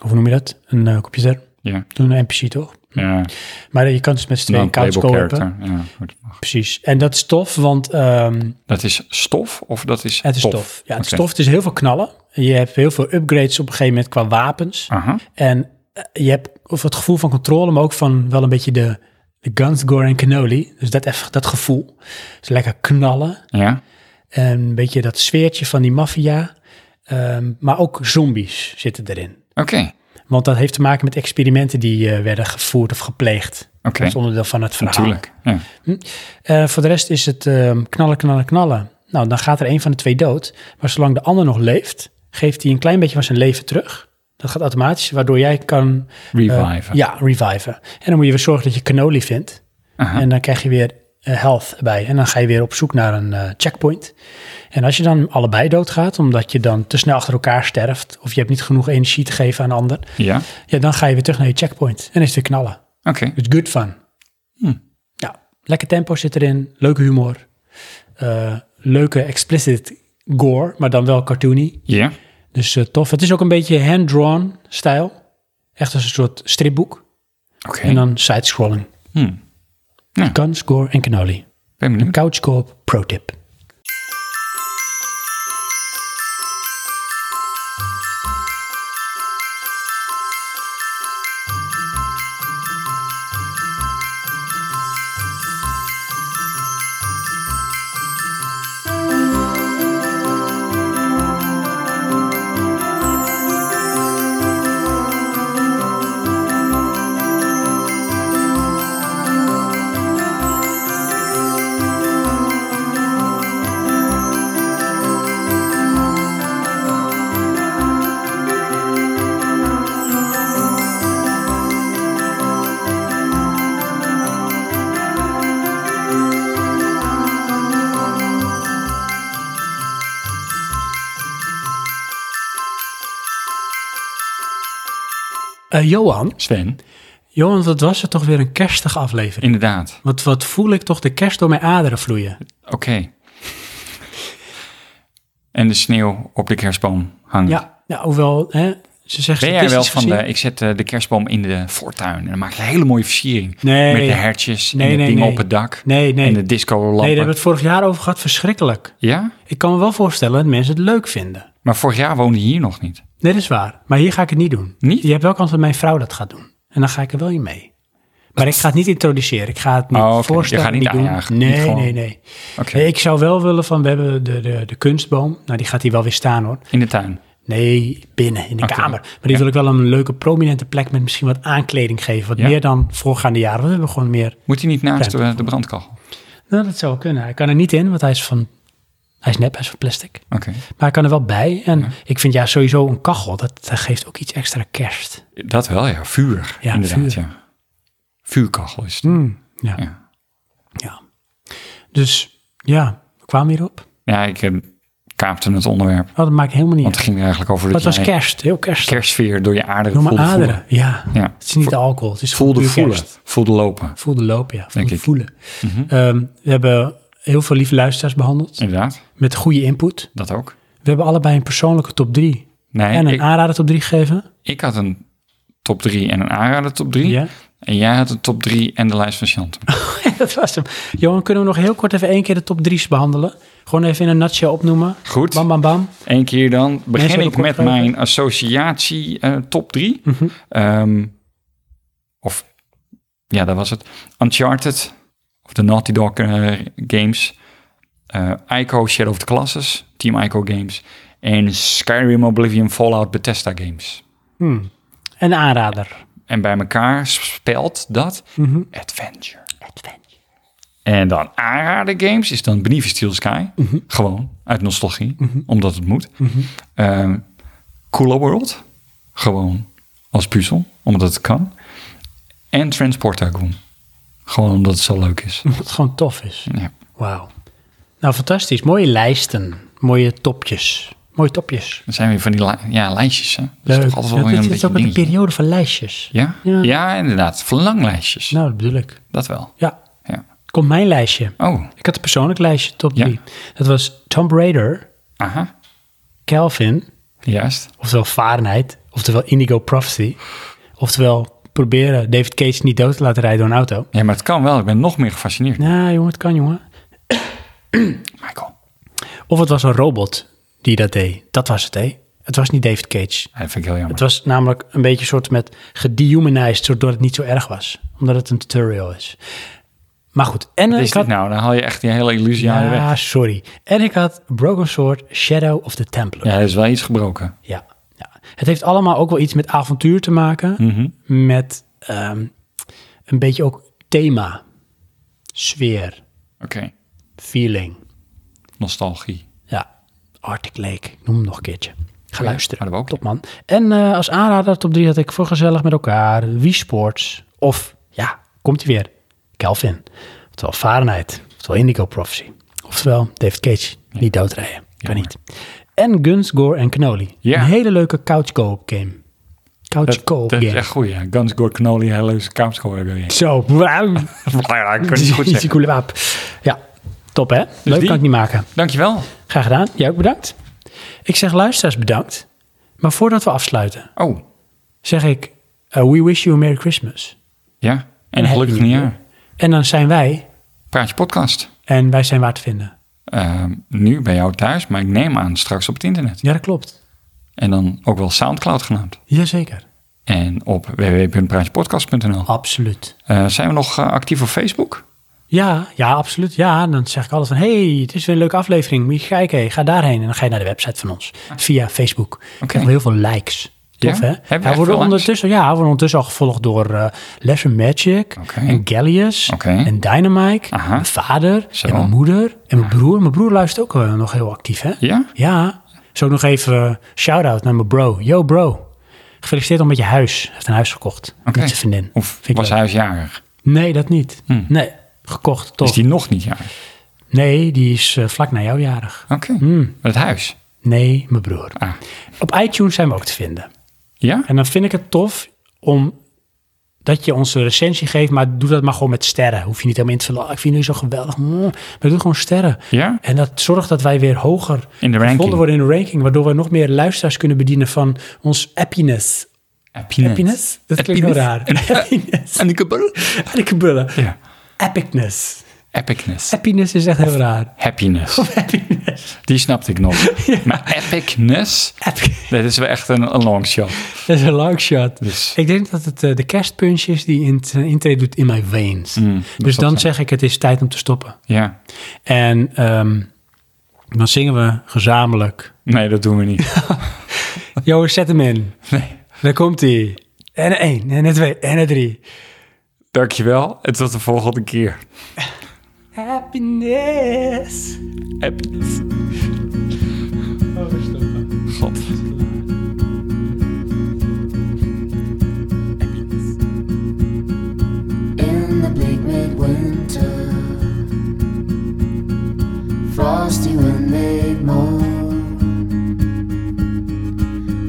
Of hoe noem je dat? Een eh computer.
Ja.
Toen een NPC, toch?
Ja.
Maar je kan dus met z'n tweeën couch
Non-playable
co-open.
character, ja, goed.
Precies. En dat is tof, want ehm,
Dat is stof of dat is
het is
tof?
tof. Ja, het is
Oké.
tof. Het is heel veel knallen. Je hebt heel veel upgrades op een gegeven moment qua wapens. En eh, je hebt of het gevoel van controle, maar ook van wel een beetje de, de guns, gore en cannoli. Dus dat, eff- dat gevoel. Dus lekker knallen.
Ja.
En een beetje dat sfeertje van die maffia. Ehm, maar ook zombies zitten erin.
Oké.
Want dat heeft te maken met experimenten die eh, werden gevoerd of gepleegd.
Oké.
Dat is onderdeel van het verhaal.
Natuurlijk. Ja.
Hm? Eh, voor de rest is het ehm, knallen, knallen, knallen. Nou, dan gaat er een van de twee dood. Maar zolang de ander nog leeft, geeft hij een klein beetje van zijn leven terug. Dat gaat automatisch, waardoor jij kan... eh,
Reviven.
ja, reviven. En dan moet je weer zorgen dat je cannoli vindt. En dan krijg je weer eh, health erbij. En dan ga je weer op zoek naar een eh, checkpoint. En als je dan allebei doodgaat, omdat je dan te snel achter elkaar sterft... of je hebt niet genoeg energie te geven aan een ander...
Ja.
Ja, dan ga je weer terug naar je checkpoint. En is het weer knallen.
Oké.
Dus good fun.
Hm.
Ja, lekker tempo zit erin. Leuke humor. eh, leuke explicit gore, maar dan wel cartoony.
Ja.
Dus eh, tof. Het is ook een beetje hand-drawn stijl. Echt als een soort stripboek.
Oké.
En dan side-scrolling.
Hm.
Guns, gore en cannoli.
Ben benieuwd.
Een couch co-op pro tip. Eh, Johan.
Sven.
Johan, wat was het toch weer een kerstige aflevering.
Inderdaad.
Wat, wat voel ik toch de kerst door mijn aderen vloeien.
Oké. En de sneeuw op de kerstboom hangt.
Ja, ja hoewel hè, ze zeggen...
Ben jij wel
statistisch
van de,
gezien-
ik zet eh, de kerstboom in de voortuin en dan maak je een hele mooie versiering.
Nee.
Met de hertjes
Nee,
en de
nee,
dingen
nee.
op het dak.
Nee, nee.
En de disco
Nee, daar
lampen.
hebben we het vorig jaar over gehad. Verschrikkelijk.
Ja?
Ik kan me wel voorstellen dat mensen het leuk vinden.
Maar vorig jaar woonde je hier nog niet.
Nee, dat is waar. Maar hier ga ik het niet doen.
Niet?
Je hebt wel kans dat mijn vrouw dat gaat doen. En dan ga ik er wel in mee. Maar ik ga het niet introduceren. Ik ga het niet
Oh, oké. Je
voorstellen.
gaat niet
doen.
aanjagen.
Nee,
Niet gewoon-
nee, nee. Nee, Ik zou wel willen van, we hebben de, de, de kunstboom. Nou, die gaat hier wel weer staan hoor.
In de tuin.
Nee, binnen, in de
Oké.
kamer. Maar die wil ik wel een leuke, prominente plek met misschien wat aankleding geven. Wat
Ja.
meer dan voorgaande jaren. Want we hebben gewoon meer...
Moet hij niet naast
Ruimte
de, de brandkachel?
Nou, dat zou wel kunnen. Hij kan er niet in, want hij is van... Hij is nep, hij is van plastic.
Oké.
Maar hij kan er wel bij. En ik vind ja, sowieso een kachel, dat, dat geeft ook iets extra kerst.
Dat wel, ja. Vuur. Hmm.
Ja,
inderdaad,
vuur.
ja. Vuurkachel is het.
ja.
Ja.
Ja. Dus ja, we kwamen hierop.
Ja, ik eh, kaapte het onderwerp.
Oh, dat maakt helemaal niet
Want
uit.
het ging er eigenlijk over
Maar
dat
het was
jij
kerst, heel kerst.
kerstsfeer door je aarderen
Noem maar
voelde
aderen,
voelen.
ja.
ja.
Het is niet de alcohol, het is
Voelde
gewoon puur
voelen.
kerst.
Voelde lopen.
Voelde lopen, ja.
Denk
Voelde
ik. Mhm.
voelen. Ehm, we hebben heel veel lieve luisteraars behandeld.
Inderdaad.
Met goede input.
Dat ook.
We hebben allebei een persoonlijke top 3.
Nee,
en een
ik-
aanrader top 3 gegeven.
Ik had een top 3 en een aanrader top 3.
Ja.
En jij had een top 3 en de lijst van Chantum.
dat was hem. Johan, kunnen we nog heel kort even één keer de top 3's behandelen? Gewoon even in een nutshell opnoemen.
Goed.
Bam, bam, bam.
Eén keer dan begin
hebben
ik
kort
met
gegeven.
mijn associatie eh, top 3. of ja, dat was het. Uncharted of de Naughty Dog eh, games. Eh Ico Shadow of the Classes, Team Ico games. En Skyrim Oblivion Fallout Bethesda games.
Hm. Een aanrader.
En bij elkaar spelt dat
Mhm.
Adventure. En dan aanraden games is dan Beneath the Steel Sky.
Mhm.
Gewoon, uit nostalgie, omdat het moet. Ehm, Cooler World, gewoon als puzzel, omdat het kan. En Transport Tycoon, Gewoon omdat het zo leuk is.
Omdat het gewoon tof is.
Ja.
Wauw. Nou, fantastisch. Mooie lijsten. Mooie topjes. Mooie topjes.
Dat zijn weer van die li- ja, lijstjes. Hè? Dat
Leuk.
is toch altijd wel
Ja,
weer
dit
een
is
beetje
ook
een
een
dingetje.
periode van lijstjes.
Ja? ja? inderdaad. Verlanglijstjes.
Nou, dat bedoel ik.
Dat wel.
Ja.
Ja.
Komt mijn lijstje.
Oh.
Ik had een persoonlijk lijstje, top 3. Dat was Tom Raider,
Aha.
Calvin,
Juist.
oftewel Fahrenheit, oftewel Indigo Prophecy, oftewel proberen David Cage niet dood te laten rijden door een auto.
Ja, maar het kan wel. Ik ben nog meer gefascineerd.
Nou, jongen, het kan, jongen.
Michael.
Of het was een robot die dat deed. Dat was het, hè? Het was niet David Cage.
Ja, dat vind ik heel jammer.
Het was namelijk een beetje soort met gedehumanized, zodat het niet zo erg was. Omdat het een tutorial is. Maar goed, en
Wat
ik
is
had...
dit nou? Dan haal je echt die hele illusie aan je
ja,
weg.
sorry. En ik had Broken Sword, Shadow of the Templar.
Ja, er is wel iets gebroken.
Ja. ja. Het heeft allemaal ook wel iets met avontuur te maken.
Mhm.
Met ehm, een beetje ook thema, sfeer,
Oké.
feeling.
Nostalgie.
Ja, Arctic Lake. Ik noem hem nog een keertje. Ga luisteren.
Hadden we ook.
Top man. En eh, als aanrader top 3 had ik voor gezellig met elkaar Wii Sports. Of, ja, komt hij weer. Calvin. Oftewel Fahrenheit. Oftewel Indigo Prophecy. Oftewel David Cage. Niet doodrijden. Kan niet. En Guns, Gore en Knoli.
Ja.
Een hele leuke couch co-op game. Couch
Dat,
co-op
dat
game.
is echt goed, ja. Guns, Gore, Cannoli, hele leuze kaapschool hebben we hier.
Zo. Wauw.
Ja, ik kan het niet goed
Die
zeggen. Dus
coole waap. Ja, top hè. Leuk
die-
kan ik niet maken.
Dankjewel.
Graag gedaan. Jij ook bedankt. Ik zeg luisteraars bedankt. Maar voordat we afsluiten,
Oh,
zeg ik... eh, we wish you a Merry Christmas.
ja. En
En
een gelukkig
Happy New
nieuwjaar.
En dan zijn wij,
Praatje podcast.
en wij zijn waar te vinden.
Ehm, nu bij jou thuis, maar ik neem aan straks op het internet.
Ja, dat klopt.
En dan ook wel Soundcloud genaamd.
Jazeker.
En op www.praatjepodcast.nl.
Ah. Absoluut.
Eh, zijn we nog eh, actief op Facebook?
Ja, ja, absoluut. Ja, en dan zeg ik altijd van... hey, het is weer een leuke aflevering. Moet je kijken. Hey, Ga daarheen. En dan ga je naar de website van ons. Via Facebook. Ik krijg wel heel veel likes.
Ah. Ja?
Tof, hè?
Hebben we echt
Hij wordt
veel likes?
ondertussen, ja, hij wordt ondertussen al gevolgd door eh Lesser Magic... en Gallius
Oké.
en Dynamite...
Aha.
mijn vader
Zo.
en mijn moeder en mijn broer. Mijn broer luistert ook eh, nog heel actief, hè?
Ja?
Ja. Zo nog even eh, shout-out naar mijn bro. Yo, bro. Gefeliciteerd al met je huis. Hij heeft een huis gekocht.
Oké.
Met zijn vriendin.
Of
ik
was
leuk.
huisjarig?
Nee, dat niet.
Hmm.
Nee, gekocht, toch?
Is die nog niet jarig?
Nee, die is eh, vlak na jouw jarig.
Oké.
Hmm.
Het huis?
Nee, mijn broer.
Ah.
Op iTunes zijn we ook te vinden.
Ja?
En dan vind ik het tof om dat je ons een recensie geeft, maar doe dat maar gewoon met sterren. Hoef je niet helemaal in te vullen. "Oh, Ik vind jullie zo geweldig. Mm, Maar doe gewoon sterren.
Ja?
En dat zorgt dat wij weer hoger
In
gevonden
de ranking.
worden in de ranking, waardoor we nog meer luisteraars kunnen bedienen van ons happiness.
Happiness. eh,
Happiness? Dat klinkt heel raar. Happiness.
En ik heb-
Hartelijk bullen.
Ja.
Epicness.
Epicness.
Happiness is echt heel raar.
Happiness.
Happiness.
Die snapte ik nog. Maar epicness,
Epic.
dat is wel echt een, een long shot.
Dat is een long shot.
Dus
Ik denk dat het eh, de kerstpunch is die in zijn intrede doet in mijn veins.
Mm, dat
dus
zal
dan
zijn.
zeg ik het is tijd om te stoppen.
ja,
En ehm, dan zingen we gezamenlijk.
nee, dat doen we niet.
Yo, zet hem in.
Nee.
Daar komt hij. En een één, en een twee, en een drie.
Dankjewel en tot de volgende keer.
Happiness.
Happiness. Oh, God.
in the bleak midwinter. Frosty wind made moan.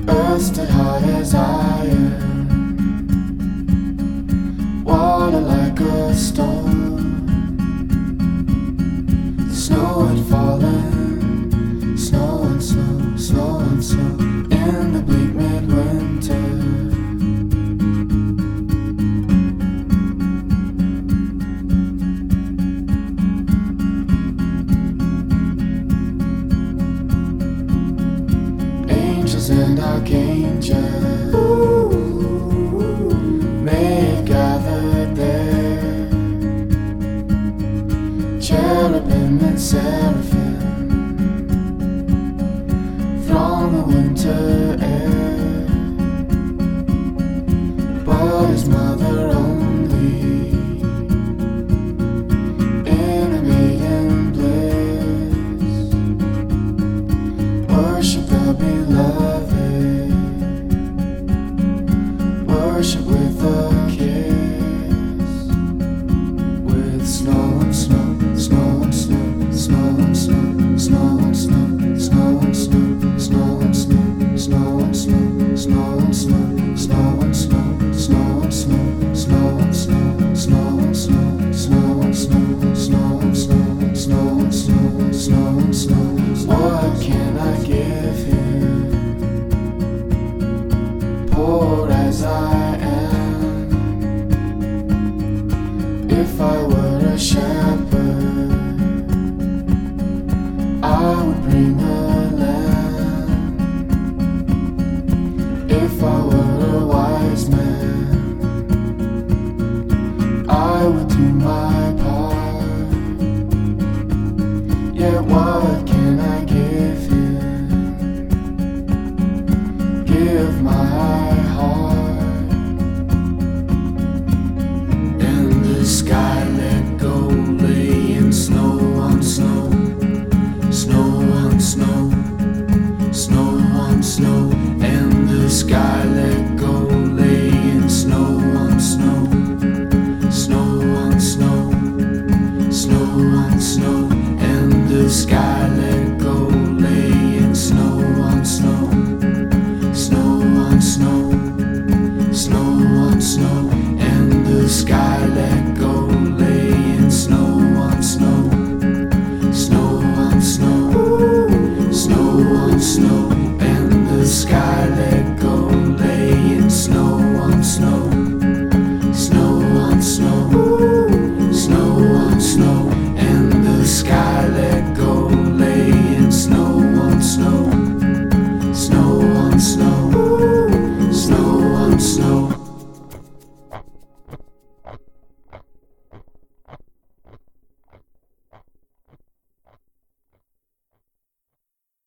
Earth stood hard as iron. Water like a stone. Snow had fallen. Snow and snow, snow and snow. In the bleak midwinter. angels and archangels may have gathered there. Cherubim and seraphim throng the winter air. But his mother only in a maiden bliss worship the beloved, worship with a kiss. Yeah, what can I give you? Give my heart. In the sky, let go, lay in snow on snow, snow on snow, snow on snow. In the sky, let go, lay in snow on snow, snow on snow snow on snow and the sky let go laying snow on snow snow on snow snow on snow and the sky let go laying snow on snow snow on snow snow on snow and the sky let go laying snow on snow snow on snow snow on snow, and the sky let go, laying snow on snow, snow on snow, snow on snow.